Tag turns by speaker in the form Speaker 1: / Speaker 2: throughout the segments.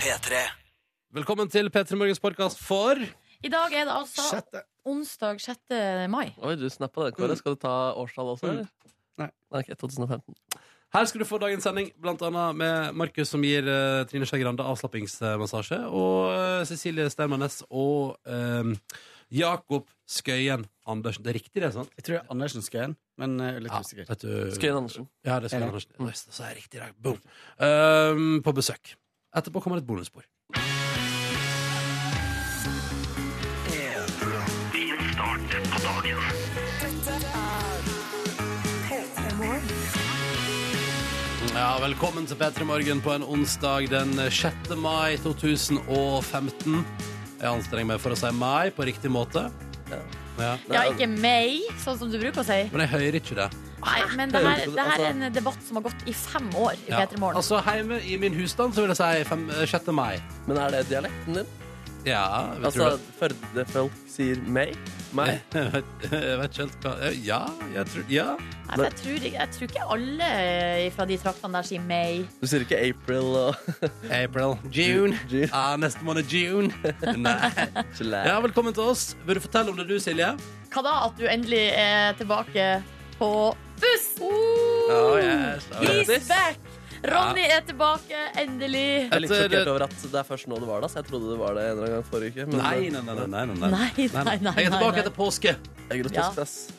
Speaker 1: P3.
Speaker 2: Velkommen til P3 Morgens podkast for
Speaker 3: I dag er det altså onsdag 6. mai.
Speaker 4: Oi, du snappa den, Kåre. Skal du ta årstall også,
Speaker 2: Mm.
Speaker 4: eller?
Speaker 2: Nei.
Speaker 4: Nei, ok, 2015.
Speaker 2: Her skal du få dagens sending, blant annet med Markus som gir eh, Trine Skei Grande avslappingsmassasje, og eh, Cecilie Steinmann Næss og eh, Jakob Skøyen Andersen. Det er riktig, det, sant?
Speaker 5: Jeg tror det er Andersen Skøyen, men eh, litt usikker.
Speaker 2: vet du-
Speaker 4: Skøyen Andersen.
Speaker 2: Ja, det er Skøyen
Speaker 5: Ja.
Speaker 2: Andersen. Nice, Så er det riktig dag. Boom. Ehm, på besøk. Etterpå kommer et bonusspor. Ja, velkommen til P3 Morgen på en onsdag den 6. mai 2015. Jeg anstrenger meg for å si mai på riktig måte. Ja.
Speaker 3: Ja, ikke meg, sånn som du bruker å si.
Speaker 2: Men jeg hører ikke det. altså-
Speaker 3: Nei, men det her, det
Speaker 4: Altså,
Speaker 3: her er en uh, debatt som har gått i fem år i
Speaker 2: Ja.
Speaker 3: P3 Morgen.
Speaker 2: Altså, hjemme i min husstand så vil jeg si fem, 6. mai.
Speaker 4: Men er det dialekten din?
Speaker 2: Ja, jeg tror
Speaker 4: Altså,
Speaker 2: det.
Speaker 4: Førde-folk sier meg? Meg?
Speaker 2: Jeg vet, jeg vet ikke helt hva Ja, jeg tror Ja.
Speaker 3: Nei, for jeg, tror, jeg tror ikke alle eh, fra de traktene der sier meg.
Speaker 4: Du sier ikke April og
Speaker 2: April. June.
Speaker 4: June.
Speaker 2: Ah, neste måned June. Nei.
Speaker 4: July?
Speaker 2: Ja, velkommen til oss. Vil du fortelle om det, du, Silje?
Speaker 3: Hva da at du endelig er tilbake på buss?
Speaker 2: Oh, yes. Oh, yes.
Speaker 3: He's back! Ronny er tilbake, endelig.
Speaker 4: Jeg er litt
Speaker 2: Etter-
Speaker 4: sjokkert over at det er først nå du var der, så jeg trodde du var det en eller annen gang forrige uke. Men
Speaker 2: Nei, nei, nei, nei, nei, nei.
Speaker 3: Nei, nei, nei, nei,
Speaker 2: Jeg er tilbake
Speaker 3: nei.
Speaker 2: etter påske.
Speaker 4: jeg er
Speaker 3: Ja.
Speaker 4: grotesk, ass.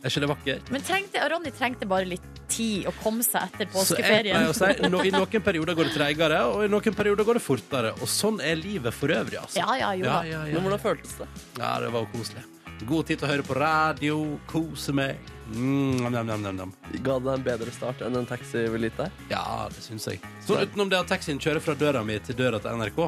Speaker 2: Er ikke det vakkert?
Speaker 3: Men trengte, Ronny trengte bare litt tid å komme seg etter
Speaker 2: Så altså, jeg
Speaker 3: påskeferien.
Speaker 2: pleier å si, no, I noen perioder går det treigere, og i noen perioder går det fortere. Og sånn er livet for øvrig, altså.
Speaker 3: Ja, ja, jo da.
Speaker 2: ja,
Speaker 4: Men hvordan føltes det?
Speaker 2: Ja, det var jo koselig. God tid til å høre på radio, kose meg. Mm, nam, nam, nam, nam.
Speaker 4: Ga det deg en bedre start enn en taxi ville gitt deg?
Speaker 2: Ja, det syns jeg. Så utenom det at taxien kjører fra døra mi til døra til NRK,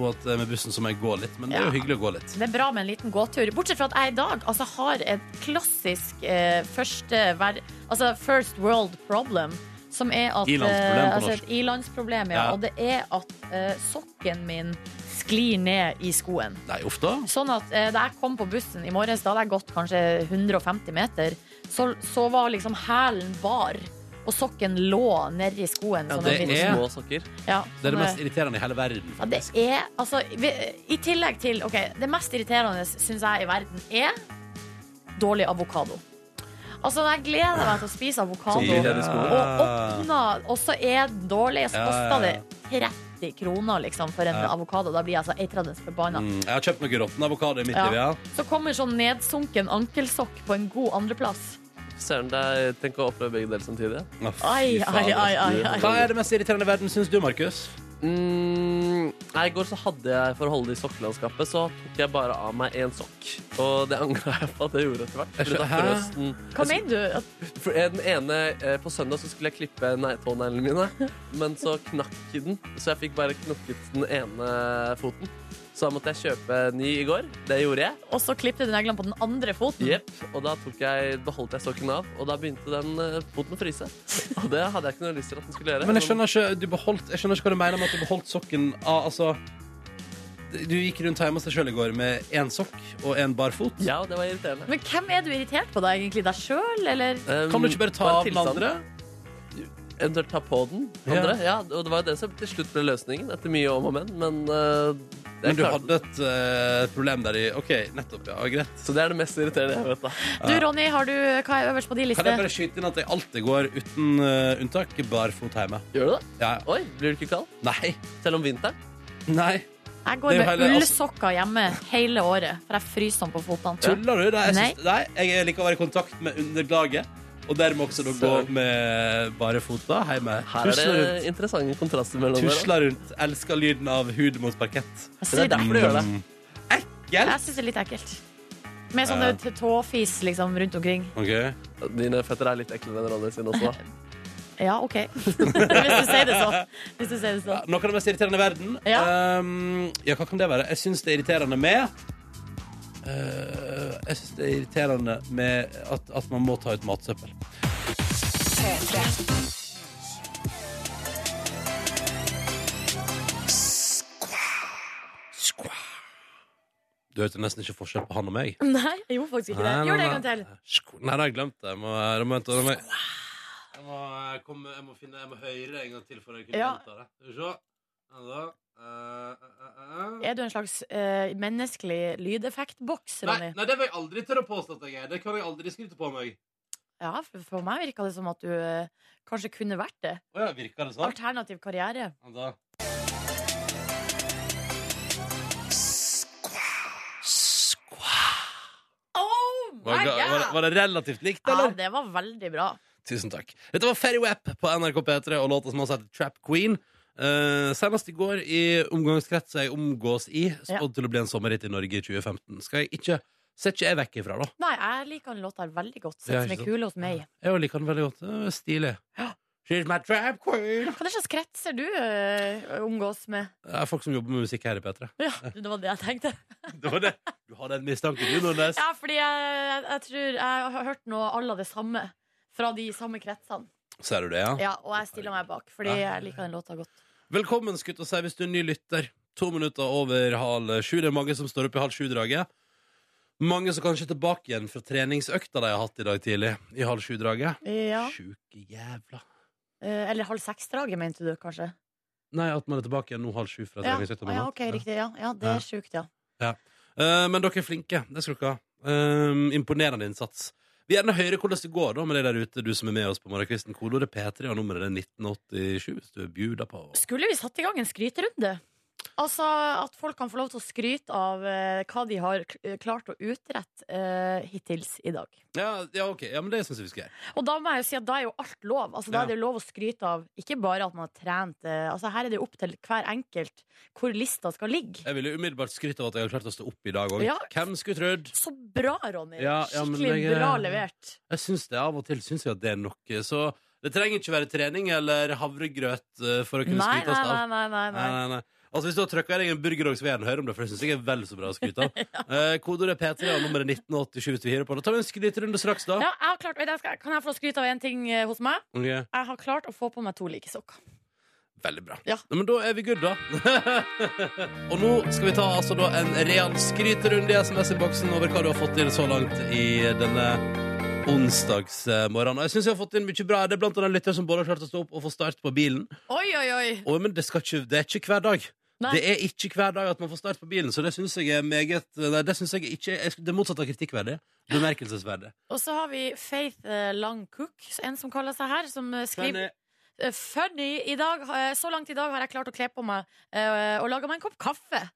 Speaker 2: og at eh, med bussen så må jeg gå litt. Men det er jo
Speaker 3: Ja.
Speaker 2: hyggelig å gå litt.
Speaker 3: Det er bra med en liten gåtur. Bortsett fra at jeg i dag altså, har et klassisk eh, første ver altså, first world problem. Som er at,
Speaker 2: I-landsproblem på
Speaker 3: eh, altså,
Speaker 2: norsk.
Speaker 3: et i-landsproblem, ja.
Speaker 2: Ja.
Speaker 3: Og det er at eh, sokken min sklir ned i skoen.
Speaker 2: Nei, uff da.
Speaker 3: Sånn at eh, da jeg kom på bussen i morges, da hadde jeg gått kanskje 150 meter, så, så var liksom hælen bar, og sokken lå nedi skoen. Sånn som
Speaker 2: det
Speaker 3: en liten-
Speaker 2: er-
Speaker 4: Små sokker.
Speaker 3: ja,
Speaker 2: Det er det
Speaker 3: sånne-
Speaker 2: mest irriterende i hele verden.
Speaker 3: ja, det
Speaker 2: faktisk.
Speaker 3: er altså vi- I tillegg til OK, det mest irriterende syns jeg i verden er dårlig avokado. Altså, jeg gleder meg til å spise avokado,
Speaker 4: Som du gjør i skolen.
Speaker 3: og åpner, og så er den dårlig, og så
Speaker 2: Ja,
Speaker 3: koster
Speaker 2: ja,
Speaker 3: det 30 kroner liksom, for en
Speaker 2: Ja.
Speaker 3: avokado. Da blir jeg så eitrende forbanna.
Speaker 2: Mm, jeg har kjøpt noe råtten avokado i mitt liv,
Speaker 3: Ja.
Speaker 2: ja.
Speaker 3: Så kommer sånn nedsunken ankelsokk på en god andreplass.
Speaker 4: Søren, det er- tenk å oppleve begge deler samtidig.
Speaker 2: Å, fy
Speaker 3: Ai,
Speaker 2: faen,
Speaker 3: ai,
Speaker 2: altså.
Speaker 3: ai, ai, ai.
Speaker 2: Hva er det mest irriterende i verden, syns du, Markus?
Speaker 4: Mm, nei, I går så hadde jeg, for å holde det i sokkelandskapet, så tok jeg bare av meg én sokk. Og det angra jeg på at jeg gjorde etter hvert.
Speaker 2: Jeg
Speaker 4: For da
Speaker 2: skjø-
Speaker 4: forresten-
Speaker 3: Hva mener du? At-
Speaker 4: For den ene eh, På søndag så skulle jeg klippe nei- tåneglene mine, men så knakk den. Så jeg fikk bare knokket den ene foten. Så da måtte jeg kjøpe ny i går. Det gjorde jeg.
Speaker 3: Og så klippet du neglene på den andre foten.
Speaker 4: Jepp. Og da tok jeg, beholdt jeg sokken av, og da begynte den eh, foten å fryse. Og det hadde jeg ikke noe lyst til at den skulle gjøre.
Speaker 2: Men jeg skjønner ikke, du beholdt, jeg skjønner ikke hva du mener med at du beholdt sokken av altså, Du gikk rundt hjemme hos deg sjøl i går med én sokk og én barfot.
Speaker 4: Ja, og det var irriterende.
Speaker 3: Men hvem er du irritert på, da? egentlig? Deg sjøl, eller?
Speaker 2: Kan du ikke bare ta
Speaker 4: Bare
Speaker 2: av den
Speaker 4: tilstand.
Speaker 2: andre?
Speaker 4: Eventuelt ta på den
Speaker 2: Ja.
Speaker 4: andre. Ja. og det var jo det som til slutt ble løsningen, etter mye om og men. Men, eh,
Speaker 2: Men
Speaker 4: jeg
Speaker 2: du
Speaker 4: klarte
Speaker 2: hadde
Speaker 4: det.
Speaker 2: et eh, problem der i OK, nettopp, ja. Greit.
Speaker 4: Så det er det mest irriterende jeg vet. da
Speaker 3: Du, Ronny, har du, hva er øverst på din liste?
Speaker 2: Kan jeg bare skyte inn at jeg alltid går uten eh, unntak barfot hjemme?
Speaker 4: Gjør du det?
Speaker 2: Ja.
Speaker 4: Oi, blir du ikke kald?
Speaker 2: Nei.
Speaker 4: Selv om vinteren?
Speaker 2: Nei.
Speaker 3: Jeg
Speaker 2: Det
Speaker 3: går
Speaker 2: er jo altså,
Speaker 3: med
Speaker 2: hele-
Speaker 3: ullsokker hjemme hele året, for jeg fryser dem på fotene.
Speaker 2: Tuller du? Nei, jeg, syns- nei, jeg liker å være i kontakt med underlaget. Og dermed også da gå
Speaker 4: Søren.
Speaker 2: med bare fot da, hjemme.
Speaker 4: Her er
Speaker 2: Tusler rundt.
Speaker 4: det interessante kontraster mellom dere.
Speaker 2: Tusler rundt. Elsker lyden av hud mot parkett.
Speaker 3: Jeg
Speaker 4: Det er
Speaker 3: syns
Speaker 4: derfor du gjør det.
Speaker 2: Mm. Hjelp!
Speaker 3: jeg syns det er litt ekkelt. Med sånne t- tåfis liksom, rundt omkring.
Speaker 4: Dine føtter er litt eklere enn Ronny sine også. da.
Speaker 3: Ja, OK. Hvis du sier det så. Hvis du sier det sånn. så.
Speaker 2: Ja, Noe av det mest irriterende i verden.
Speaker 3: Ja.
Speaker 2: Ehm, ja, hva kan det være? Jeg syns det er irriterende med eh, Jeg syns det er irriterende med at, at man må ta ut matsøppel. Skvær. Du hørte nesten ikke forskjell på han og meg.
Speaker 3: Nei, jeg gjorde faktisk ikke det.
Speaker 2: Nei,
Speaker 3: Gjør det en
Speaker 2: nei,
Speaker 3: gang til.
Speaker 2: nei. Skvær. Nei, da har jeg glemt det. Jeg må, jeg må, vente, jeg må, jeg må, komme, jeg må, finne, jeg må høre det en gang til for å kunne
Speaker 3: Ja.
Speaker 2: gjenta det. Skal vi se. Ja, da. Eh,
Speaker 3: Er du en slags eh, menneskelig lydeffektboks,
Speaker 2: Nei,
Speaker 3: Ronny?
Speaker 2: nei, det vil jeg aldri tørre å påstå at jeg er. Det kan jeg aldri skryte på meg.
Speaker 3: Ja, for, for meg virka det som at du eh, kanskje kunne vært det.
Speaker 2: Å ja, virker det sånn?
Speaker 3: Alternativ karriere.
Speaker 2: Altså.
Speaker 3: Oh my
Speaker 2: Var, ga- var,
Speaker 3: god!
Speaker 2: var det relativt likt,
Speaker 3: Ja,
Speaker 2: eller?
Speaker 3: det var veldig bra.
Speaker 2: Tusen takk. Dette var Ferry Wap på NRK P3 og låta som også heter Trap Queen. Eh, senest i går, i omgangskrets jeg omgås i, spådd til å bli en sommerhit i Norge i 2015. Skal jeg ikke Ser ikke jeg vekk ifra, da.
Speaker 3: Nei, jeg liker den låta her veldig godt.
Speaker 2: Ja,
Speaker 3: Sett som
Speaker 2: ikke
Speaker 3: en
Speaker 2: sant?
Speaker 3: kule hos meg.
Speaker 2: Jeg liker den veldig godt. Det er Stilig.
Speaker 3: Ja.
Speaker 2: She's my trap queen.
Speaker 3: Hva slags kretser du eh, omgås med?
Speaker 2: Det er folk som jobber med musikk her i P3.
Speaker 3: Ja, det var det jeg tenkte.
Speaker 2: Det var det. Du har den mistanken, du, Nordnes.
Speaker 3: Ja, fordi jeg, jeg tror jeg har hørt noe alle det samme fra de samme kretsene.
Speaker 2: Ser du det, ja?
Speaker 3: Ja, og jeg stiller meg bak, fordi jeg liker den låta godt.
Speaker 2: Velkommen, skutt og si, hvis du er ny lytter. To minutter over halv sju. Det er mange som står opp i halv sju-draget. Mange som kanskje er tilbake igjen fra treningsøkta de har hatt i dag tidlig. I halv sju-draget.
Speaker 3: Ja.
Speaker 2: Sjuke jævla
Speaker 3: Eh, Eller halv seks-draget, mente du kanskje?
Speaker 2: Nei, at man er tilbake igjen nå halv sju fra
Speaker 3: Ja,
Speaker 2: treningsøkta. man
Speaker 3: ja
Speaker 2: har hatt.
Speaker 3: ok, riktig. Ja, ja det
Speaker 2: Ja.
Speaker 3: er sjukt, ja.
Speaker 2: Eh, men dere er flinke. Det skal dere ha. Eh, imponerende innsats. Vi vil gjerne høre hvordan det går da med deg der ute, du som er med oss på morgenkvisten. Kodordet P3 og nummeret er 1987 hvis du er bjuda på.
Speaker 3: Skulle vi satt i gang en skryterunde? Altså At folk kan få lov til å skryte av eh, hva de har k- eh, klart å utrette eh, hittils i dag.
Speaker 2: Ja, ja, ok. Ja, men det syns jeg vi skal gjøre.
Speaker 3: Og da må jeg jo si at da er jo alt lov. Altså
Speaker 2: Ja.
Speaker 3: Da er det jo lov å skryte av ikke bare at man har trent. eh, Altså Her er det jo opp til hver enkelt hvor lista skal ligge.
Speaker 2: Jeg ville umiddelbart skryte av at jeg har klart å stå opp i dag òg.
Speaker 3: Ja.
Speaker 2: Hvem skulle trodd?
Speaker 3: Så bra, Ronny!
Speaker 2: Ja, ja, men
Speaker 3: Skikkelig
Speaker 2: jeg-
Speaker 3: bra levert.
Speaker 2: Jeg syns det av og til syns jeg at det er noe. Så det trenger ikke være trening eller havregrøt eh, for å
Speaker 3: Nei,
Speaker 2: kunne
Speaker 3: nei,
Speaker 2: skryte oss av.
Speaker 3: nei. nei,
Speaker 2: Nei,
Speaker 3: nei, nei.
Speaker 2: nei, nei. Altså Hvis du har trøkka deg en burger òg, så vil jeg gjerne høre om det. For det synes jeg er vel så bra å skryte av Eh, Kodeordet er P3 og nummeret er 1987 hvis du hiver på det. Ta en skryterunde straks, da.
Speaker 3: Ja, jeg har klart, Vet du, jeg skal, kan jeg få lov å skryte av én ting eh, hos meg?
Speaker 2: Ok.
Speaker 3: Jeg har klart å få på meg to like sokker.
Speaker 2: Veldig bra.
Speaker 3: Ja.
Speaker 2: Nei, men da er vi good, da. og nå skal vi ta altså da en real skryterunde i SMS-innboksen over hva du har fått til så langt i denne onsdagsmorgenen. Og Jeg syns jeg har fått inn mye bra. Det er blant annet lyttere som både har klart å stå opp og få start på bilen.
Speaker 3: Oi, oi, oi!
Speaker 2: Og, men det, skal ikke, det er ikke hver dag.
Speaker 3: Nei.
Speaker 2: Det er ikke hver dag at man får start på bilen, så det syns jeg er meget Nei, det syns jeg ikke jeg- Det motsatte av kritikkverdig. Bemerkelsesverdig.
Speaker 3: Og så har vi Faith eh, Lang Cook, en som kaller seg her, som eh, skriver
Speaker 2: Men, eh,
Speaker 3: eh, Funny, i dag, eh, så langt i dag har jeg klart å kle på meg eh, og lage meg en kopp kaffe.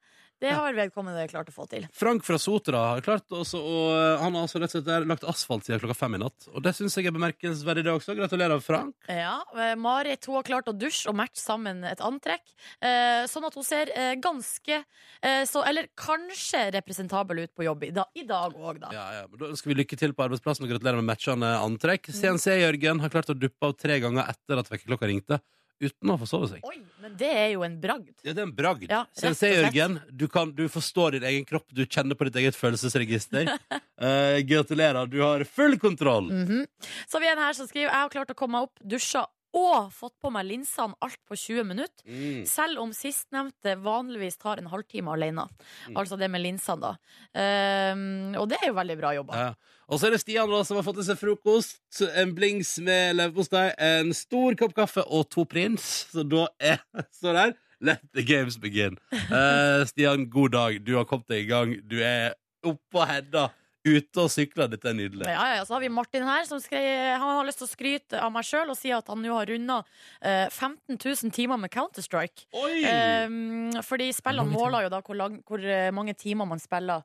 Speaker 3: Det har vedkommende klart å få til.
Speaker 2: Frank fra Sotra har klart også, og han har altså rett og slett der, lagt asfalt siden klokka fem i natt. Og det syns jeg er bemerkelsesverdig, det også. Gratulerer, Frank.
Speaker 3: Ja, eh, Marit hun har klart å dusje og matche sammen et antrekk, eh, sånn at hun ser eh, ganske eh, så, Eller kanskje representabel ut på jobb i, da, i dag òg, da.
Speaker 2: Ja, ja, men Da ønsker vi lykke til på arbeidsplassen og gratulerer med matchende antrekk.
Speaker 3: Mm.
Speaker 2: CNC-Jørgen har klart å duppe av tre ganger etter at vekkerklokka ringte, uten å forsove seg.
Speaker 3: Oi, men det er jo en bragd.
Speaker 2: Ja, det er en bragd.
Speaker 3: Ja, rett og slett.
Speaker 2: CNC-Jørgen, du, kan- du forstår din egen kropp, du kjenner på ditt eget følelsesregister. Eh, gratulerer, du har full kontroll!
Speaker 3: Mhm. Så har vi en her som skriver Jeg har klart å komme meg opp, dusja og fått på meg linsene alt på 20 minutter.
Speaker 2: Mm.
Speaker 3: Selv om sistnevnte vanligvis tar en halvtime alene.
Speaker 2: Mm.
Speaker 3: Altså det med linsene, da. Ehm, og det er jo veldig bra jobba.
Speaker 2: Ja. Og så er det Stian da, som har fått i seg frokost, en blings med leverpostei, en stor kopp kaffe og to prins. Så da er så der. Let the games begin. Eh, Stian, god dag. Du har kommet deg i gang. Du er oppe og hedda, ute og sykler. Dette er nydelig.
Speaker 3: Ja, ja, ja. Så har vi Martin her, som skre- han har lyst til å skryte av meg sjøl og si at han nå har runda eh, 15 000 timer med Counter-Strike.
Speaker 2: Oi!
Speaker 3: Um, fordi spillene
Speaker 2: Mange Mm.
Speaker 3: måler jo da hvor, lang, hvor eh, mange timer man spiller.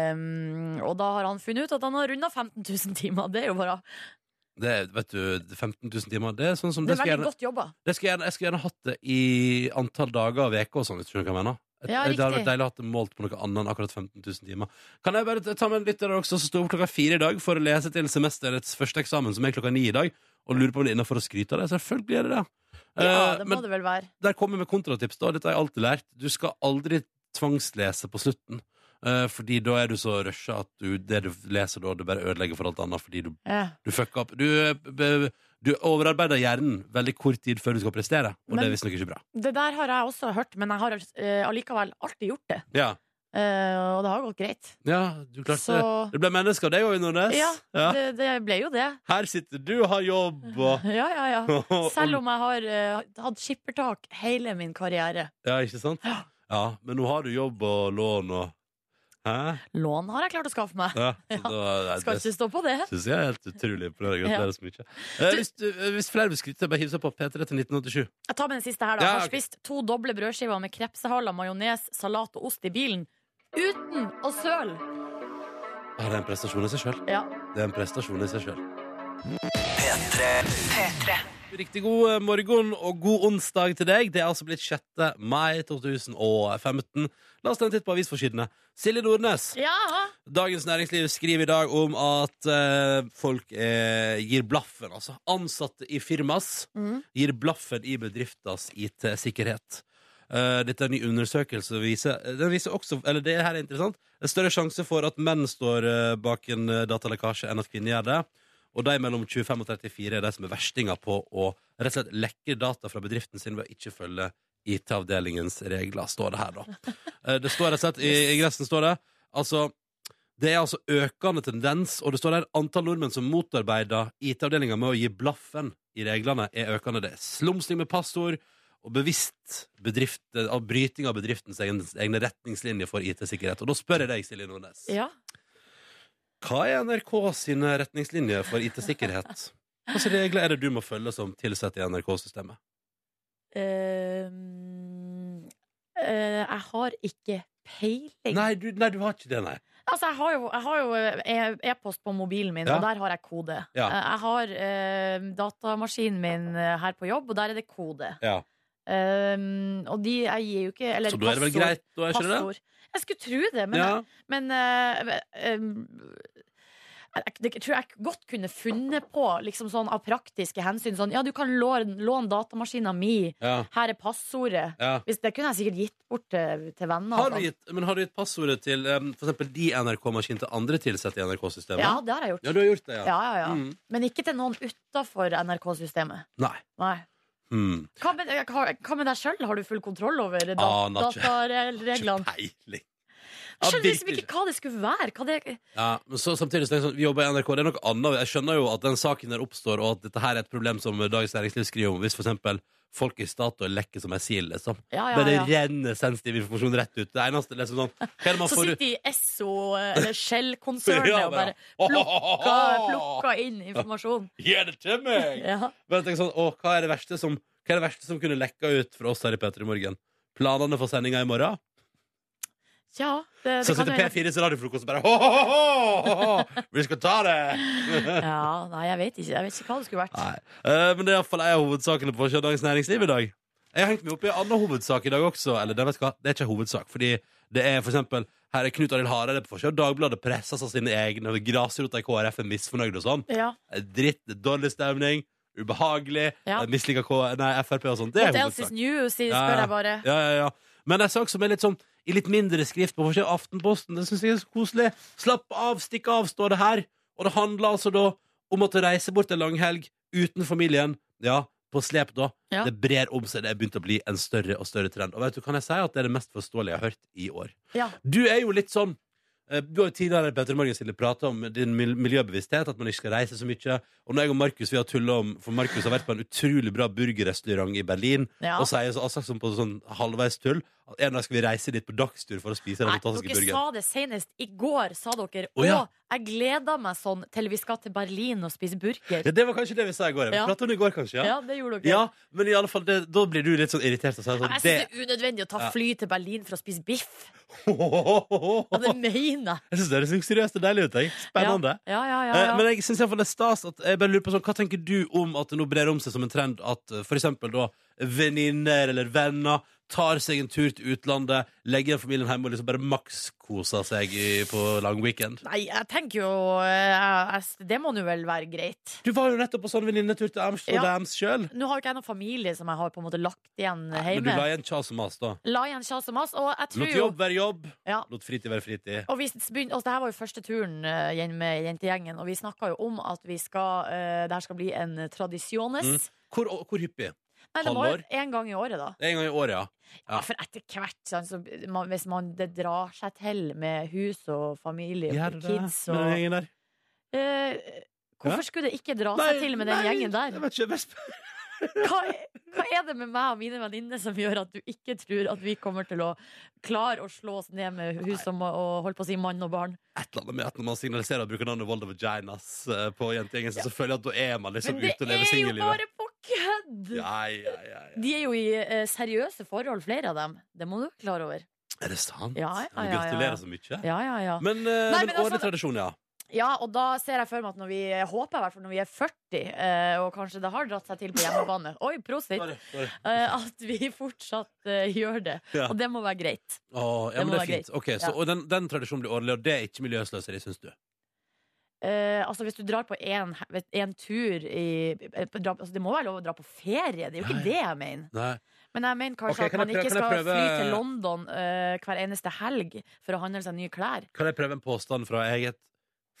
Speaker 3: Ehm, og da har han funnet ut at han har runda 15 000 timer. Det er jo bare
Speaker 2: Det, er- vet du, 15 000 timer. Det er sånn som
Speaker 3: Det
Speaker 2: det
Speaker 3: er
Speaker 2: skal
Speaker 3: veldig
Speaker 2: gjerne,
Speaker 3: godt jobba.
Speaker 2: det skal gjerne, Jeg skulle gjerne hatt det i antall dager og uker og sånn, hvis du skjønner hva jeg mener. Et-
Speaker 3: Ja,
Speaker 2: det hadde
Speaker 3: riktig.
Speaker 2: vært deilig å ha det målt på noe annet enn akkurat 15 000 timer. Kan jeg bare ta med en lytter også som sto opp klokka fire i dag for å lese til semesterets første eksamen, som er klokka ni i dag, og lurer på om det er innafor å skryte av det? Selvfølgelig er det det.
Speaker 3: Ja,
Speaker 2: Eh,
Speaker 3: det må
Speaker 2: men
Speaker 3: det vel være.
Speaker 2: der kommer jeg med kontratips, da. Dette har jeg alltid lært. Du skal aldri tvangslese på slutten. eh, fordi da er du så rusha at du, det du leser da, du bare ødelegger for alt annet fordi du
Speaker 3: Ja.
Speaker 2: du fucker opp. Du, eh, be- du overarbeider hjernen veldig kort tid før du skal prestere, og
Speaker 3: Men-
Speaker 2: det er visstnok ikke bra.
Speaker 3: Det der har jeg også hørt, men jeg har eh, allikevel alltid gjort det.
Speaker 2: Ja.
Speaker 3: Eh, og det har gått greit.
Speaker 2: Ja, du klarte
Speaker 3: Så
Speaker 2: det. Det ble menneske av deg òg, Nordnes.
Speaker 3: ja,
Speaker 2: Ja.
Speaker 3: det, det ble jo det.
Speaker 2: Her sitter du og har jobb, og
Speaker 3: Ja, ja, ja. Selv om jeg har eh, hatt skippertak hele min karriere.
Speaker 2: Ja, ikke sant?
Speaker 3: Ja.
Speaker 2: Ja, men nå har du jobb og lån og Hæ?
Speaker 3: Lån har jeg klart å skaffe meg.
Speaker 2: Ja, så da-
Speaker 3: Skal
Speaker 2: det
Speaker 3: ikke stå på det.
Speaker 2: syns jeg er helt utrolig imponerende. Gratulerer så mye.
Speaker 3: Du-
Speaker 2: Eh, hvis, du, eh, hvis flere vil skryte, bare hiv seg på P3 til 1987.
Speaker 3: Jeg tar med den siste her, da.
Speaker 2: Ja,
Speaker 3: Jeg har
Speaker 2: ok.
Speaker 3: spist to doble brødskiver med krepsehaler, majones, salat og ost i bilen. Uten å søle!
Speaker 2: Ja, det er en prestasjon i seg sjøl.
Speaker 3: Ja.
Speaker 2: Det er en prestasjon i seg sjøl. Riktig god eh, morgen og god onsdag til deg. Det er altså blitt 6. mai 2015. La oss ta en titt på avisforsidene. Silje Nordnes.
Speaker 3: Ja,
Speaker 2: Dagens Næringsliv skriver i dag om at eh, folk eh, gir blaffen. Altså ansatte i firmas
Speaker 3: Mhm.
Speaker 2: gir blaffen i bedriftas IT-sikkerhet. Eh, dette er en ny undersøkelse som viser, eh, den viser også, eller det her er interessant, en større sjanse for at menn står eh, bak en eh, datalekkasje enn at kvinner gjør det. Og de mellom 25 og 34 er de som er verstinger på å rett og slett lekke data fra bedriften sin ved å ikke følge IT-avdelingens regler, står det her, da. Eh, Det står rett og slett, i ingressen står det altså det er altså økende tendens, og det står der antall nordmenn som motarbeider IT-avdelinga med å gi blaffen i reglene, er økende. Det er slumsing med passord og bevisst bedrift, av bryting av bedriftens egne, egne retningslinjer for IT-sikkerhet. Og da spør jeg deg, Silje Nordnes,
Speaker 3: ja.
Speaker 2: hva er NRK sine retningslinjer for IT-sikkerhet? Hvilke regler er det du må følge som tilsatt i NRK-systemet?
Speaker 3: Ehm, eh, jeg har ikke peiling.
Speaker 2: Nei, du- nei, du har ikke det, nei.
Speaker 3: Altså, jeg har jo, jeg har jo eh, e-post på mobilen min,
Speaker 2: Ja.
Speaker 3: og der har jeg kode.
Speaker 2: Ja.
Speaker 3: Eh, Jeg har eh, datamaskinen min eh, her på jobb, og der er det kode.
Speaker 2: Ja.
Speaker 3: Ehm, og de jeg gir jo ikke Eller
Speaker 2: Så da er det vel greit, da, er ikke det det?
Speaker 3: Passord. Jeg skulle tro det, men,
Speaker 2: Ja.
Speaker 3: men eh, ehm, jeg, jeg tror jeg godt kunne funnet på liksom sånn av praktiske hensyn sånn Ja, du kan låne, låne datamaskina mi.
Speaker 2: Ja.
Speaker 3: Her er passordet.
Speaker 2: ja.
Speaker 3: Hvis det kunne jeg sikkert gitt bort til, til venner. og
Speaker 2: Har du
Speaker 3: sånn.
Speaker 2: gitt, men har du gitt passordet til um, for eksempel de NRK-maskin til andre tilsatte i NRK-systemet?
Speaker 3: Ja, det har jeg gjort.
Speaker 2: Ja, du har gjort det, ja.
Speaker 3: Ja, ja, ja.
Speaker 2: Mm.
Speaker 3: Men ikke til noen utafor NRK-systemet.
Speaker 2: Nei.
Speaker 3: Nei.
Speaker 2: Hmm.
Speaker 3: Hva med, hva hva med deg sjøl? Har du full kontroll over da,
Speaker 2: Aner ikke.
Speaker 3: datareglene?
Speaker 2: Ikke peiling.
Speaker 3: Jeg skjønner
Speaker 2: virkelig
Speaker 3: liksom ikke hva det skulle være. Hva det,
Speaker 2: Ja, men så samtidig så tenker jeg sånn, vi jobber i NRK, det er noe annet. Jeg skjønner jo at den saken der oppstår, og at dette her er et problem som Dagens Næringsliv skriver om. Hvis for eksempel folk i Statoil lekker som en sil, liksom.
Speaker 3: ja, ja,
Speaker 2: Bare
Speaker 3: ja.
Speaker 2: renner sensitiv informasjon rett ut. Det eneste liksom sånn Hva er det man
Speaker 3: Så
Speaker 2: får
Speaker 3: sitter
Speaker 2: ut?
Speaker 3: de i Esso eller Shell-konsernet
Speaker 2: Ja,
Speaker 3: og bare plukker,
Speaker 2: plukker
Speaker 3: plukker inn informasjon.
Speaker 2: Gi det til meg!
Speaker 3: Ja.
Speaker 2: Men jeg tenker sånn, åh, hva er det verste som Hva er det verste som kunne lekka ut fra oss her i P3 Morgen? Planene for sendinga i morgen?
Speaker 3: Ja, det,
Speaker 2: Så sitter
Speaker 3: det kan jo hende.
Speaker 2: P4s radiofrokost og bare hå, hå, hå, hå, hå, Vi skal ta det!
Speaker 3: Ja, nei, jeg vet ikke. Jeg vet ikke hva det skulle vært.
Speaker 2: Nei. Eh, men det er iallfall en av hovedsakene på Dagens Næringsliv i dag. Jeg har hengt meg opp i en annen hovedsak i dag også. Eller det, vet du hva? det er ikke en hovedsak. Fordi det er for eksempel her er Knut Arild Hareide på forsida. Dagbladet presses av sine egne. og Grasrota i KrF er misfornøyd og sånn.
Speaker 3: Ja.
Speaker 2: Dritt, dårlig stemning, ubehagelig.
Speaker 3: Ja.
Speaker 2: Ja. Misliker K- nei, Frp og sånn. Det er
Speaker 3: What else is
Speaker 2: hovedsak.
Speaker 3: new, sier,
Speaker 2: Ja,
Speaker 3: spør
Speaker 2: ja.
Speaker 3: jeg bare.
Speaker 2: Ja, ja, ja. Men en sak som er litt sånn i litt mindre skrift på forsiden av Aftenposten, det syns jeg er så koselig. Slapp av, stikk av, står det her. Og det handler altså da om at å reise bort en langhelg uten familien, ja, på slep da,
Speaker 3: Ja.
Speaker 2: det brer om seg. Det er begynt å bli en større og større trend. Og vet du, kan jeg si at det er det mest forståelige jeg har hørt i år.
Speaker 3: Ja.
Speaker 2: Du er jo litt sånn eh, du har jo tidligere Petter Morgen sine pratet om din mil- miljøbevissthet, at man ikke skal reise så mye. Og når jeg og Markus vi har tullet om For Markus har vært på en utrolig bra burgerrestaurant i Berlin.
Speaker 3: Ja.
Speaker 2: Og sier så, altså, som på sånn halvveis tull at en dag skal vi reise dit på dagstur for å spise den
Speaker 3: Nei,
Speaker 2: fantastiske
Speaker 3: dere sa
Speaker 2: burgeren.
Speaker 3: det senest i går, sa dere.
Speaker 2: Å, ja.
Speaker 3: Å, jeg gleda meg sånn til vi skal til Berlin og spise burger.
Speaker 2: Ja, det var kanskje det vi sa i går. Ja.
Speaker 3: Ja.
Speaker 2: Vi pratet om det i går, kanskje. Ja.
Speaker 3: Ja, det gjorde dere.
Speaker 2: ja, men i alle fall, det, da blir du litt sånn irritert og sier
Speaker 3: Nei,
Speaker 2: sånn det,
Speaker 3: Jeg syns det er unødvendig å ta
Speaker 2: Ja.
Speaker 3: fly til Berlin for å spise biff. Ja, det mener jeg.
Speaker 2: Jeg syns det høres seriøst og deilig ut. Jeg. Spennende.
Speaker 3: Ja, ja, ja,
Speaker 2: Eh,
Speaker 3: ja.
Speaker 2: Men jeg synes i hvert fall det er stas at jeg bare lurer på sånn, Hva tenker du om at det nå brer om seg som en trend at eh, for eksempel da venninner eller venner tar seg en tur til utlandet, legger familien hjemme og liksom bare makskoser seg i, på lang weekend?
Speaker 3: Nei, jeg tenker jo eh, jeg- Det må nå vel være greit.
Speaker 2: Du var jo nettopp på sånn venninnetur til Amsterdams sjøl.
Speaker 3: Nå har jo ikke jeg noen familie som jeg har på en måte lagt igjen eh,
Speaker 2: Men du la
Speaker 3: hjemme.
Speaker 2: igjen kjas og mas, da.
Speaker 3: La igjen kjas og mas. Og jeg tror
Speaker 2: Lot
Speaker 3: jo
Speaker 2: jobb være jobb,
Speaker 3: Ja.
Speaker 2: lot fritid være fritid.
Speaker 3: og vi begynte, altså, det her var jo første turen eh, igjen med jentegjengen, og vi snakka jo om at vi skal, eh, det her skal bli en eh, tradisjones.
Speaker 2: Mm. Hvor, hvor hyppig?
Speaker 3: Nei, de har
Speaker 2: Halvår?
Speaker 3: en gang i året, da.
Speaker 2: Det er en gang i året, ja.
Speaker 3: Ja, for etter hvert, sant, så man, hvis man, det drar seg til med hus og familie og kids og
Speaker 2: Med gjengen der.
Speaker 3: Eh, Hvorfor
Speaker 2: Ja.
Speaker 3: skulle det ikke dra seg til med den gjengen der?
Speaker 2: Jeg vet ikke, jeg bare spør.
Speaker 3: Hva, hva er det med meg og mine venninner som gjør at du ikke tror at vi kommer til å klare å slå oss ned med hus og, og holdt på å si mann og barn?
Speaker 2: Et eller annet med at når man signaliserer og bruker navnet Volda Vaginas eh, på jentegjengen, så selvfølgelig at da er man liksom
Speaker 3: Men det
Speaker 2: ute og
Speaker 3: er
Speaker 2: lever
Speaker 3: jo
Speaker 2: singellivet.
Speaker 3: bare på kødd!
Speaker 2: Ja, ja, ja, ja.
Speaker 3: De er jo i eh, seriøse forhold, flere av dem. Det må du være klar over.
Speaker 2: Er det sant?
Speaker 3: Ja, ja, ja, ja.
Speaker 2: Gratulerer så mye.
Speaker 3: Ja, ja, ja.
Speaker 2: Men, eh,
Speaker 3: Nei,
Speaker 2: men
Speaker 3: men
Speaker 2: årlig
Speaker 3: altså-
Speaker 2: tradisjon, ja.
Speaker 3: Ja, og da ser jeg for meg at når vi jeg håper i hvert fall når vi er 40, eh, og kanskje det har dratt seg til på hjemmebane Oi, prosit!
Speaker 2: Sorry, sorry.
Speaker 3: Eh, at vi fortsatt eh, gjør det.
Speaker 2: Ja.
Speaker 3: Og det må være greit.
Speaker 2: Å, ja,
Speaker 3: Det
Speaker 2: men
Speaker 3: må
Speaker 2: det er
Speaker 3: være
Speaker 2: fint. Ok, så,
Speaker 3: Ja.
Speaker 2: og den, den tradisjonen blir årlig, og det er ikke miljøsløseri, syns du?
Speaker 3: Eh, altså Hvis du drar på en, he- vet- en tur i eh, dra, altså, Det må være lov å dra på ferie, det er
Speaker 2: Ja,
Speaker 3: jo
Speaker 2: ja.
Speaker 3: ikke det jeg mener.
Speaker 2: Nei.
Speaker 3: Men jeg mener kanskje
Speaker 2: Ok, kan
Speaker 3: at man
Speaker 2: jeg prøve-
Speaker 3: ikke
Speaker 2: kan jeg
Speaker 3: skal
Speaker 2: prøve-
Speaker 3: fly til London eh, hver eneste helg for å handle seg nye klær.
Speaker 2: Kan jeg prøve en påstand fra eget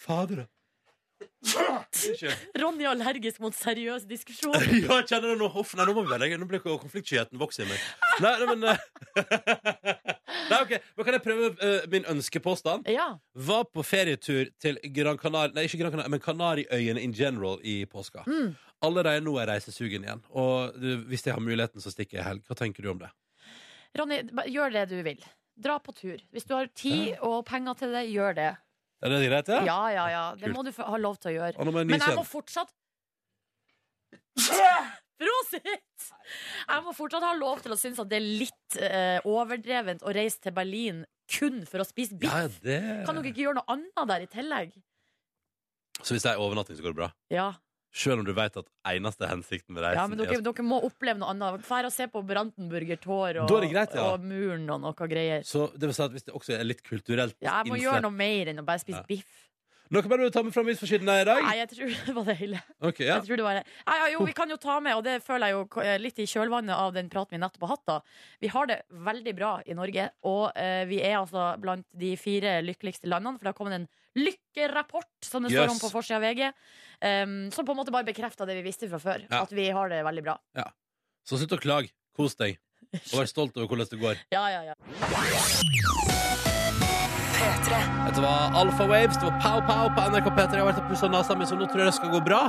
Speaker 2: Fader, da. Unnskyld.
Speaker 3: Ronny er allergisk mot seriøs diskusjon.
Speaker 2: Ja, jeg kjenner det nå. Huff, nei, nå må vi velge. Nå blir konfliktskyheten vokser i meg. Nei, nei, men eh, Nei, OK. Men kan jeg prøve eh, min ønskepåstand?
Speaker 3: Ja,
Speaker 2: Var på ferietur til Gran Canaria Nei, ikke Gran Canaria, men Kanariøyene in general i påska.
Speaker 3: Mm.
Speaker 2: Allerede nå er reisesugen igjen. Og du, hvis jeg har muligheten, så stikker jeg i helg. Hva tenker du om det?
Speaker 3: Ronny, ba- gjør det du vil. Dra på tur. Hvis du har tid og penger til det, gjør det.
Speaker 2: Er det greit, ja?
Speaker 3: Ja, ja, ja. Det må du få- ha lov til å gjøre.
Speaker 2: Og nå må jeg
Speaker 3: Men
Speaker 2: nyse
Speaker 3: jeg må
Speaker 2: igjen.
Speaker 3: fortsatt Prosit! Jeg må fortsatt ha lov til å synes at det er litt eh, overdrevent å reise til Berlin kun for å spise biff.
Speaker 2: Ja, det
Speaker 3: Kan dere ikke gjøre noe annet der i tillegg?
Speaker 2: Så hvis det er overnatting, så går det bra?
Speaker 3: Ja,
Speaker 2: Selv om du vet at eneste hensikten med reisen
Speaker 3: ja men
Speaker 2: er å
Speaker 3: dere, dere må oppleve noe annet. Fær og se på Brandenburger Tor og,
Speaker 2: Da er det greit, ja.
Speaker 3: og muren og noe greier.
Speaker 2: Så det vil si at hvis det også er litt kulturelt
Speaker 3: Ja, jeg må gjøre noe mer enn å bare spise
Speaker 2: Ja.
Speaker 3: biff.
Speaker 2: Noe mer du vil ta med fra avisforsiden her i dag?
Speaker 3: Nei, jeg tror det var det hele.
Speaker 2: Ok, ja.
Speaker 3: Jeg tror det var det. Nei, ja, jo, vi kan jo ta med, og det føler jeg jo eh, litt i kjølvannet av den praten vi nettopp har hatt. da. Vi har det veldig bra i Norge, og eh, vi er altså blant de fire lykkeligste landene. For det har kommet en lykkerapport, som det står
Speaker 2: Yes.
Speaker 3: om på forsida av VG. em, som på en måte bare bekrefter det vi visste fra før,
Speaker 2: Ja.
Speaker 3: at vi har det veldig bra.
Speaker 2: Så slutt å klage. Kos deg. Og vær stolt over hvordan det går.
Speaker 3: Ja, ja, ja.
Speaker 2: Dette var Alpha Waves, det var Pow Pow på NRK P3. Jeg har vært og pussa nesa mi, så nå tror jeg det skal gå bra.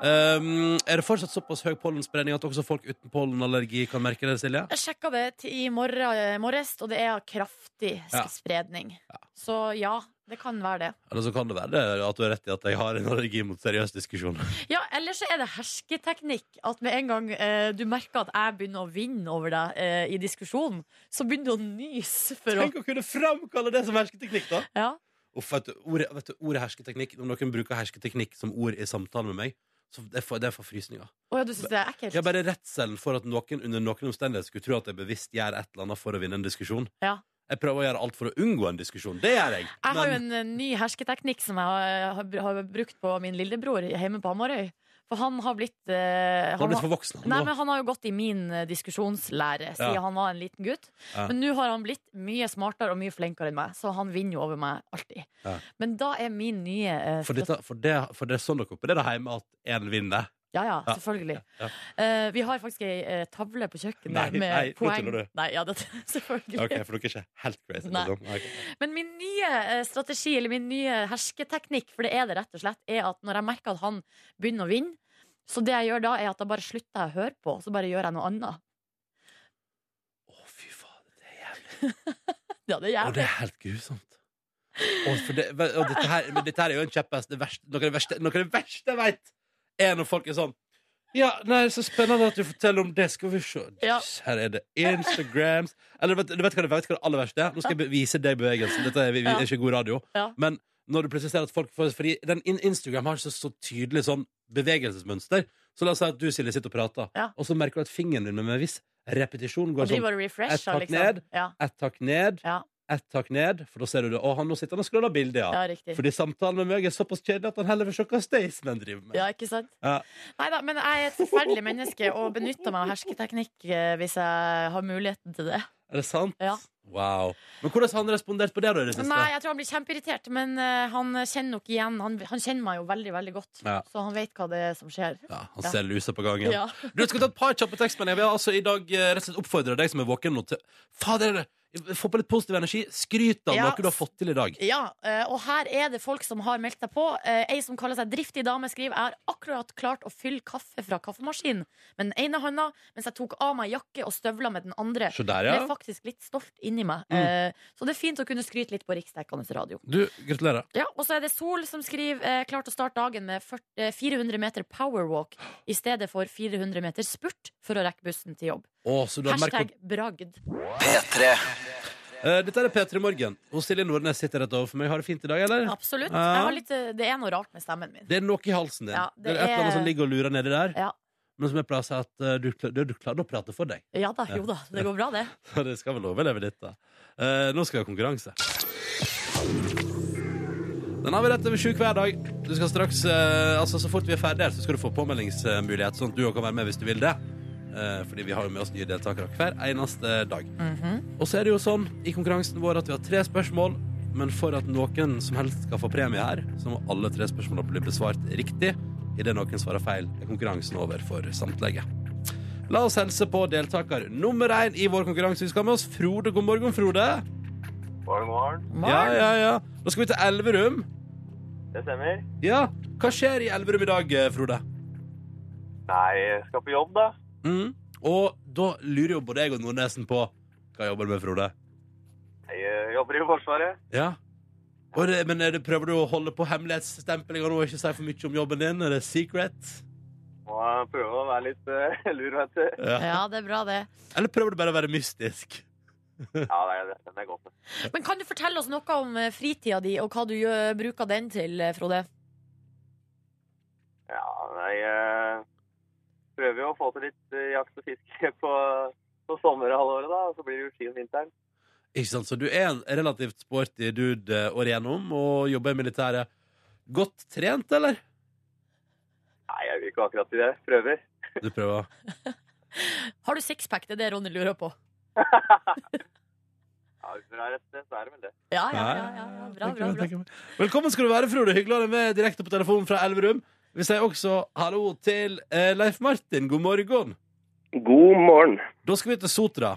Speaker 2: Um, er det fortsatt såpass høy pollenspredning at også folk uten pollenallergi kan merke det, Silje?
Speaker 3: Jeg sjekka det til i morgen, morges, og det er kraftig
Speaker 2: Ja.
Speaker 3: spredning. Så ja, det kan være det.
Speaker 2: Eller så kan det være det at du har rett i at jeg har en allergi mot seriøs diskusjon.
Speaker 3: Ja, eller så er det hersketeknikk. At med en gang eh, du merker at jeg begynner å vinne over deg eh, i diskusjonen, så begynner du å nyse for å
Speaker 2: Tenk å kunne framkalle det som hersketeknikk, da!
Speaker 3: ja.
Speaker 2: Uff, vet du, ordet, vet du, ordet hersketeknikk Når noen bruker hersketeknikk som ord i samtale med meg, så det får jeg frysninger.
Speaker 3: Å ja, du syns det er ekkelt?
Speaker 2: Jeg har bare redselen for at noen under noen omstendigheter skulle tro at jeg bevisst gjør et eller annet for å vinne en diskusjon.
Speaker 3: Ja.
Speaker 2: Jeg prøver å gjøre alt for å unngå en diskusjon. Det gjør jeg.
Speaker 3: Jeg har jo
Speaker 2: Men
Speaker 3: en eh, ny hersketeknikk som jeg har, har, har brukt på min lillebror hjemme på Hamarøy. For han har blitt eh,
Speaker 2: han har blitt
Speaker 3: har-
Speaker 2: for voksen.
Speaker 3: Nei,
Speaker 2: han nå.
Speaker 3: men Han har jo gått i min eh, diskusjonslære siden
Speaker 2: Ja.
Speaker 3: han var en liten gutt.
Speaker 2: Ja.
Speaker 3: Men nå har han blitt mye smartere og mye flinkere enn meg, så han vinner jo over meg alltid.
Speaker 2: Ja.
Speaker 3: Men da er min nye eh,
Speaker 2: For, dette, for, det, for det er sånn dere opererer hjemme, at én vinner.
Speaker 3: Ja, ja,
Speaker 2: Ja.
Speaker 3: selvfølgelig.
Speaker 2: Ja.
Speaker 3: Eh, vi har faktisk ei eh, tavle på kjøkkenet
Speaker 2: Nei,
Speaker 3: med
Speaker 2: nei, nå
Speaker 3: poeng.
Speaker 2: tuller du.
Speaker 3: Nei, ja, det, selvfølgelig.
Speaker 2: Ok, For dere er ikke helt crazy.
Speaker 3: Nei.
Speaker 2: Liksom. Ok.
Speaker 3: Men min nye eh, strategi, eller min nye hersketeknikk, for det er det rett og slett, er at når jeg merker at han begynner å vinne, så det jeg gjør da, er at da bare slutter jeg å høre på, så bare gjør jeg noe annet.
Speaker 2: Å, fy faen. Det er jævlig. Å,
Speaker 3: Ja, det gjør
Speaker 2: det
Speaker 3: jeg.
Speaker 2: er helt grusomt. Å, for det, og dette, her, men dette her er jo en kjepphest. Det verste- Noe av det verste, noe av det verste jeg veit, er når folk er sånn ja, nei, Så spennende at du forteller om det. Skal vi se.
Speaker 3: Ja.
Speaker 2: Yes, Her er det Instagrams Eller vet, du vet hva det, vet hva det aller verste er? Nå skal jeg vise deg bevegelsen. Dette er, vi, vi
Speaker 3: Ja.
Speaker 2: er ikke god radio.
Speaker 3: Ja.
Speaker 2: Men når du plutselig ser at folk får Fordi den in- Instagram har så, så tydelig sånn bevegelsesmønster. Så la oss si at du, Silje, sitter og prater,
Speaker 3: Ja.
Speaker 2: og så merker du at fingeren din med en viss repetisjon går
Speaker 3: Og
Speaker 2: sånn
Speaker 3: driver og
Speaker 2: Et
Speaker 3: refresher,
Speaker 2: hakk
Speaker 3: liksom.
Speaker 2: ned.
Speaker 3: Ja,
Speaker 2: ett takk ned,
Speaker 3: Ja.
Speaker 2: ett takk ned, for da ser du det. Å, han nå sitter han og scroller bildet, ja.
Speaker 3: ja riktig.
Speaker 2: Fordi samtalen med meg er såpass kjedelig at han heller vil se hva Staysman driver med.
Speaker 3: Ja, ikke sant?
Speaker 2: Ja.
Speaker 3: Nei da, men jeg er et forferdelig menneske og benytter meg av hersketeknikk eh, hvis jeg har muligheten til det.
Speaker 2: Er det sant?
Speaker 3: Ja.
Speaker 2: Wow. Men hvordan har han respondert på det da i det siste?
Speaker 3: Nei, jeg tror han blir kjempeirritert, men eh, han kjenner nok igjen. Han, han kjenner meg jo veldig, veldig godt,
Speaker 2: Ja.
Speaker 3: så han vet hva det er som skjer.
Speaker 2: Ja, han ser lusa på gangen.
Speaker 3: Ja.
Speaker 2: Du skal ta et par kjappe tekstmeldinger. Vi har altså i dag eh, rett og slett oppfordra deg som er våken nå til Fader! Få på litt positiv energi. Skryt av
Speaker 3: Ja.
Speaker 2: noe du har fått til i dag.
Speaker 3: Ja, eh, og her er det folk som har meldt seg på. Eh, Ei som kaller seg Driftig dame, skriver Jeg har akkurat klart å fylle kaffe fra kaffemaskinen med den ene handa mens jeg tok av meg jakke og støvler med den andre.
Speaker 2: Så der,
Speaker 3: Jeg
Speaker 2: ja. Mm.
Speaker 3: ble faktisk litt stolt inni meg. Eh, Så det er fint å kunne skryte litt på riksdekkende radio.
Speaker 2: Du, gratulerer.
Speaker 3: Ja, Og så er det Sol som skriver eh, klart å starte dagen med 40, eh, 400 meter powerwalk i stedet for 400 meter spurt for å rekke bussen til jobb.
Speaker 2: Å, så du har merket
Speaker 3: Hashtag bragd.
Speaker 2: Eh, Dette er P3 Morgen. Og Silje Nordnes sitter rett overfor meg. Har det fint i dag, eller?
Speaker 3: Absolutt.
Speaker 2: Ja.
Speaker 3: Jeg har litt, eh, det er noe rart med stemmen min.
Speaker 2: Det er noe i halsen din.
Speaker 3: Ja,
Speaker 2: det,
Speaker 3: det
Speaker 2: er et eller annet
Speaker 3: er-
Speaker 2: som ligger og lurer nedi der.
Speaker 3: Ja.
Speaker 2: Men som jeg pleier å si at eh, du, kl- du, du klarer å prate for deg.
Speaker 3: Ja da, jo da. Det går bra, det.
Speaker 2: Så det skal vel overleve litt, da. Eh, nå skal vi ha konkurranse. Den har vi rett over sju hver dag. Du skal straks, eh, altså Så fort vi er ferdige her, så skal du få påmeldingsmulighet, sånn at du også kan være med hvis du vil det. Eh, fordi vi har jo med oss nye deltakere hver eneste dag. Og så er det jo sånn i konkurransen vår at vi har tre spørsmål. Men for at noen som helst skal få premie her, så må alle tre spørsmålene bli besvart riktig. Idet noen svarer feil, er konkurransen over for samtlige. La oss helse på deltaker nummer én i vår konkurranse. Vi skal ha med oss Frode. God morgen, Frode.
Speaker 6: Morgen, morgen.
Speaker 2: Ja, ja, ja. Da skal vi til Elverum.
Speaker 6: Det stemmer.
Speaker 2: Ja, Hva skjer i Elverum i dag, eh, Frode?
Speaker 6: Nei, jeg skal på jobb, da.
Speaker 2: Mm. Og da lurer jo både jeg og Nordnesen på hva jobber du med, Frode.
Speaker 6: Jeg eh, jobber i Forsvaret.
Speaker 2: Ja. Og det, men er det, prøver du å holde på hemmelighetsstemplinga nå og ikke si for mye om jobben din? Er det secret?
Speaker 6: Må eh, prøve å være litt eh, lur, vet du.
Speaker 2: Ja.
Speaker 3: Ja, det er bra, det.
Speaker 2: Eller prøver du bare å være mystisk?
Speaker 6: Ja, det er, den er godt.
Speaker 3: Men kan du fortelle oss noe om eh, fritida di, og hva du gjør, bruker den til, eh, Frode?
Speaker 6: Ja, nei eh, Prøver jo å få til litt eh, jakt og fiske på, på sommerhalvåret, da. og Så blir det jo ski om vinteren.
Speaker 2: Ikke sant, Så du er en relativt sporty dude eh, året igjennom og jobber i militæret. Godt trent, eller?
Speaker 6: Nei, jeg vil ikke akkurat til det. Prøver.
Speaker 2: Du prøver.
Speaker 3: Har du sixpack? Det er det Ronny lurer på.
Speaker 6: Ja, hvis dere har rett, så er det vel det.
Speaker 3: Ja, ja, ja. ja, ja. Bra, bra, bra.
Speaker 2: Velkommen skal du være, Frode. Hyggelig å ha deg med direkte på telefonen fra Elverum. Vi sier også hallo til eh, Leif Martin. God morgen.
Speaker 6: God morgen.
Speaker 2: Da skal vi til Sotra.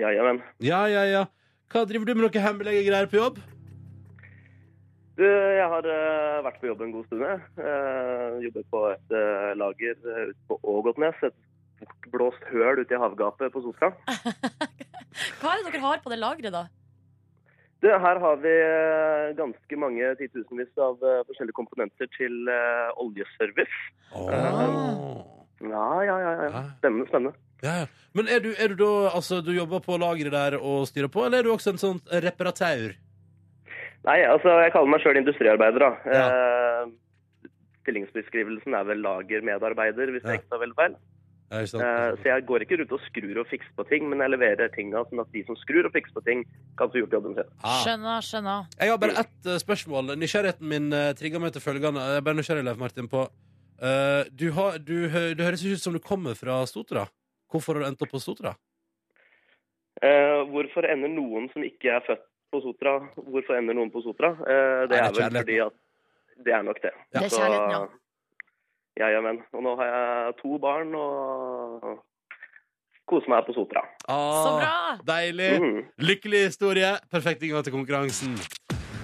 Speaker 6: Ja, ja, men.
Speaker 2: Ja, ja, ja. Hva driver du med noe hemmelige greier på jobb?
Speaker 6: Du, jeg har eh, vært på jobb en god stund. jeg. Eh, jobbet på et eh, lager eh, ute på Ågotnes. Et bortblåst høl ute i havgapet på Sotra.
Speaker 3: Hva er det dere har på det lageret, da?
Speaker 6: Du, her har vi eh, ganske mange titusenvis av eh, forskjellige komponenter til eh, oljeservice.
Speaker 2: Ah. Åh.
Speaker 6: Ja, ja, ja. ja.
Speaker 2: Ja.
Speaker 6: Spennende, spennende.
Speaker 2: Ja, ja. Men er du, er du da Altså, du jobber på lageret der og styrer på, eller er du også en sånn reparatør?
Speaker 6: Nei, altså, jeg kaller meg sjøl industriarbeider, da.
Speaker 2: Ja.
Speaker 6: Eh, stillingsbeskrivelsen er vel lagermedarbeider, hvis
Speaker 2: Ja.
Speaker 6: jeg ikke tar vel feil.
Speaker 2: Ja, ikke
Speaker 6: Eh,
Speaker 2: sant?
Speaker 6: Så jeg går ikke rundt og skrur og fikser på ting, men jeg leverer tinga sånn at de som skrur og fikser på ting, kan få gjort jobben sin.
Speaker 2: Ah.
Speaker 3: Skjønner, skjønner.
Speaker 2: Jeg har bare ett eh, spørsmål. Nysgjerrigheten min uh, trigger meg til følgende. Jeg er bare nysgjerrig, Leif Martin, på eh, du har, du, hø- Det høres ikke ut som du kommer fra Stotra. Hvorfor har du endt opp på Stotra?
Speaker 6: Eh, hvorfor ender noen som ikke er født på Sotra, hvorfor ender noen på Sotra? Eh,
Speaker 2: Er det
Speaker 6: det er vel
Speaker 2: kjærligheten?
Speaker 6: fordi at Det er nok det.
Speaker 3: Det er kjærligheten, ja.
Speaker 6: ja. Ja, men. Og nå har jeg to barn og koser meg på Sotra.
Speaker 3: Så bra!
Speaker 2: Ah, Deilig!
Speaker 6: Mm.
Speaker 2: Lykkelig historie. Perfekt inngang til konkurransen.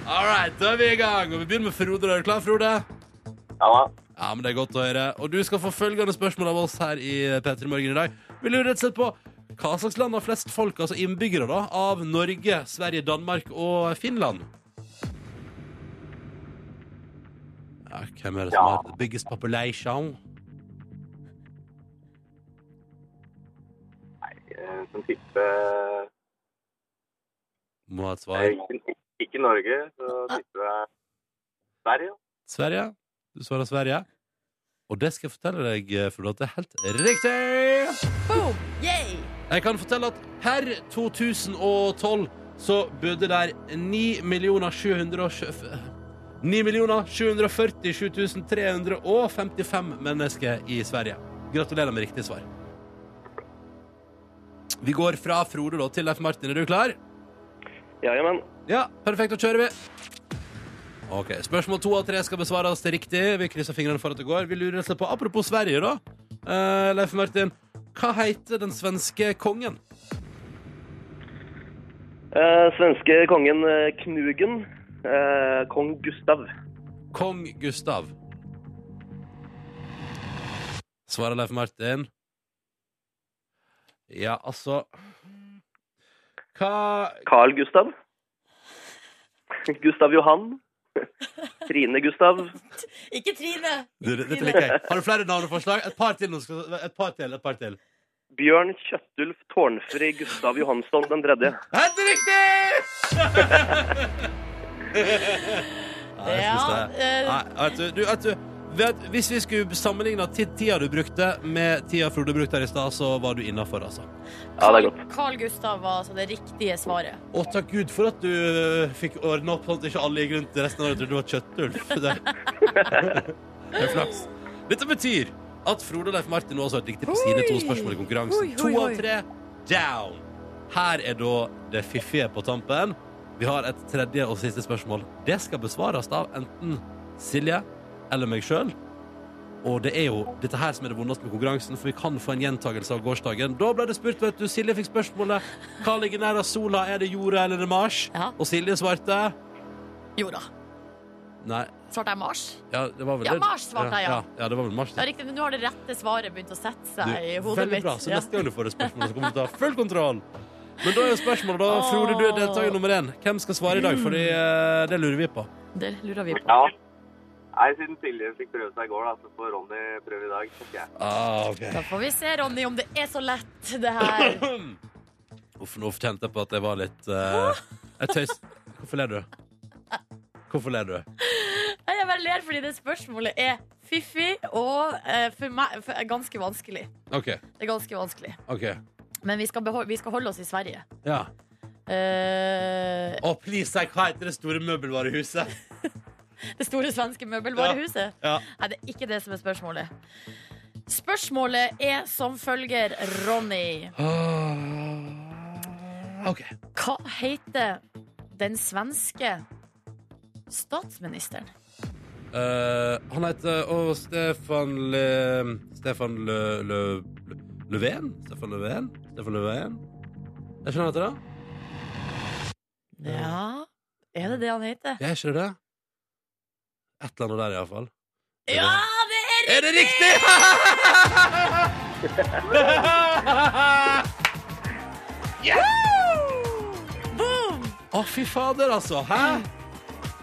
Speaker 2: All right, da er vi i gang. Og vi begynner med Frode. Er du klar, Frode?
Speaker 6: Ja da.
Speaker 2: Ja, men det er godt å høre. Og du skal få følgende spørsmål av oss her i P3 Morgen i dag. Vi lurer rett og slett på hva slags land har flest folk, altså innbyggere, da, av Norge, Sverige, Danmark og Finland? Ja, hvem er det som
Speaker 6: Ja.
Speaker 2: har the biggest population?
Speaker 6: Eh, Som type
Speaker 2: Må ha et
Speaker 6: eh,
Speaker 2: svar.
Speaker 6: ikke, ikke Norge, så tipper jeg Sverige.
Speaker 2: Sverige. Du svarer Sverige. Og det skal jeg fortelle deg, Frode, at det er helt riktig!
Speaker 3: Boom! Yay!
Speaker 2: Jeg kan fortelle at per 2012 så bodde der 9 eh, 747 355 mennesker i Sverige. Gratulerer med riktig svar. Vi går fra Frode da til Leif Martin. Er du klar?
Speaker 6: Ja, ja, men.
Speaker 2: Ja, perfekt, da kjører vi. Ok, Spørsmål to av tre skal besvares til riktig. Vi krysser fingrene for at det går. Vi lurer oss litt på, Apropos Sverige, da. Eh, Leif Martin, hva heter den svenske kongen?
Speaker 6: Eh, svenske kongen eh, Knugen. Eh, Kong Gustav.
Speaker 2: Kong Gustav. Svarer Leif Martin. Ja, altså Hva
Speaker 6: Carl Gustav. Gustav Johan. Trine Gustav.
Speaker 3: Ikke Trine!
Speaker 2: du, Dette liker jeg. Har du flere navneforslag? Et par til. nå skal- Et par til. et par til
Speaker 6: Bjørn Kjøttulf Tårnfri Gustav Johansson den tredje.
Speaker 2: Helt riktig! Nei, jeg synes
Speaker 3: Ja,
Speaker 2: det.
Speaker 3: eh,
Speaker 2: Nei, vet du, du, vet du vet, Hvis vi skulle sammenligne tid- tida du brukte med tida Frode brukte her i stad, så var du innafor, altså.
Speaker 6: Ja, det er godt.
Speaker 3: Carl Gustav var altså det riktige svaret.
Speaker 2: Å, takk Gud for at du eh, fikk ordna opp sånn at ikke alle gikk rundt resten av året og trodde du var kjøttulf. Det det er flaks. Dette betyr at Frode og Leif Martin nå også har vært riktig på sine to
Speaker 3: Oi.
Speaker 2: spørsmål i
Speaker 3: Oi,
Speaker 2: konkurransen.
Speaker 3: oi,
Speaker 2: To av
Speaker 3: oi.
Speaker 2: tre down. Her er da det fiffige på tampen. Vi har et tredje og siste spørsmål. Det skal besvares av enten Silje eller meg sjøl. Og det er jo dette her som er det vondeste med konkurransen, for vi kan få en gjentakelse av gårsdagen. Da ble det spurt, vet du, Silje fikk spørsmålet Hva ligger nær av sola, er det jorda eller er det Mars?
Speaker 3: Ja.
Speaker 2: Og Silje svarte
Speaker 3: Jo da.
Speaker 2: Nei,
Speaker 3: Svarte jeg Mars?
Speaker 2: ja, det var vel
Speaker 3: Ja,
Speaker 2: det-
Speaker 3: Mars svarte jeg, ja.
Speaker 2: ja. Ja, det var vel Mars.
Speaker 3: Ja, riktig, men Nå har det rette svaret begynt å sette
Speaker 2: Du,
Speaker 3: seg i hodet
Speaker 2: veldig
Speaker 3: mitt.
Speaker 2: bra, så
Speaker 3: Ja.
Speaker 2: neste gang du får et spørsmål, så kommer du til å ha full kontroll. Men da er jo spørsmålet, da, Frode, du er deltaker nummer én. Hvem skal svare i dag? For det lurer vi på.
Speaker 3: Det lurer vi på.
Speaker 7: Ja. Nei, siden Silje fikk prøve seg i går, da, så får Ronny prøve i dag. tenker jeg.
Speaker 2: Ah, ok.
Speaker 3: Da får vi se, Ronny, om det er så lett, det her.
Speaker 2: Uff, nå kjente jeg på at jeg var litt eh, Jeg tøys Hvorfor ler du? Hvorfor ler du?
Speaker 3: Nei, Jeg bare ler fordi det spørsmålet er fiffig og eh, for meg for, ganske vanskelig.
Speaker 2: OK.
Speaker 3: Det er ganske vanskelig.
Speaker 2: ok
Speaker 3: Men vi skal, behol- vi skal holde oss i Sverige.
Speaker 2: Ja.
Speaker 3: Eh,
Speaker 2: Å, please, Zack, hva heter det store møbelvarehuset?
Speaker 3: det store svenske møbelvarehuset.
Speaker 2: Ja.
Speaker 3: Nei, det er ikke det som er spørsmålet. Spørsmålet er som følger, Ronny.
Speaker 2: Ah, OK.
Speaker 3: Hva heter den svenske statsministeren?
Speaker 2: Eh, han heter å, Stefan Le... Stefan Lø... Lø... Lø- Løven? Stefan Løven? Stefan Løven? Jeg skjønner heter det.
Speaker 3: Ja Er det det han heter?
Speaker 2: Jeg er ikke det det? Et eller annet der, iallfall.
Speaker 3: Ja, det er
Speaker 2: Er det riktig?!
Speaker 3: Boom!
Speaker 2: Å, fy fader, altså. Hæ?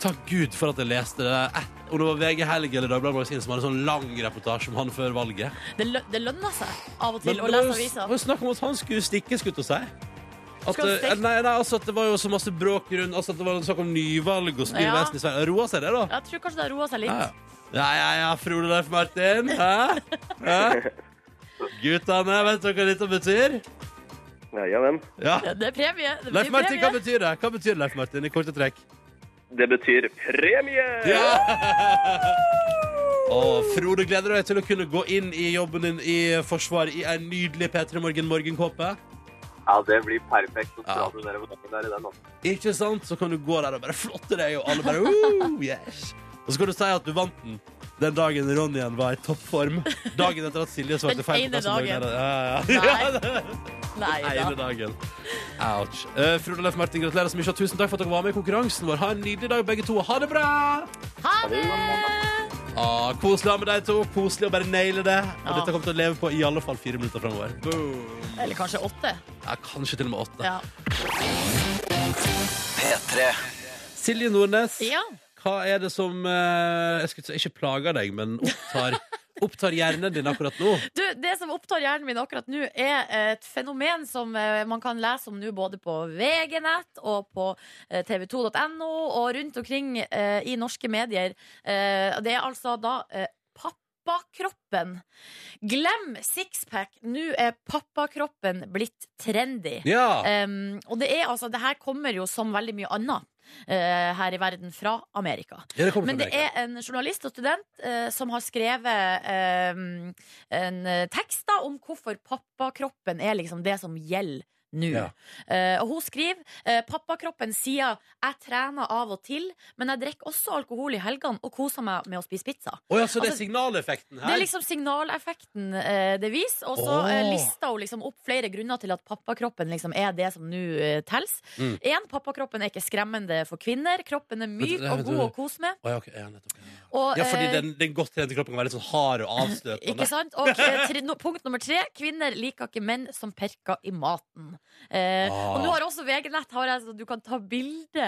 Speaker 2: Takk Gud for at jeg leste det. Et- Om det var VG Helg eller Dagbladet Magasin som hadde en sånn lang reportasje om han før valget.
Speaker 3: Det, lø det lønner seg av og til å
Speaker 2: det var jo-
Speaker 3: lese
Speaker 2: det
Speaker 3: aviser.
Speaker 2: var jo snakk om at han skulle stikke, skulle jeg til å si. At,
Speaker 3: Skal han
Speaker 2: eh,
Speaker 3: stikke?
Speaker 2: nei, nei, altså at det var jo så masse bråk rundt altså at det var snakk om nyvalg og styr
Speaker 3: Ja.
Speaker 2: vesen i Sverige. Roa seg det, da.
Speaker 3: Jeg tror kanskje det har roa seg
Speaker 2: Ja, ja.
Speaker 3: litt.
Speaker 2: ja, ja, ja, Frode Leif Martin. Hæ? Hæ? Guttene, vet dere hva dette betyr?
Speaker 6: Ja, ja, men.
Speaker 2: Ja.
Speaker 3: Det er premie. Det
Speaker 2: Leif
Speaker 3: blir
Speaker 2: Martin, hva
Speaker 3: premie.
Speaker 2: betyr det? Hva betyr Leif Martin i korte trekk?
Speaker 6: Det betyr premie!
Speaker 2: Og Frode, gleder du deg til å kunne gå inn i jobben din i Forsvaret i en nydelig P3 Morgen-morgenkåpe?
Speaker 7: Ja, det blir perfekt å
Speaker 2: Ja.
Speaker 7: prate med dere på dagen der i den. altså.
Speaker 2: Ikke sant? Så kan du gå der og bare flotte deg, og alle bare «Woo, yes. Og så kan du si at du vant den den dagen Ronnyen var i toppform. Dagen etter at Silje svarte
Speaker 3: Den
Speaker 2: feil. på
Speaker 3: ene
Speaker 2: Bestemann
Speaker 3: dagen.
Speaker 2: Glede. Ja, ja.
Speaker 3: Nei. Nei
Speaker 2: Ene
Speaker 3: da.
Speaker 2: dagen. Ouch. Eh, Frode Leif Martin, gratulerer så mye, og tusen takk for at dere var med i konkurransen vår. Ha en nydelig dag, begge to. Ha det bra!
Speaker 3: Ha det!
Speaker 2: Ah, koselig å ha med deg to. Koselig å bare naile det. Og
Speaker 3: Ja.
Speaker 2: dette kommer til å leve på i alle fall fire minutter framover. Boom.
Speaker 3: Eller kanskje åtte.
Speaker 2: Ja, kanskje til og med åtte.
Speaker 3: Ja.
Speaker 2: Silje Nordnes,
Speaker 3: ja.
Speaker 2: hva er det som eh, Jeg skulle ikke plager deg, men opptar, opptar hjernen din akkurat nå?
Speaker 3: Du, det som opptar hjernen min akkurat nå, er et fenomen som eh, man kan lese om nå både på VG-nett og på eh, tv2.no og rundt omkring eh, i norske medier. Eh, Det er altså da eh, pappakroppen. Glem sixpack, nå er pappakroppen blitt trendy.
Speaker 2: Ja.
Speaker 3: Um, og det er altså, det her kommer jo som veldig mye annet eh, her i verden fra Amerika.
Speaker 2: ja det kommer
Speaker 3: Men
Speaker 2: fra
Speaker 3: det
Speaker 2: Amerika.
Speaker 3: er en journalist og student eh, som har skrevet eh, en eh, tekst da, om hvorfor pappakroppen er liksom det som gjelder nå.
Speaker 2: Ja.
Speaker 3: Eh, og hun skriver eh, Pappakroppen sier jeg trener av og til, men jeg drikker også alkohol i helgene og koser meg med å spise pizza.
Speaker 2: Å ja, så det er
Speaker 3: Altså,
Speaker 2: signaleffekten her?
Speaker 3: Det er liksom signaleffekten eh, det viser. Og så
Speaker 2: Åh.
Speaker 3: eh, lister hun liksom opp flere grunner til at pappakroppen liksom er det som nå eh, telles.
Speaker 2: Mm.
Speaker 3: Én, pappakroppen er ikke skremmende for kvinner. Kroppen er
Speaker 2: Vet
Speaker 3: myk
Speaker 2: du-
Speaker 3: og
Speaker 2: vet du-
Speaker 3: god å kose med.
Speaker 2: Å ja, ok, ja, nettopp, ja.
Speaker 3: Og,
Speaker 2: ja, fordi
Speaker 3: eh,
Speaker 2: den, den godt trente kroppen kan være litt sånn hard og
Speaker 3: Ikke
Speaker 2: avstøtende.
Speaker 3: sant? Og eh, tre, no, punkt nummer tre Kvinner liker ikke menn som perker i maten. Eh,
Speaker 2: Ah.
Speaker 3: Og nå har også VG-nett har jeg, så du kan ta bilde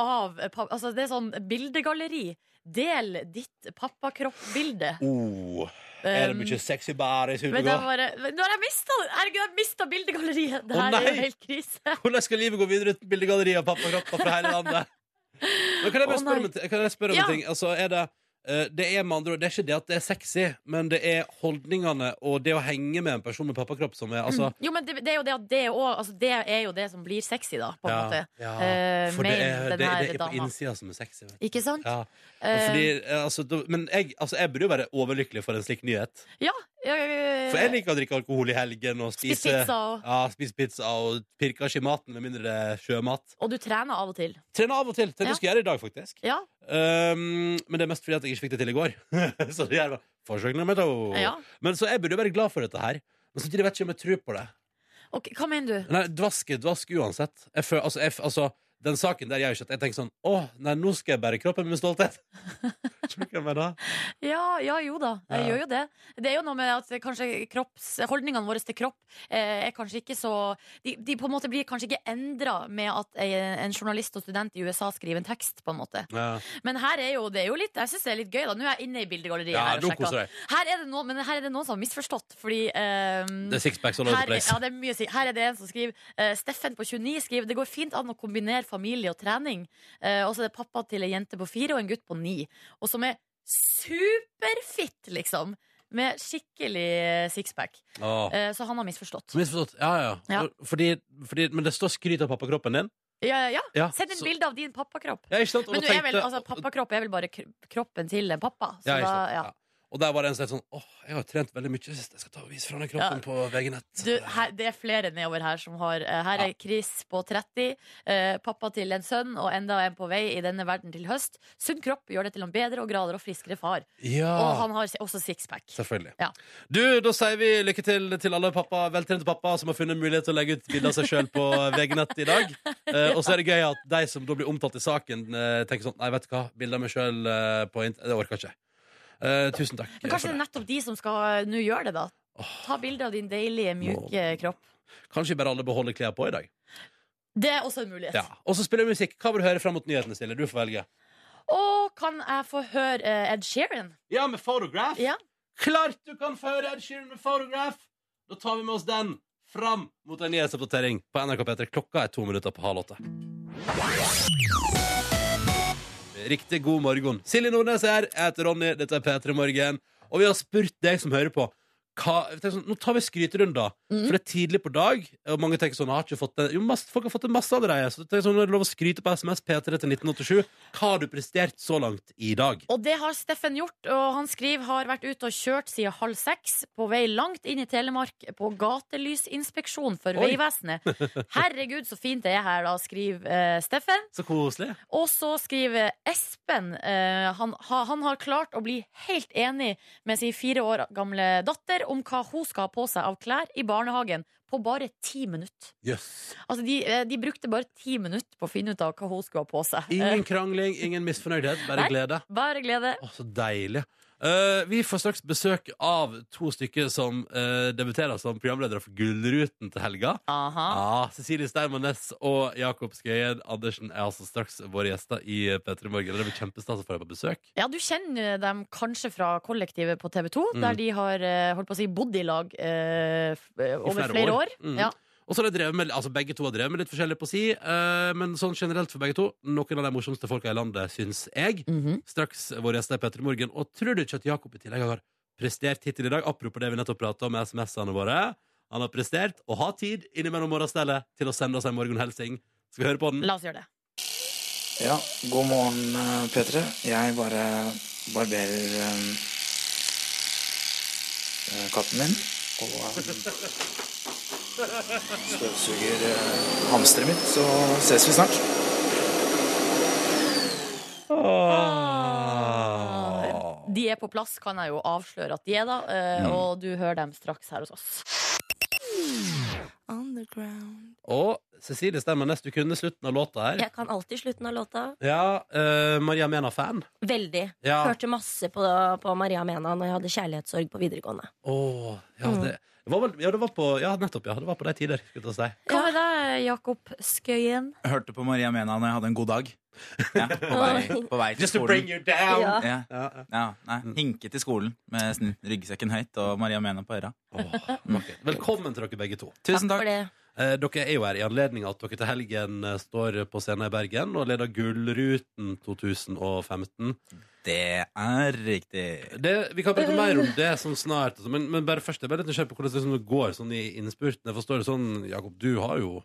Speaker 3: av eh, pa- Altså Det er sånn bildegalleri. Del ditt pappakroppbilde.
Speaker 2: Oh, er det
Speaker 3: Um,
Speaker 2: mye sexy bodies ute
Speaker 3: men
Speaker 2: og
Speaker 3: det er
Speaker 2: går?
Speaker 3: bare, men nå har jeg mista Herregud, jeg har mista bildegalleriet! Det
Speaker 2: Å,
Speaker 3: her er
Speaker 2: nei!
Speaker 3: jo helt krise.
Speaker 2: Hvordan skal livet gå videre uten bildegalleriet av pappa og kroppa fra hele landet? Men kan jeg bare
Speaker 3: Å,
Speaker 2: spørre
Speaker 3: nei.
Speaker 2: om, en ti- kan jeg spørre om
Speaker 3: Ja.
Speaker 2: en ting? Altså, er det, eh, det er med andre ord, det er ikke det at det er sexy, men det er holdningene og det å henge med en person med pappakropp som
Speaker 3: Mm.
Speaker 2: er altså,
Speaker 3: Jo, men det, det er jo det at det òg altså, Det er jo det som blir sexy, da, på en
Speaker 2: ja,
Speaker 3: måte.
Speaker 2: ja,
Speaker 3: Eh,
Speaker 2: For det
Speaker 3: mail
Speaker 2: er,
Speaker 3: den
Speaker 2: det, det
Speaker 3: her
Speaker 2: er på
Speaker 3: dama.
Speaker 2: innsida som er sexy. Vet. du.
Speaker 3: Ikke sant?
Speaker 2: Ja. Og
Speaker 3: Eh,
Speaker 2: Fordi, eh, altså, da- men jeg, altså, jeg burde jo være overlykkelig for en slik nyhet.
Speaker 3: eh,
Speaker 2: For jeg liker å drikke alkohol i helgen og spise
Speaker 3: Spis pizza og
Speaker 2: Ja, spise pizza og pirker ikke i maten med mindre det er sjømat.
Speaker 3: Og du trener av og til.
Speaker 2: Trene av og til. Det
Speaker 3: Ja.
Speaker 2: skal jeg gjøre i dag, faktisk.
Speaker 3: Ja.
Speaker 2: Um, men det er mest fordi at jeg ikke fikk det til i går. så det er bare forsøk nummer to.
Speaker 3: ja.
Speaker 2: Men så jeg burde jo være glad for dette her. Men samtidig vet jeg ikke om jeg tror på det.
Speaker 3: Ok, hva mener du?
Speaker 2: Nei, dvask er dvask uansett. Jeg føler, altså, jeg, altså, den saken der gjør ikke at jeg tenker sånn Å, nei, nå skal jeg bære kroppen med stolthet. Skjønner du hva jeg mener?
Speaker 3: Ja, ja, jo da. Jeg
Speaker 2: Ja.
Speaker 3: gjør jo det. Det er jo noe med at kanskje kropps, holdningene våre til kropp eh, er kanskje ikke så De, de på en måte blir kanskje ikke endra med at ei- en journalist og student i USA skriver en tekst, på en måte.
Speaker 2: Ja,
Speaker 3: Men her er jo, det er jo litt, jeg syns det er litt gøy, da. Nå er jeg inne i bildegalleriet
Speaker 2: ja
Speaker 3: her og
Speaker 2: nå
Speaker 3: sjekker.
Speaker 2: koser jeg.
Speaker 3: Her er det noen, men her er det noen som har misforstått, fordi eh,
Speaker 2: Det er sixpacks all over
Speaker 3: her,
Speaker 2: the place.
Speaker 3: ja, det er mye å si. Her er det en som skriver eh, Steffen på 29 skriver Det går fint an å kombinere familie og trening Eh, Og så er det pappa til en jente på 4 Og en gutt på 9 Og som er superfitt liksom Med skikkelig eh, sixpack
Speaker 2: Åh.
Speaker 3: Eh, Så han har misforstått
Speaker 2: Misforstått. Ja, ja.
Speaker 3: Ja.
Speaker 2: Fordi, fordi, men det står skryt av pappakroppen din?
Speaker 3: Ja, ja, ja.
Speaker 2: Ja,
Speaker 3: send et
Speaker 2: så-
Speaker 3: bilde av din pappakropp
Speaker 2: Ja, ikke sant? Og
Speaker 3: Men
Speaker 2: da
Speaker 3: du er
Speaker 2: tenkte-
Speaker 3: vel, altså pappakropp er vel bare kr- kroppen til en pappa Så
Speaker 2: Ja, ikke
Speaker 3: da,
Speaker 2: sant?
Speaker 3: ja
Speaker 2: Ja. Og der var det en som het sånn Åh, jeg har trent veldig mye sist. Jeg skal ta og vise fra den kroppen
Speaker 3: Ja.
Speaker 2: på VG-nett.
Speaker 3: du, her, det er flere nedover her som har eh, Her er Chris på 30, eh, pappa til en sønn og enda en på vei i denne verden til høst. Sunn kropp gjør det til en bedre og grader og friskere far.
Speaker 2: Ja,
Speaker 3: Og han har også sixpack.
Speaker 2: selvfølgelig.
Speaker 3: Ja.
Speaker 2: Du, da sier vi lykke til til alle pappa, veltrente pappa som har funnet mulighet til å legge ut bilde av seg sjøl på VG-nett i dag. Eh, og så er det gøy at de som da blir omtalt i saken, eh, tenker sånn Nei, vet du hva, bilde av meg sjøl eh, på int... Det orker jeg ikke. Eh, tusen takk.
Speaker 3: Men kanskje det
Speaker 2: for
Speaker 3: er nettopp de som skal eh, nå gjøre det, da.
Speaker 2: Åh.
Speaker 3: Ta bilde av din deilige, mjuke kropp.
Speaker 2: Kanskje bare alle beholder klærne på i dag.
Speaker 3: Det er også en mulighet.
Speaker 2: Ja. Og så spiller vi musikk. Hva vil du høre fram mot nyhetene, Silje? Du får velge.
Speaker 3: Og kan jeg få høre eh, Ed Sheeran?
Speaker 2: Ja, med Photograph?
Speaker 3: Ja.
Speaker 2: Klart du kan få høre Ed Sheeran med Photograph! Da tar vi med oss den fram mot en nyhetsoppdatering på NRK P3. Klokka er to minutter på halv åtte. Riktig god morgen. Silje Nordnes er her. Jeg heter Ronny. Dette er P3 Morgen. Og vi har spurt deg som hører på. Hva, tenk sånn, nå tar vi skryterunder,
Speaker 3: Mhm.
Speaker 2: for det er tidlig på dag. Og mange tenker sånn, har ikke fått det. Jo, masse, Folk har fått det masse allerede. Så tenk sånn, nå er det lov å skryte på SMS P3 til 1987. Hva har du prestert så langt i dag?
Speaker 3: Og det har Steffen gjort, og han skriver har vært ute og kjørt siden halv seks, på vei langt inn i Telemark på gatelysinspeksjon for
Speaker 2: Oi.
Speaker 3: Vegvesenet. Herregud, så fint det er her, da, skriver eh, Steffen.
Speaker 2: Så koselig.
Speaker 3: Og så skriver Espen eh, han, ha, han har klart å bli helt enig med sin fire år gamle datter om hva hun skal ha på seg av klær i barnehagen på bare ti minutter.
Speaker 2: Jøss.
Speaker 3: Altså, de, eh, de brukte bare ti minutter på å finne ut av hva hun skulle ha på seg. Eh,
Speaker 2: Ingen krangling, ingen misfornøydhet, bare
Speaker 3: Nei.
Speaker 2: glede.
Speaker 3: bare glede.
Speaker 2: Å, så deilig. Eh, vi får straks besøk av to stykker som eh, debuterer som programledere for Gullruten til helga.
Speaker 3: Aha.
Speaker 2: Ja, Cecilie Steinmann Næss og Jakob Skøyen Andersen er altså straks våre gjester i P3 Morgen. Det blir kjempestas å få deg på besøk.
Speaker 3: Ja, du kjenner dem kanskje fra kollektivet på TV 2,
Speaker 2: Mm.
Speaker 3: der de har eh, holdt på å si bodd i lag eh, f- eh, over
Speaker 2: flere
Speaker 3: flere,
Speaker 2: år.
Speaker 3: år.
Speaker 2: Mm.
Speaker 3: Ja.
Speaker 2: Og så har de drevet med, altså Begge to har drevet med litt forskjellig på si, eh, men sånn generelt for begge to, noen av de morsomste folka i landet, syns jeg.
Speaker 3: Mhm.
Speaker 2: straks vår gjest er Petter Morgen. Og tror du ikke at Jakob i tillegg har prestert hittil i dag? Apropos det vi nettopp prata om med SMS-ene våre. Han har prestert å ha tid innimellom morgenstellet til å sende oss en morgenhelsing. Skal vi høre på den?
Speaker 3: La oss gjøre det.
Speaker 8: Ja, god morgen, eh, Petre. Jeg bare barberer eh, eh, katten min. Og eh, støvsuger eh, hamsteret mitt, så ses vi snart.
Speaker 2: Ah.
Speaker 3: De er på plass, kan jeg jo avsløre at de er, da. eh,
Speaker 2: Mm.
Speaker 3: Og du hører dem straks her hos oss.
Speaker 9: Underground.
Speaker 2: Og Cecilie stemmer nest. Du kunne slutten av låta her.
Speaker 9: Jeg kan alltid slutten av låta.
Speaker 2: Ja, eh, Maria Mena-fan.
Speaker 9: Veldig.
Speaker 2: Ja.
Speaker 9: Hørte masse på, på Maria Mena når jeg hadde kjærlighetssorg på videregående.
Speaker 2: Åh, ja,
Speaker 9: Mm.
Speaker 2: det, det var vel, ja, det var på Ja, nettopp, ja. Det var på de tider, skulle jeg til å si.
Speaker 3: Hva med deg, Jakob Skøyen?
Speaker 10: Hørte på Maria Mena når jeg hadde en god dag. Ja, på, vei, på vei til skolen.
Speaker 2: you down!
Speaker 9: Ja.
Speaker 10: Ja,
Speaker 2: Ja, ja.
Speaker 10: ja, nei, Hinket til skolen med sn- ryggsekken høyt og Maria Mena på øra.
Speaker 2: Åh, vakkert. Velkommen til dere begge to.
Speaker 10: Tusen
Speaker 9: For
Speaker 10: takk.
Speaker 9: det.
Speaker 2: Eh, dere er jo her i anledning av at dere til helgen eh, står på scenen i Bergen og leder Gullruten 2015.
Speaker 10: Det er riktig.
Speaker 2: Det, vi kan prate mer om det sånn snart, altså, men, men bare først, jeg er bare litt nysgjerrig på hvordan det, liksom, går sånn i innspurten. Jeg forstår det sånn, Jakob, du har jo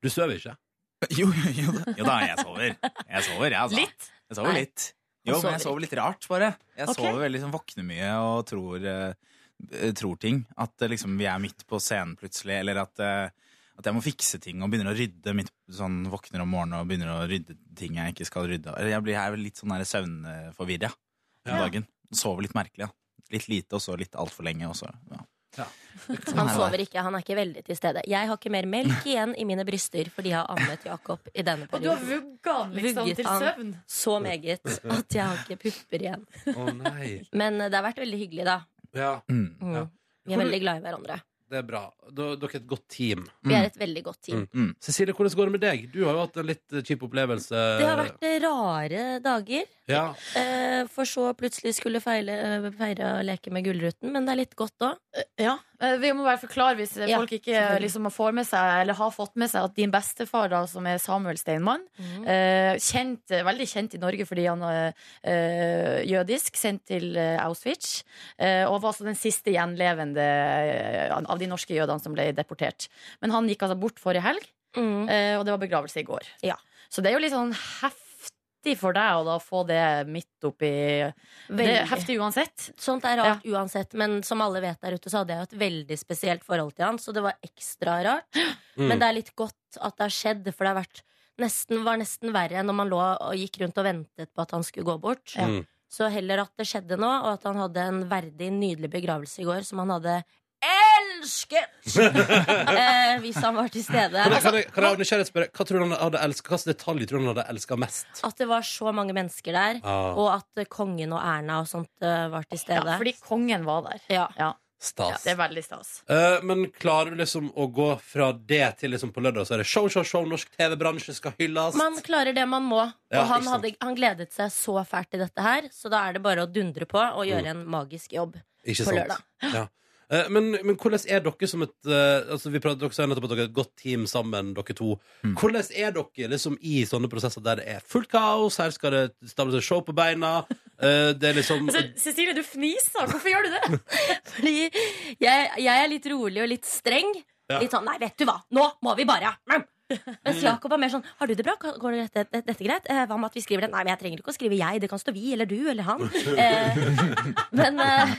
Speaker 2: Du sover ikke?
Speaker 10: Jo, jo, da- jo da, jeg sover. Jeg sover, jeg, altså.
Speaker 3: Litt?
Speaker 10: Jeg sover
Speaker 3: Nei.
Speaker 10: litt. Jo,
Speaker 3: Han
Speaker 10: men jeg
Speaker 3: sover
Speaker 10: sover litt rart, bare. Jeg
Speaker 3: Ok.
Speaker 10: sover veldig sånn, våkner mye og tror, eh, eh, tror ting. At eh, liksom vi er midt på scenen plutselig, eller at, eh, at jeg må fikse ting og begynner å rydde. Midt, sånn våkner om morgenen og begynner å rydde ting jeg ikke skal rydde. Eller jeg blir jeg er vel litt sånn der søvnforvirra om
Speaker 2: Ja.
Speaker 10: dagen. Sover litt merkelig, ja. Litt lite, og så litt altfor lenge, og så ja.
Speaker 2: Ja.
Speaker 10: Sånn
Speaker 9: Han
Speaker 10: er det
Speaker 9: sover ikke, han er ikke veldig til stede. Jeg har ikke mer melk igjen i mine bryster fordi jeg har ammet Jakob i denne
Speaker 3: Og du har
Speaker 9: perioden.
Speaker 3: vugga han liksom
Speaker 9: Vugget
Speaker 3: til
Speaker 9: han.
Speaker 3: søvn?
Speaker 9: Så meget at jeg har ikke pupper igjen.
Speaker 2: Å nei.
Speaker 9: Men eh, det har vært veldig hyggelig, da.
Speaker 2: Ja,
Speaker 10: Mm.
Speaker 9: Mm.
Speaker 2: Ja.
Speaker 9: Vi er veldig glad i hverandre.
Speaker 2: det er bra. Da- Dere er et godt team.
Speaker 9: Vi er et veldig godt team.
Speaker 2: Mm. Cecilie, hvordan går det med deg? Du har jo hatt en litt eh, kjip opplevelse.
Speaker 9: Det har vært eh, rare dager,
Speaker 2: ja.
Speaker 9: eh, for så plutselig skulle feile, eh, feire å leke med Gullruten, men det er litt godt òg.
Speaker 3: Ja, eh, Vi må bare forklare hvis eh,
Speaker 9: Ja,
Speaker 3: folk ikke
Speaker 9: selvfølgelig.
Speaker 3: liksom, får med seg Eller har fått med seg at din bestefar, da, som er Samuel Steinmann,
Speaker 9: Mm.
Speaker 3: eh, kjent, eh, veldig kjent i Norge fordi han er eh, jødisk, sendt til eh, Auschwitz. eh, og var altså den siste gjenlevende eh, av de norske jødene som ble deportert. Men han gikk altså bort forrige helg,
Speaker 9: Mm.
Speaker 3: eh, og det var begravelse i går.
Speaker 9: Ja.
Speaker 3: Så det er jo litt sånn heftig for deg å da få det midt oppi Det
Speaker 9: Veldig.
Speaker 3: er heftig uansett.
Speaker 9: Sånt er rart uansett, men som alle vet der ute, så hadde jeg jo et veldig spesielt forhold til han, så det var ekstra rart.
Speaker 2: Mm.
Speaker 9: Men det er litt godt at det har skjedd, for det har vært nesten, var nesten verre enn når man lå og gikk rundt og ventet på at han skulle gå bort.
Speaker 3: Ja.
Speaker 2: Mm.
Speaker 9: Så heller at det skjedde nå, og at han hadde en verdig, nydelig begravelse i går som han hadde elsket eh, hvis han var til stede.
Speaker 2: Kan jeg, kan jeg, kan jeg av nysgjerrighet spørre, hva tror du han hadde elsket, hvilke detaljer tror du han hadde elsket mest?
Speaker 9: Altså, At det var så mange mennesker der,
Speaker 2: Ah,
Speaker 9: og at eh, kongen og Erna og sånt eh, var til
Speaker 3: Ja,
Speaker 9: stede.
Speaker 3: fordi kongen var der.
Speaker 9: Ja.
Speaker 3: Ja,
Speaker 2: stas.
Speaker 3: det er veldig stas.
Speaker 2: Eh, men klarer du liksom å gå fra det til liksom på lørdag, så er det show, show, show, norsk TV-bransje skal hylles.
Speaker 9: Man klarer det man må.
Speaker 2: Ja,
Speaker 9: og han,
Speaker 2: ikke sant.
Speaker 9: hadde, han gledet seg så fælt til dette her, så da er det bare å dundre på og gjøre en magisk jobb.
Speaker 2: Mm. Ikke
Speaker 9: på
Speaker 2: sant?
Speaker 9: lørdag.
Speaker 2: Ja. Eh, Men, men hvordan er dere som et eh, altså Vi pratet også nettopp at dere er et godt team sammen, dere to. Hvordan er dere liksom i sånne prosesser der det er fullt kaos, her skal det stables et show på beina eh, Det er liksom
Speaker 3: Altså, Cecilie, du fniser. Hvorfor gjør du det?
Speaker 9: Mm. Fordi jeg, jeg er litt rolig og litt streng.
Speaker 2: Ja.
Speaker 9: Litt sånn 'nei, vet du hva, nå må vi bare'. Mm. Mens Jakob er mer sånn 'har du det bra? Går det- dette, dette, dette greit?' Eh, 'Hva med at vi skriver det?' 'Nei, men jeg trenger ikke å skrive 'jeg'. Det kan stå 'vi' eller 'du' eller 'han'. Eh, men eh,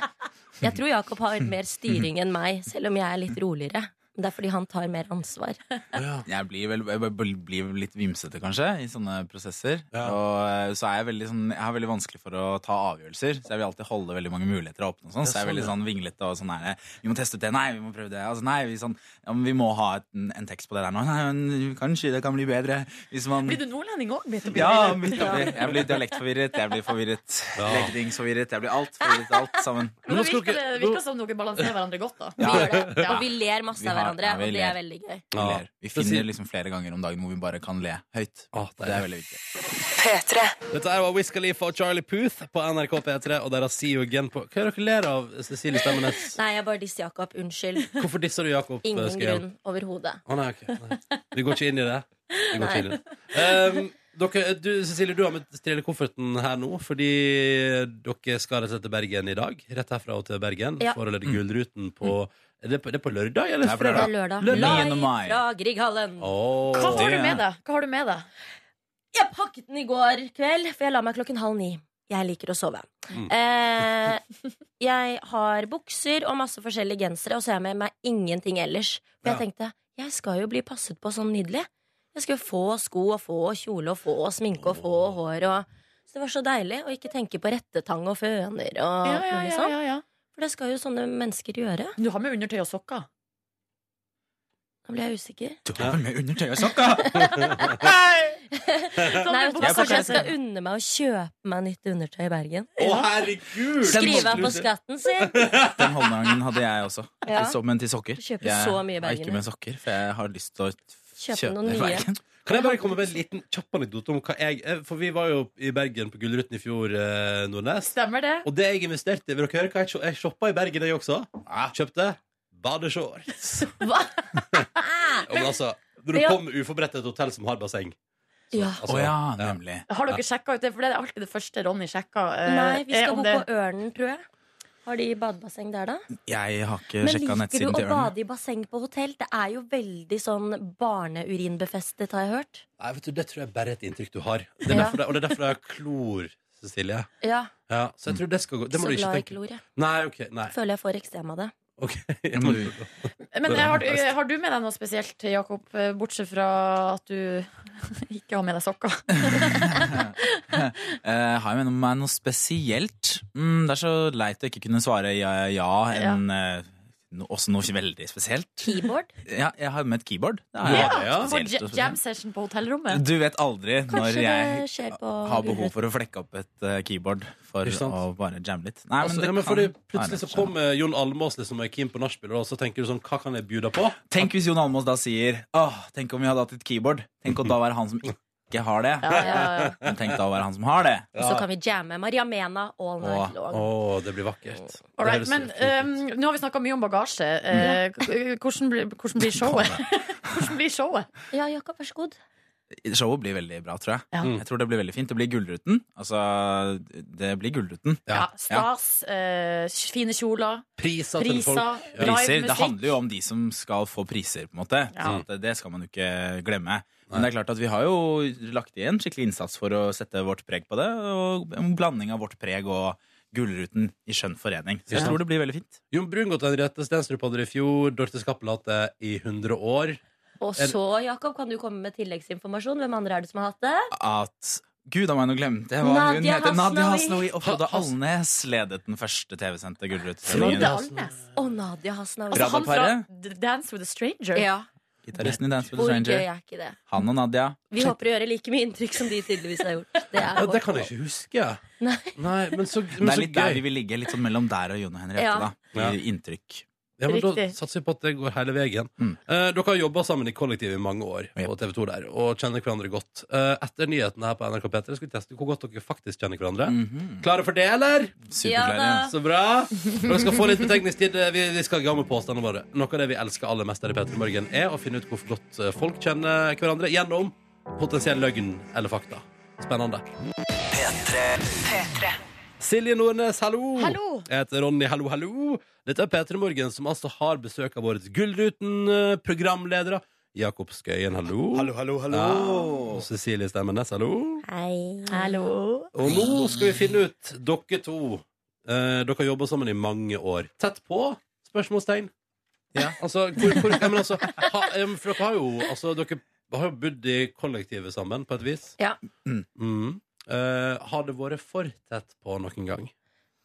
Speaker 9: jeg tror Jakob har mer styring enn meg, selv om jeg er litt roligere. Men det er fordi han tar mer ansvar.
Speaker 10: Jeg blir vel jeg bl- blir vel litt vimsete, kanskje, i sånne prosesser.
Speaker 2: Ja.
Speaker 10: Og eh, så er jeg veldig sånn Jeg har veldig vanskelig for å ta avgjørelser, så jeg vil alltid holde veldig mange muligheter åpne. og sånn,
Speaker 2: Det er
Speaker 10: Så jeg er veldig
Speaker 2: sånn,
Speaker 10: sånn vinglete og sånn der, Vi må teste ut det, nei, vi må prøve det. Altså, nei, vi, sånn, ja, men vi må ha et, en tekst på det der nå. Nei, men kanskje det kan bli bedre hvis man
Speaker 3: Blir du nordlending òg?
Speaker 10: ja, midt oppi. Jeg blir dialektforvirret, jeg blir forvirret, legningsforvirret, jeg blir alt forvirret, alt sammen.
Speaker 2: Men nå
Speaker 3: Det
Speaker 2: skal
Speaker 3: virker,
Speaker 2: dere-
Speaker 3: det virker som dere balanserer hverandre godt, da.
Speaker 9: Vi gjør det.
Speaker 3: Ja.
Speaker 9: Og vi ler masse
Speaker 10: Vi har-
Speaker 9: av hverandre,
Speaker 10: ja, vi
Speaker 9: og det er
Speaker 10: ler.
Speaker 9: veldig gøy.
Speaker 10: Vi,
Speaker 2: Ja.
Speaker 10: ler. vi finner liksom flere ganger om dagen hvor vi bare kan le høyt.
Speaker 2: Ah, det er-
Speaker 10: Det er veldig viktig.
Speaker 2: Dette her var Wiz Khalifa og Charlie Puth på NRK P3 og deres See You Again på Hva er det dere ler av, Cecilie Stemmenes?
Speaker 9: Nei, jeg bare disser Jakob. Unnskyld.
Speaker 2: Hvorfor disser du Jakob? eh,
Speaker 9: Ingen
Speaker 2: Skøyen?
Speaker 9: grunn overhodet.
Speaker 2: Å nei, ok. Nei. Vi går ikke inn i det. Vi går
Speaker 9: Nei.
Speaker 2: ikke inn i det. Ehm, dere, du, Cecilie, du har med stjele kofferten her nå, fordi dere skal rett og slett til Bergen i dag. Rett herfra og til Bergen
Speaker 9: Ja.
Speaker 2: for å lede Gullruten på er det, på- er det på lørdag, eller
Speaker 10: Mm. Det er på
Speaker 9: Det
Speaker 2: fredag?
Speaker 9: er lørdag.
Speaker 2: Lørdag.
Speaker 9: Live
Speaker 10: 9. mai.
Speaker 9: fra Grieghallen.
Speaker 2: Åh.
Speaker 3: Hva har
Speaker 10: det
Speaker 3: du
Speaker 10: er-
Speaker 3: med deg? Hva har du med deg?
Speaker 9: Jeg pakket den i går kveld, for jeg la meg klokken halv ni. Jeg liker å sove.
Speaker 11: Mm.
Speaker 9: Eh, jeg har bukser og masse forskjellige gensere, og så har jeg med meg ingenting ellers. For jeg
Speaker 11: Ja.
Speaker 9: tenkte jeg skal jo bli passet på sånn nydelig. Jeg skal jo få sko og få kjole og få sminke og få hår og Så det var så deilig å ikke tenke på rettetang og føner og
Speaker 3: Ja, ja,
Speaker 9: mulig
Speaker 3: ja,
Speaker 9: sånn.
Speaker 3: ja, ja.
Speaker 9: For det skal jo sånne mennesker gjøre.
Speaker 3: Du har med undertøy og sokker.
Speaker 9: Da blir jeg usikker.
Speaker 10: Du har vel med undertøy og sokker!
Speaker 3: Sånn
Speaker 9: Nei, vet du, hva,
Speaker 10: Jeg får
Speaker 9: Kanskje jeg
Speaker 10: kanskje-
Speaker 9: skal unne meg å kjøpe meg nytt undertøy i Bergen.
Speaker 10: herregud!
Speaker 9: Skrive av på skatten sin!
Speaker 10: Den håndgangen hadde jeg også.
Speaker 9: Ja.
Speaker 10: Så- Men til sokker.
Speaker 9: Kjøper
Speaker 10: jeg
Speaker 9: så mye
Speaker 10: har
Speaker 9: Bergen,
Speaker 10: ikke med sokker, for jeg har lyst til å kjøpe,
Speaker 9: Kjøpe noen nye.
Speaker 10: Bergen.
Speaker 2: Kan jeg bare komme med en liten kjapp anekdote om hva jeg eh, For vi var jo i Bergen på Gullruten i fjor, eh, Nordnes.
Speaker 3: Stemmer det?
Speaker 2: Og det jeg investerte i Vil dere høre hva jeg, kjø- jeg shoppa i Bergen, jeg også? Kjøpte badeshorts. Ja, Men altså, når du
Speaker 3: Ja.
Speaker 2: kommer uforberedt til et hotell som har basseng
Speaker 9: Ja.
Speaker 2: altså,
Speaker 10: ja, nemlig.
Speaker 3: Har dere sjekka ut det? For det er alltid det første Ronny sjekker. eh,
Speaker 9: Nei, vi
Speaker 3: er
Speaker 9: skal
Speaker 3: om
Speaker 9: bo
Speaker 3: det-
Speaker 9: på Ørnen, tror jeg. Har de badebasseng der, da?
Speaker 10: Jeg har ikke
Speaker 9: Men
Speaker 10: sjekka
Speaker 9: liker du
Speaker 10: nettsiden
Speaker 9: å
Speaker 10: til Ørnen.
Speaker 9: bade i basseng på hotell? Det er jo veldig sånn barneurinbefestet, har jeg hørt.
Speaker 2: Nei, vet du, Det tror jeg bare er et inntrykk du har. Det er
Speaker 9: Ja.
Speaker 2: derfor det, og det er derfor det er klor, Cecilie.
Speaker 9: Ja,
Speaker 2: Ja, så jeg tror det skal gå. Det må
Speaker 9: Så
Speaker 2: du ikke
Speaker 9: glad i
Speaker 2: tenke
Speaker 9: klor, jeg.
Speaker 2: Nei, OK. Nei.
Speaker 9: Føler jeg får eksem av det.
Speaker 10: Mm.
Speaker 2: Jeg må-
Speaker 3: Men eh, har, du- har du med deg noe spesielt, Jakob? eh, Bortsett fra at du ikke har med deg sokker.
Speaker 10: Eh, har jeg med meg noe spesielt? Mm, det er så leit å ikke kunne svare ja, ja enn eh, no, også noe veldig spesielt.
Speaker 9: Keyboard?
Speaker 10: Ja, jeg har med et keyboard. Det er
Speaker 3: For
Speaker 10: spesielt
Speaker 3: ja-
Speaker 10: og spesielt.
Speaker 3: jam session på hotellrommet.
Speaker 10: Du vet aldri
Speaker 9: Kanskje
Speaker 10: når jeg
Speaker 9: det skjer på
Speaker 10: har behov for å flekke opp et eh, keyboard for
Speaker 2: Ikke sant?
Speaker 10: å bare jamme litt. Nei,
Speaker 2: altså,
Speaker 10: men det
Speaker 2: ja, men
Speaker 10: kan
Speaker 2: fordi
Speaker 10: være
Speaker 2: Plutselig så
Speaker 10: skjønt.
Speaker 2: kommer Jon Almaas liksom og er keen på nachspiel, og så tenker du sånn Hva kan jeg bjuda på?
Speaker 10: Tenk hvis Jon Almaas da sier Åh, tenk om vi hadde hatt et keyboard. Tenk å da være han som ikke har det.
Speaker 9: Ja, ja, ja.
Speaker 10: Men tenk da å være han som har det.
Speaker 9: Og så kan vi jamme Maria Mena all night
Speaker 10: Åh,
Speaker 9: long.
Speaker 2: åh, det blir vakkert.
Speaker 3: All right,
Speaker 2: Det høres
Speaker 3: men
Speaker 2: fint ut.
Speaker 3: eh, nå har vi snakka mye om bagasje. Eh, k- hvordan, blir, hvordan blir showet? hvordan blir showet?
Speaker 9: Ja, Jakob, vær så god.
Speaker 10: Showet blir veldig bra, tror jeg.
Speaker 3: Ja.
Speaker 10: Jeg tror det blir veldig fint. Det blir Gullruten. Altså, det blir Gullruten.
Speaker 3: Ja, stas, eh, fine kjoler.
Speaker 2: Priser
Speaker 3: til Priser, folk.
Speaker 10: Ja.
Speaker 3: live
Speaker 10: Priser. Det
Speaker 3: musikk.
Speaker 10: handler jo om de som skal få priser, på en måte.
Speaker 3: Ja.
Speaker 10: Så at det skal man jo ikke glemme. Men det er klart at vi har jo lagt i en skikkelig innsats for å sette vårt preg på det. Og en blanding av vårt preg og Gullruten i skjønn forening. Så jeg
Speaker 2: Ja.
Speaker 10: tror det blir veldig fint.
Speaker 2: Jon Brungot og Henriette Stensrup hadde det i fjor. Dorte Skappel har hatt det i 100 år.
Speaker 9: Og
Speaker 2: Er-
Speaker 9: så, Jakob, kan du komme med tilleggsinformasjon? Hvem andre er det som har hatt det?
Speaker 10: At Gud a meg, nå glemte jeg hva hun
Speaker 9: Nadia
Speaker 10: heter. Nadia
Speaker 9: Hasnaoui.
Speaker 10: Hasnaoui og Frode Alnes ledet den første TV-sendte
Speaker 3: Frode
Speaker 10: Gullruten-sendingen.
Speaker 3: Alnes.
Speaker 9: Og Nadia Hasnaoui.
Speaker 3: Altså han fra
Speaker 10: Radioparet.
Speaker 3: D- Dance with a Stranger.
Speaker 9: Ja,
Speaker 10: Gitaristen i Dance with a
Speaker 9: hvor gøy
Speaker 10: Stranger.
Speaker 9: er ikke det?
Speaker 10: Han og Nadia.
Speaker 9: Vi håper å gjøre like mye inntrykk som de tydeligvis har gjort. Det er
Speaker 2: Ja, det
Speaker 9: vårt
Speaker 2: kan jeg ikke huske.
Speaker 9: Nei.
Speaker 2: men så,
Speaker 10: Det
Speaker 2: men
Speaker 10: er
Speaker 2: så
Speaker 10: litt der vi
Speaker 2: gøy.
Speaker 10: vil ligge, litt sånn mellom der og Jon og Henriette,
Speaker 9: Ja.
Speaker 10: da.
Speaker 2: Ja.
Speaker 10: I inntrykk.
Speaker 2: Ja, men da
Speaker 3: Riktig.
Speaker 2: satser vi på at det går hele veien.
Speaker 10: Mm.
Speaker 2: Eh, dere har jobba sammen i kollektiv i mange år på
Speaker 10: Yep.
Speaker 2: TV2 der, og kjenner hverandre godt. Eh, etter nyhetene her på NRK P3 skal vi teste hvor godt dere faktisk kjenner hverandre.
Speaker 10: Mhm.
Speaker 2: Klare for det, eller?
Speaker 10: Superklare.
Speaker 9: Ja
Speaker 2: Så bra. Dere skal få litt betenkningstid. Eh, Vi, vi skal i gang med påstandene våre. Noe av det vi elsker aller mest her i P3 Morgen, er å finne ut hvor godt eh, folk kjenner hverandre gjennom potensiell løgn eller fakta. Spennende. Silje Nordnes, hallo.
Speaker 3: Hallo.
Speaker 2: Jeg heter Ronny, hallo, hallo. Dette er P3 Morgen, som altså har besøk av våre Gullruten-programledere. Jakob Skøyen, hallo.
Speaker 5: Hallo, hallo, hallo.
Speaker 2: Ja, og Cecilie Stemmenes, hallo.
Speaker 9: Hei.
Speaker 3: Hallo.
Speaker 2: Og nå skal vi finne ut, dere to eh, Dere har jobba sammen i mange år. Tett på? Spørsmålstegn.
Speaker 10: Ja.
Speaker 2: Altså, hvor, hvor, ja, men altså ha, eh, For dere har jo altså, Dere har jo bodd i kollektivet sammen, på et vis.
Speaker 9: Ja.
Speaker 2: Mm. Eh, har det vært for tett på noen gang?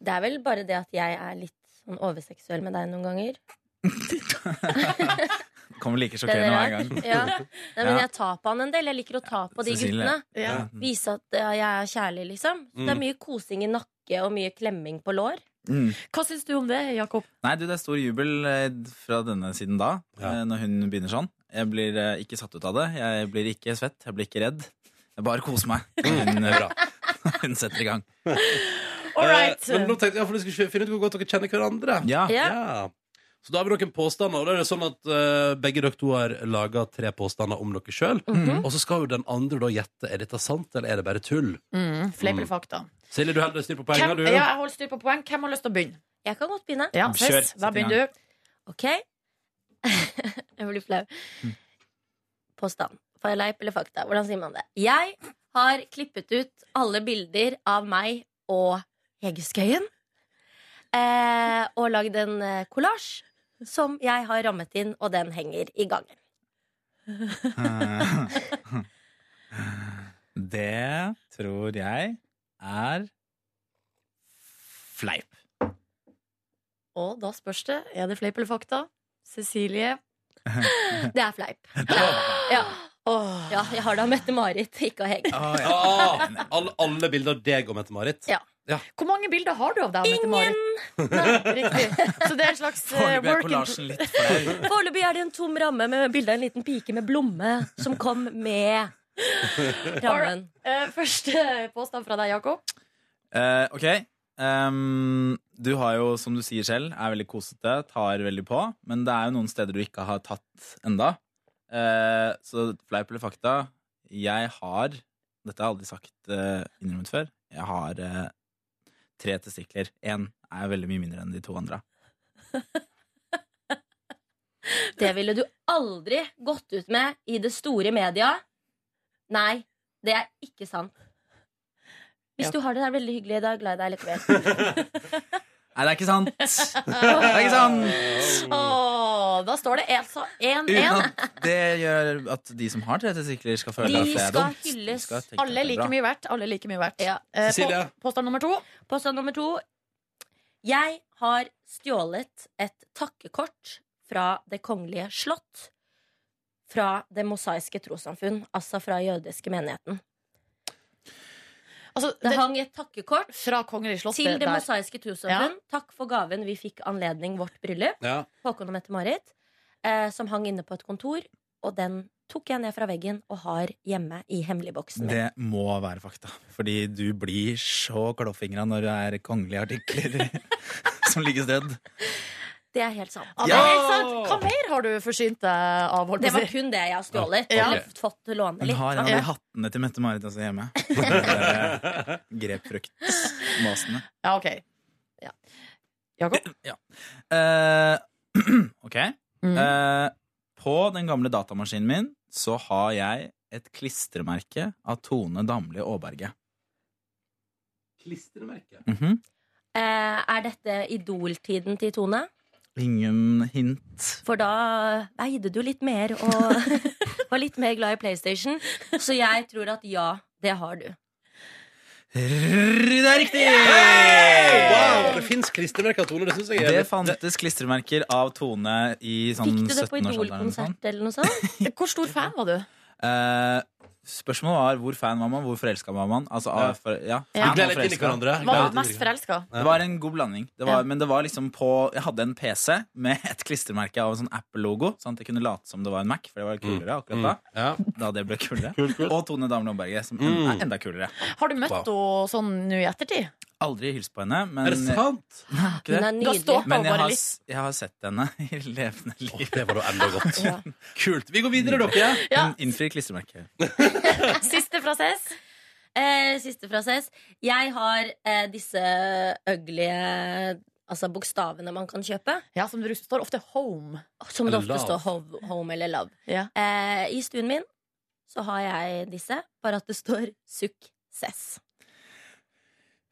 Speaker 9: Det er vel bare det at jeg er litt sånn overseksuell med deg noen ganger.
Speaker 10: Kommer like
Speaker 9: Det er
Speaker 10: sjokkerende hver
Speaker 9: det
Speaker 10: gang.
Speaker 9: jeg er. Ja. Nei, men
Speaker 10: Ja.
Speaker 9: jeg tar på han en del. Jeg liker å ta på de
Speaker 10: Cecilie.
Speaker 9: guttene.
Speaker 3: Ja. Mm.
Speaker 9: Vise at ja, jeg er kjærlig, liksom. Så det
Speaker 2: Mm.
Speaker 9: er mye kosing i nakke og mye klemming på lår.
Speaker 10: Mm.
Speaker 3: Hva syns du om det, Jakob?
Speaker 10: Nei, du, det er stor jubel eh, fra denne siden da,
Speaker 2: Ja.
Speaker 10: eh, når hun begynner sånn. Jeg blir eh, ikke satt ut av det. Jeg blir ikke svett. Jeg blir ikke redd. Jeg bare koser meg.
Speaker 2: Mm.
Speaker 10: Hun, eh, hun setter i gang.
Speaker 3: All right.
Speaker 2: Eh, men nå tenkte jeg for vi skulle finne ut hvor godt dere kjenner hverandre.
Speaker 10: Ja.
Speaker 9: Ja.
Speaker 2: Ja. Så da har vi noen påstander, og da er det sånn at eh, begge dere to har laga tre påstander om dere sjøl.
Speaker 3: Mhm.
Speaker 2: Og så skal jo den andre da gjette er dette sant eller er det bare tull.
Speaker 3: Mm, Fleip
Speaker 2: Mm.
Speaker 3: eller fakta?
Speaker 2: Silje, du holder styr på poengene,
Speaker 3: Hvem,
Speaker 2: du.
Speaker 3: ja, jeg holder styr på poeng. Hvem har lyst til å begynne?
Speaker 9: Jeg kan godt begynne.
Speaker 3: Ja,
Speaker 10: Kjør,
Speaker 3: Fess,
Speaker 10: sett
Speaker 3: da
Speaker 10: i gang.
Speaker 3: begynner du.
Speaker 9: Ok? jeg blir flau.
Speaker 10: Mm.
Speaker 9: Påstand. Feil leip eller fakta? Hvordan sier man det? Jeg har klippet ut alle bilder av meg og Hege Skøyen. Eh, og lagd en eh, kollasj som jeg har rammet inn, og den henger i gangen.
Speaker 10: Det tror jeg er fleip.
Speaker 3: Og da spørs det. Er det fleip eller fakta? Cecilie.
Speaker 9: Det er fleip. Ja. ja, jeg har da Mette-Marit, ikke av Hege.
Speaker 2: Ah, alle, alle bilder av deg og Mette-Marit.
Speaker 9: Ja.
Speaker 3: Hvor mange bilder har du av deg? Ingen! Riktig. Så det er en slags eh,
Speaker 10: Foreløpig er
Speaker 3: work in
Speaker 10: kollasjen litt for deg.
Speaker 9: Foreløpig er det en tom ramme med bilde av en liten pike med blomme som kom med rammen.
Speaker 3: Eh, Første påstand fra deg, Jakob.
Speaker 10: Eh, ok. Ehm, du har jo, som du sier selv, er veldig kosete, tar veldig på. Men det er jo noen steder du ikke har tatt enda. Eh, så fleip eller fakta Jeg har Dette har jeg aldri sagt eh, innrømmet før. Jeg har eh, tre testikler. Én er veldig mye mindre enn de to andre.
Speaker 9: Det ville du aldri gått ut med i det store media. Nei, det er ikke sant. Hvis
Speaker 3: Ja.
Speaker 9: du har det, det er veldig hyggelig. Da er jeg glad i deg likevel.
Speaker 10: Nei, det er ikke sant! Det er ikke sant!
Speaker 3: Åh, da står det altså 1-1.
Speaker 10: Mm. Uten at det gjør at de som har tre testikler, skal føle
Speaker 9: De
Speaker 10: at det er
Speaker 9: skal
Speaker 10: dumt.
Speaker 9: hylles.
Speaker 10: tenke at
Speaker 3: Alle
Speaker 10: det
Speaker 3: er
Speaker 10: er
Speaker 3: like
Speaker 10: bra.
Speaker 3: mye verdt. Alle er like mye verdt.
Speaker 9: Ja.
Speaker 3: Eh, på-
Speaker 2: Cecilie.
Speaker 3: Påstand nummer to.
Speaker 9: Påstand nummer to. Jeg har stjålet et takkekort fra Det kongelige slott. Fra Det mosaiske trossamfunn, altså fra jødiske menigheten.
Speaker 3: Altså,
Speaker 9: Det
Speaker 3: det,
Speaker 9: hang et takkekort
Speaker 3: fra Kongelig slott.
Speaker 9: til
Speaker 3: det
Speaker 9: Det
Speaker 3: der.
Speaker 9: mosaiske trossamfunn. Takk for gaven vi fikk anledning vårt bryllup.
Speaker 2: Ja.
Speaker 9: Håkon og Mette-Marit, eh, som hang inne på et kontor. Og den tok jeg ned fra veggen og har hjemme i hemmeligboksene.
Speaker 10: Det må være fakta. Fordi du blir så klåfingra når det er kongelige artikler som ligger strødd.
Speaker 9: Det er helt sant.
Speaker 3: Ja, det er helt sant. Hva mer har du forsynt deg av? holdt
Speaker 9: Det
Speaker 3: på å
Speaker 9: var
Speaker 3: si?
Speaker 9: kun det jeg har stjålet.
Speaker 3: Ja.
Speaker 9: Eller fått låne
Speaker 10: Hun
Speaker 9: litt.
Speaker 10: har en av
Speaker 9: da.
Speaker 10: de hattene til Mette-Marit også hjemme. Eh, Grepfruktmasene.
Speaker 3: Ja, ok. Ja. Jakob?
Speaker 10: Eh, ok.
Speaker 3: Mm.
Speaker 10: Eh, på den gamle datamaskinen min så har jeg et klistremerke av Tone Damli Aaberge.
Speaker 2: Klistremerke.
Speaker 10: Mhm.
Speaker 9: Eh, er dette idoltiden til Tone?
Speaker 10: Ingen hint.
Speaker 9: For da veide du litt mer og var litt mer glad i PlayStation. Så jeg tror at ja, det har du.
Speaker 10: Rrrr, Det er riktig!
Speaker 2: Wow, det fins klistremerker av Tone. Det syns jeg er
Speaker 10: Det fantes klistremerker av Tone i sånn
Speaker 3: Mm,
Speaker 9: Fikk du det på
Speaker 10: 17-årsalderen. eller sånn.
Speaker 9: Idol-konsert eller noe sånt?
Speaker 3: Hvor stor fan var du?
Speaker 10: Eh, spørsmålet var hvor fan var man, hvor forelska var man? Altså,
Speaker 2: Ja.
Speaker 10: av- for, ja,
Speaker 2: Vi
Speaker 3: Ja.
Speaker 10: fan
Speaker 2: ble
Speaker 10: og
Speaker 2: litt inn i
Speaker 10: forelska.
Speaker 2: hverandre. Vi ble
Speaker 3: Var
Speaker 2: litt inn
Speaker 3: du
Speaker 2: i
Speaker 3: mest
Speaker 2: hverandre.
Speaker 3: forelska?
Speaker 10: Det var en god blanding. Det var,
Speaker 3: Ja.
Speaker 10: Men det var liksom på Jeg hadde en PC med et klistremerke av en sånn Apple-logo, sånn at jeg kunne late som det var en Mac, for det var kulere akkurat da.
Speaker 2: Mm. Ja.
Speaker 10: Da det ble kulere. Og Tone Damli Aaberge, som en,
Speaker 2: Mm.
Speaker 10: er enda kulere.
Speaker 3: Har du møtt henne sånn nå i ettertid?
Speaker 10: Aldri hilst på henne, men
Speaker 2: Er det sant?
Speaker 10: Har ikke det?
Speaker 9: Hun er
Speaker 3: Du har
Speaker 9: nydelig.
Speaker 3: stalka henne
Speaker 10: Men jeg
Speaker 3: bare
Speaker 10: har,
Speaker 3: litt.
Speaker 10: s- jeg har sett henne i levende
Speaker 2: Å,
Speaker 10: liv.
Speaker 2: det var da enda godt.
Speaker 9: Ja.
Speaker 2: Kult. Vi går videre, dere.
Speaker 3: Ja.
Speaker 10: Hun innfrir klistremerket.
Speaker 3: Siste fra CS.
Speaker 9: Eh, siste fra Cess. Jeg har eh, disse ugly eh, altså bokstavene man kan kjøpe.
Speaker 3: Ja, som det står ofte home.
Speaker 9: Som det ofte
Speaker 2: Love.
Speaker 9: står hov- home eller love.
Speaker 3: Ja.
Speaker 9: Eh, I stuen min så har jeg disse, bare at det står sukk sess.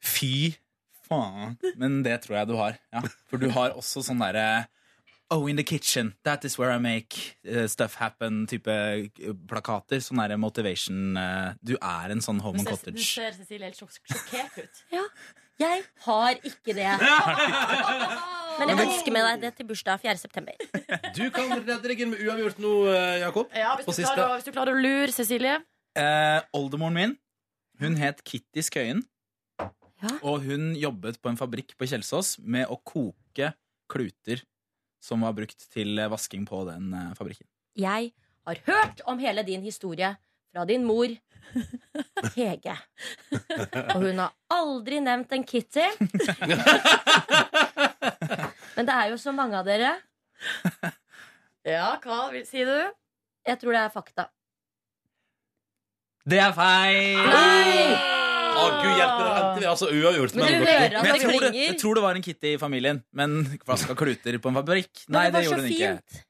Speaker 10: Fy faen. Men det tror jeg du har. Ja. For du har også sånn derre Oh, in the kitchen. That is where I make eh, stuff happen-type plakater. Sånn derre motivation eh, Du er en sånn home and
Speaker 3: du
Speaker 10: cottage.
Speaker 3: ser Cecilie helt sjok sjokkert ut.
Speaker 9: Jeg har ikke det. Men jeg ønsker meg deg det til bursdag 4. september.
Speaker 2: Du kan redde deg inn med uavgjort nå, eh, Jakob.
Speaker 3: Ja, hvis,
Speaker 2: På
Speaker 3: du
Speaker 2: siste.
Speaker 3: klarer, å- hvis du klarer å lure Cecilie.
Speaker 10: Eh, oldemoren min, hun het Kitty Skøyen.
Speaker 9: Ja.
Speaker 10: Og hun jobbet på en fabrikk på Kjelsås med å koke kluter som var brukt til eh, vasking på den eh, fabrikken.
Speaker 9: Jeg har hørt om hele din historie fra din mor, Hege. Og hun har aldri nevnt en Kitty. Men det er jo så mange av dere.
Speaker 3: Ja, hva vil, sier du?
Speaker 9: Jeg tror det er fakta.
Speaker 10: Det er feil!
Speaker 2: Å, Gud hjelpe, da endte vi altså uavgjort.
Speaker 9: Men
Speaker 2: mellom
Speaker 9: du
Speaker 2: dere.
Speaker 9: hører at
Speaker 10: Men
Speaker 9: det
Speaker 10: jeg tror, det, jeg
Speaker 9: klinger.
Speaker 10: tror det var en Kitty i familien, men vaska kluter på en fabrikk.
Speaker 9: Men
Speaker 10: Nei,
Speaker 9: var
Speaker 10: det
Speaker 9: så
Speaker 10: gjorde hun ikke.
Speaker 9: fint.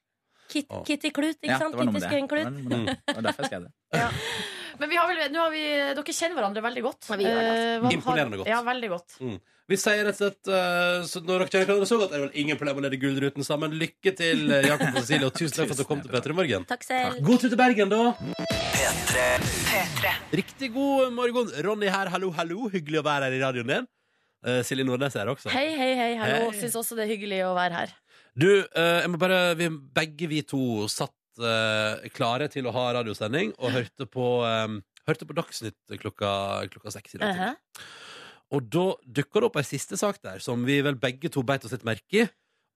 Speaker 9: Kit, Kitty Klut, ikke
Speaker 10: Ja,
Speaker 9: sant?
Speaker 10: det var
Speaker 9: Kitty
Speaker 10: noe med det. Det var
Speaker 9: Skøyenklut.
Speaker 10: noe med det. Det var derfor jeg skrev det.
Speaker 3: Men vi har har vel, nå har vi, dere kjenner hverandre veldig godt.
Speaker 9: Ja, vi gjør det,
Speaker 3: Eh, hva-
Speaker 2: Imponerende godt.
Speaker 3: Ja, veldig godt.
Speaker 2: Mm. Vi sier rett og slett eh, så Når dere kjenner hverandre så godt, er det vel ingen problem å lede Gullruten sammen. Lykke til, eh, Jakob og Cecilie, og tusen takk for at du kom til P3 Morgen.
Speaker 9: Takk selv.
Speaker 2: God tur til Bergen, da. Riktig god morgen. Ronny her, hallo, hallo. Hyggelig å være her i radioen din. Eh, Silje Nordnes er her også.
Speaker 3: Hei, hei, hei. Hallo.
Speaker 2: Hei.
Speaker 3: Syns også det er hyggelig å være her.
Speaker 2: Du, eh, jeg må bare vi, Begge vi to satt eh, klare til å ha radiosending og hørte på, eh, hørte på Dagsnytt klokka, klokka seks i dag.
Speaker 3: Eh,
Speaker 2: Og da dukker det opp ei siste sak der som vi vel begge to beit oss litt merke i.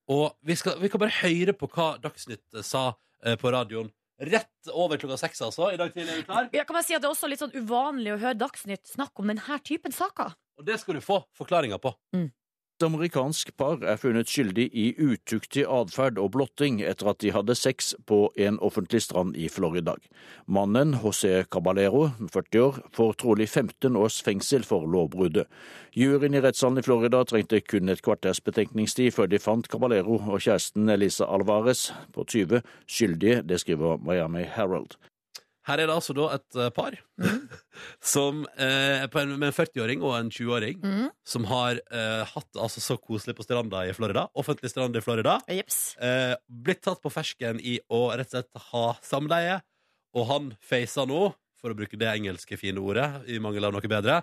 Speaker 2: Og vi, skal, vi kan bare høre på hva Dagsnytt eh, sa eh, på radioen rett over klokka seks, altså. I dag tidlig er du klar?
Speaker 3: Jeg kan bare si at Det er også litt sånn uvanlig å høre Dagsnytt snakke om denne typen saker.
Speaker 2: Og det skal du få forklaringa på.
Speaker 11: Et amerikansk par er funnet skyldig i utuktig atferd og blotting etter at de hadde sex på en offentlig strand i Florida. Mannen, José Caballero, 40 år, får trolig 15 års fengsel for lovbruddet. Juryen i rettssalen i Florida trengte kun et kvarters betenkningstid før de fant Caballero og kjæresten Elisa Alvarez på 20 skyldige, det skriver Miami Herald.
Speaker 2: Her er det altså da et eh, par som, eh, på en, med en 40-åring og en 20-åring
Speaker 3: Mm.
Speaker 2: som har eh, hatt det altså så koselig på stranda i Florida. Offentlig strand i Florida.
Speaker 3: Jips.
Speaker 2: Eh, blitt tatt på fersken i å rett og slett ha samleie. Og han facer nå, for å bruke det engelske fine ordet, i mangel av noe bedre,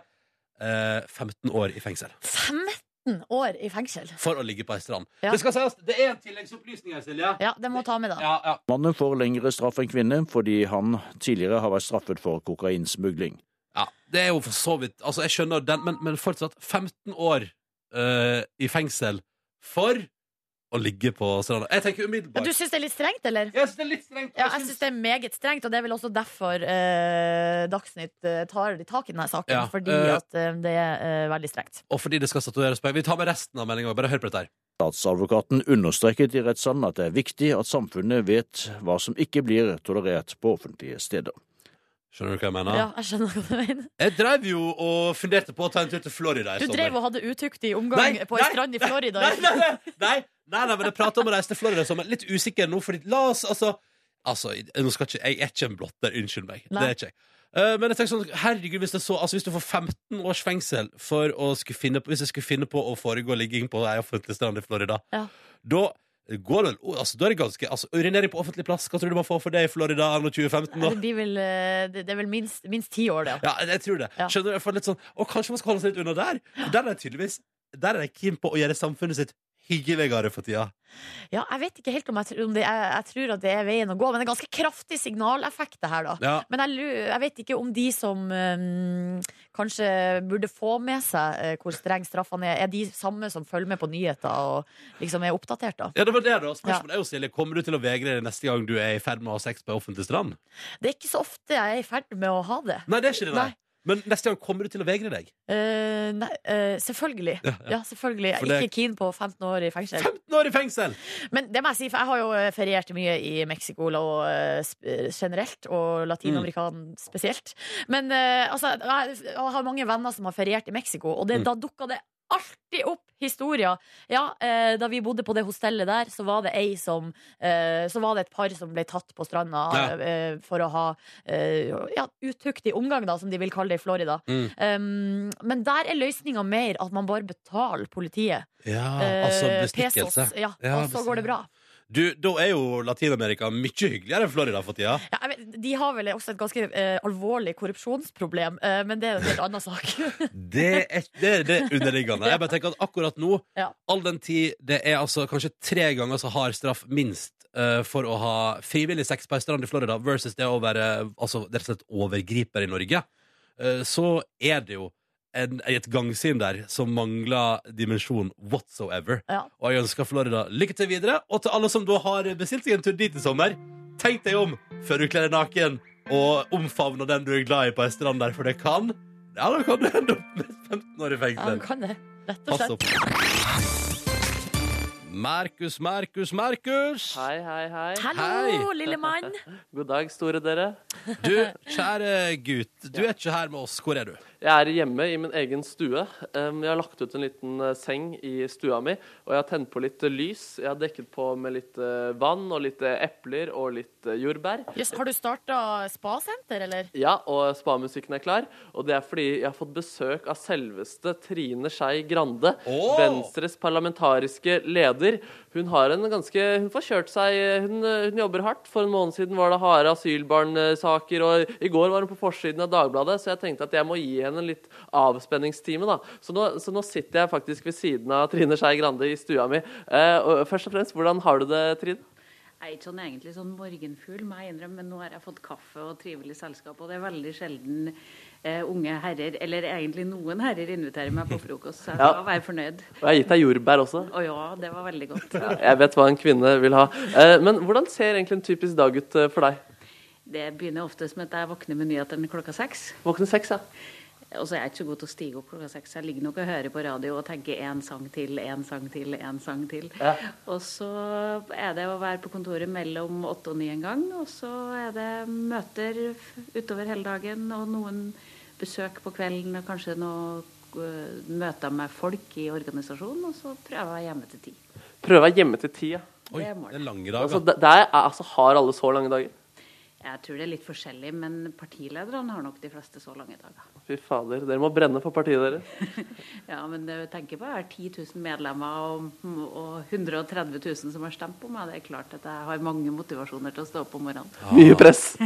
Speaker 2: eh, 15 år i fengsel.
Speaker 3: 15 år i fengsel.
Speaker 2: For å ligge på ei strand.
Speaker 3: Ja.
Speaker 2: Det skal sies, det er en tilleggsopplysning her, Silje.
Speaker 3: Ja, det må ta med, da.
Speaker 2: Ja, ja.
Speaker 11: Mannen får lengre straff enn kvinne fordi han tidligere har vært straffet for kokainsmugling.
Speaker 2: Ja, det er jo for så vidt Altså, jeg skjønner den, men, men fortsatt 15 år eh, i fengsel for å ligge på stranda. Jeg tenker
Speaker 3: Men
Speaker 2: umiddelbart
Speaker 3: Du syns det er litt strengt, eller?
Speaker 2: Jeg syns det er litt strengt.
Speaker 3: Ja, jeg syns det er meget strengt, og det er vel også derfor eh, Dagsnytt eh, tar tak i denne saken.
Speaker 2: Ja,
Speaker 3: Fordi
Speaker 2: eh,
Speaker 3: at eh, det er eh, veldig strengt.
Speaker 2: Og fordi det skal statueres poeng. Vi tar med resten av meldinga. Bare hør på dette her.
Speaker 11: Statsadvokaten understreket i rettssalen at det er viktig at samfunnet vet hva som ikke blir tolerert på offentlige steder.
Speaker 2: Skjønner du hva jeg
Speaker 3: Ja,
Speaker 2: mener?
Speaker 3: jeg skjønner hva du mener.
Speaker 2: Jeg drev jo og funderte på å ta en tur til Florida. i
Speaker 3: Du
Speaker 2: sommer.
Speaker 3: drev og hadde utukt i omgang
Speaker 2: Nei,
Speaker 3: på ei
Speaker 2: nei,
Speaker 3: strand i Florida.
Speaker 2: Nei, nei, nei, nei, nei, nei, men jeg prater om å reise til Florida i sommer. Litt usikker nå, fordi la oss altså Altså, nå skal ikke, jeg er ikke en blotter, unnskyld meg.
Speaker 3: Nei.
Speaker 2: Det er ikke jeg. Eh, men jeg tenker sånn, herregud, hvis, det er så, altså, hvis du får 15 års fengsel for å skulle finne på, hvis jeg skulle finne på å foregå ligging på ei offentlig strand i Florida,
Speaker 3: Ja.
Speaker 2: da går det vel altså, Da er det ganske altså, Urinering på offentlig plass, hva tror du man får for det i Florida anno 2015?
Speaker 3: Nei,
Speaker 2: Da?
Speaker 3: Det, blir vel, eh, det, det er vel minst, minst ti år, det. Ja.
Speaker 2: Ja, jeg tror det.
Speaker 3: Ja.
Speaker 2: Skjønner du? Jeg får litt sånn, og kanskje man skal holde seg litt unna der. For Der er jeg tydeligvis Der er jeg keen på å gjøre samfunnet sitt hyggeligere for tida.
Speaker 3: Ja, jeg vet ikke helt om, jeg, tr- om det, jeg, jeg tror at det er veien å gå, men det er ganske kraftig signaleffekt, det her, da.
Speaker 2: Ja.
Speaker 3: Men jeg, lu- jeg vet ikke om de som eh, kanskje burde få med seg eh, hvor streng straffene er, er de samme som følger med på nyheter og liksom er oppdatert, da.
Speaker 2: det var det da. Spørsmålet er jo, Silje, kommer du til å vegre deg neste gang du er i ferd med å ha sex på en offentlig strand?
Speaker 3: Det er ikke så ofte jeg er i ferd med å ha det.
Speaker 2: Nei, det er ikke det. Nei.
Speaker 3: Nei.
Speaker 2: Men neste gang kommer du til å vegre deg.
Speaker 3: Eh, nei, eh, selvfølgelig. Ja, selvfølgelig. Jeg
Speaker 2: For
Speaker 3: er
Speaker 2: det-
Speaker 3: ikke keen på 15 år i fengsel.
Speaker 2: 15 år i fengsel!
Speaker 3: Men det må jeg si, for jeg har jo eh, feriert mye i Mexico og, eh, sp- eh, generelt, og Latin-Amerikan
Speaker 2: Mm.
Speaker 3: spesielt. Men eh, altså, jeg, jeg har mange venner som har feriert i Mexico, og det,
Speaker 2: Mm.
Speaker 3: da dukka det alltid opp historier. Ja, eh, da vi bodde på det hostellet der, så var det ei som eh, Så var det et par som ble tatt på stranda
Speaker 2: Ja.
Speaker 3: eh, for å ha eh, ja, utukt i omgang, da, som de vil kalle det i Florida.
Speaker 2: Mm.
Speaker 3: Um, men der er løsninga mer at man bare betaler politiet.
Speaker 2: Ja,
Speaker 3: Eh,
Speaker 2: altså bestikkelse.
Speaker 3: Pesos, ja,
Speaker 2: Ja,
Speaker 3: og så går det bra.
Speaker 2: Du, da er jo Latin-Amerika mye hyggeligere enn Florida for tida.
Speaker 3: Ja, jeg vet, de har vel også et ganske eh, alvorlig korrupsjonsproblem, eh, men det er en helt annen sak.
Speaker 2: Det er, det er det er underliggende. Jeg bare tenker at akkurat nå,
Speaker 3: Ja.
Speaker 2: all den tid det er altså kanskje tre ganger så hard straff minst eh, for å ha frivillig sex på ei strand i Florida versus det å være eh, altså, rett og slett overgriper i Norge, eh, så er det jo en, et gangsyn der som mangler dimensjon whatsoever.
Speaker 3: Ja.
Speaker 2: Og jeg ønsker Florida lykke til videre, og til alle som da har bestilt seg en tur dit i sommer, tenk deg om før du kler deg naken og omfavner den du er glad i på ei strand der, for det kan ja, da kan du ende opp med 15 år i
Speaker 3: Ja, man
Speaker 2: fengsel.
Speaker 3: kan det. Rett og
Speaker 2: Pass
Speaker 3: slett.
Speaker 2: opp. Markus, Markus, Markus!
Speaker 4: Hei, hei, hei.
Speaker 3: Hallo, lille mann.
Speaker 4: God dag, store dere.
Speaker 2: Du, kjære gutt, du er ikke her med oss. Hvor er du?
Speaker 4: Jeg er hjemme i min egen stue. Um, Jeg har lagt ut en liten eh, seng i stua mi, og jeg har tent på litt eh, lys. Jeg har dekket på med litt eh, vann og litt eh, epler og litt eh, jordbær.
Speaker 3: Jøss, har du starta spasenter, eller?
Speaker 4: Ja, og spamusikken er klar. Og det er fordi jeg har fått besøk av selveste Trine Skei Grande. Venstres parlamentariske leder. Hun har en ganske Hun får kjørt seg. Hun, hun jobber hardt. For en måned siden var det harde asylbarnsaker, og i går var hun på forsiden av Dagbladet, så jeg tenkte at jeg må gi henne en litt avspenningstime, da. Så nå, så nå sitter jeg faktisk ved siden av Trine Skei Grande i stua mi. Eh, og først og fremst, hvordan har du det, Trine?
Speaker 12: Jeg er ikke sånn, egentlig sånn morgenfugl, må jeg innrømme, men nå har jeg fått kaffe og trivelig selskap. Og det er veldig sjelden eh, unge herrer, eller egentlig noen herrer, inviterer meg på frokost. Så jeg
Speaker 4: Ja.
Speaker 12: skal være fornøyd.
Speaker 4: Og jeg har gitt deg jordbær også.
Speaker 12: Å ja, det var veldig godt.
Speaker 4: Ja, Jeg vet hva en kvinne vil ha. Eh, Men hvordan ser egentlig en typisk dag ut eh, for deg?
Speaker 12: Det begynner oftest med at jeg våkner med nyhetene klokka seks.
Speaker 4: Våkner seks, ja.
Speaker 12: Og så er jeg ikke så god til å stige opp klokka seks. Jeg ligger nok og hører på radio og tenker én sang til, én sang til, én sang til.
Speaker 4: Ja.
Speaker 12: Og så er det å være på kontoret mellom åtte og ni en gang. Og så er det møter f- utover hele dagen og noen besøk på kvelden og kanskje noe øh, møter med folk i organisasjonen. Og så prøver jeg hjemme til ti.
Speaker 4: Prøve å være hjemme til ti. ja.
Speaker 12: Oi, Det er målet. det er lange dager.
Speaker 4: Altså, det- det er, altså, har alle så lange dager?
Speaker 12: Jeg tror det er litt forskjellig, men partilederne har nok de fleste så lange dager.
Speaker 4: Fy fader, dere må brenne for partiet deres.
Speaker 12: Ja, men det- tenk på, jeg har 10 000 medlemmer og, og 130 000 som har stemt på meg. Det er klart at jeg har mange motivasjoner til å stå opp om morgenen.
Speaker 4: Mye press.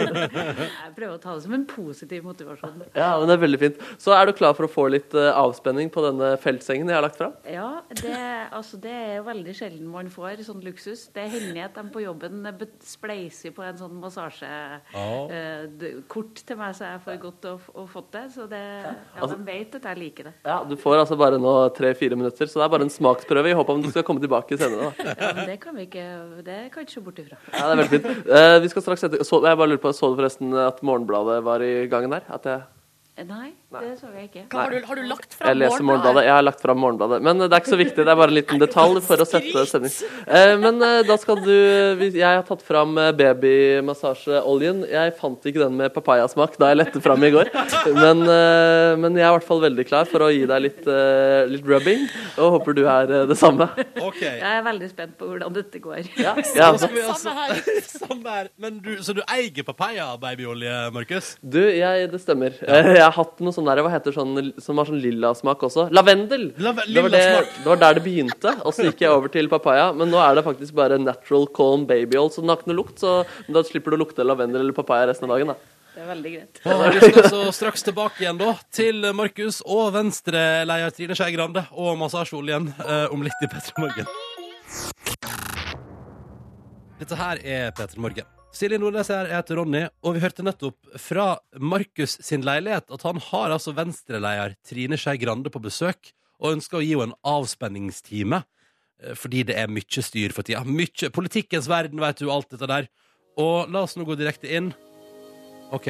Speaker 12: jeg prøver å ta det som en positiv motivasjon.
Speaker 4: Ja, men det er veldig fint. Så er du klar for å få litt eh, avspenning på denne feltsengen jeg har lagt fram?
Speaker 12: Ja, det, altså det er jo veldig sjelden man får sånn luksus. Det hender at de på jobben be- spleiser på en sånn
Speaker 4: Ja.
Speaker 12: massasjekort til meg, så jeg får godt å, f- å fått det. Så det, ja,
Speaker 4: Altså-
Speaker 12: de vet at jeg liker det.
Speaker 4: Ja, Du får altså bare nå tre-fire minutter, så det er bare en smaksprøve. Jeg håper om du skal komme tilbake senere. da.
Speaker 12: Ja, men det kan vi ikke, det kan vi ikke se bort ifra.
Speaker 4: Ja, det er veldig fint. Eh, Vi skal straks sette... Så, jeg bare lurer på, så du forresten at Morgenbladet var i gangen her? At
Speaker 12: Eh,
Speaker 4: jeg...
Speaker 12: Nei, det så jeg ikke.
Speaker 3: Har du, har du lagt
Speaker 4: Jeg leser Morgenbladet. Jeg har lagt fram Morgenbladet. Men eh, det er ikke så viktig. Det er bare en liten detalj for å sette sending. Eh, Men eh, da skal du vi- Jeg har tatt fram eh, babymassasjeoljen. Jeg fant ikke den med papayasmak da jeg lette fram i går. Men, eh, men jeg er i hvert fall veldig klar for å gi deg litt, eh, litt rubbing, og håper du er eh, det samme.
Speaker 12: Jeg er veldig spent på hvordan dette går.
Speaker 4: Ja.
Speaker 2: Nå skal vi altså- Samme her. Men du, så du eier papaya, babyolje, Markus?
Speaker 4: Du, jeg, det stemmer. Eh, Jeg har hatt noe sånn der, hva heter sånn, som har sånn lilla smak også. Lavendel! det, var det,
Speaker 2: lillasmak.
Speaker 4: det var der det begynte, og så gikk jeg over til papaya. Men nå er det faktisk bare natural calm baby oil, så den har ikke noe lukt. Så da slipper du å lukte lavendel eller papaya resten av dagen, da.
Speaker 12: Det er veldig greit.
Speaker 2: Og vi skal altså straks tilbake igjen da til Markus og Venstre-leder Trine Skei Grande og massasjeoljen eh, om litt i P3 Morgen. Dette her er P3 Morgen. Silje Nordnes her, jeg heter Ronny, og vi hørte nettopp fra Markus sin leilighet at han har altså Venstre-leder Trine Skei Grande på besøk og ønsker å gi henne en avspenningstime. eh, Fordi det er mye styr for tida. Mye. Politikkens verden, veit du, alt dette der. Og la oss nå gå direkte inn. OK.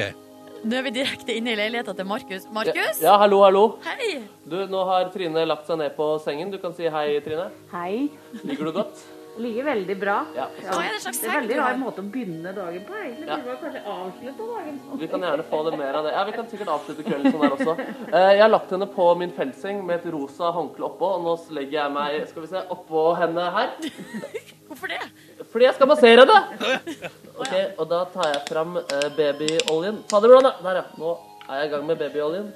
Speaker 3: Nå er vi direkte inne i leiligheta til Markus. Markus?
Speaker 4: Ja, ja, hallo, hallo.
Speaker 3: Hei!
Speaker 4: Du, nå har Trine lagt seg ned på sengen. Du kan si hei, Trine.
Speaker 12: Hei.
Speaker 4: Ligger du godt?
Speaker 12: Ligger veldig bra.
Speaker 4: Ja.
Speaker 12: Ja, det er veldig rar måte å begynne dagen på, egentlig. Vi må kanskje avslutte dagen sånn.
Speaker 4: Vi kan gjerne få det mer av det. Ja, Vi kan sikkert avslutte kvelden sånn her også. Eh, Jeg har lagt henne på min feltseng med et rosa håndkle oppå, og nå legger jeg meg skal vi se, oppå henne her.
Speaker 3: Hvorfor det?
Speaker 4: Fordi jeg skal massere det! Ok, Og da tar jeg fram eh, babyoljen. Fader, hvordan er Der, ja. Nå er jeg i gang med babyoljen.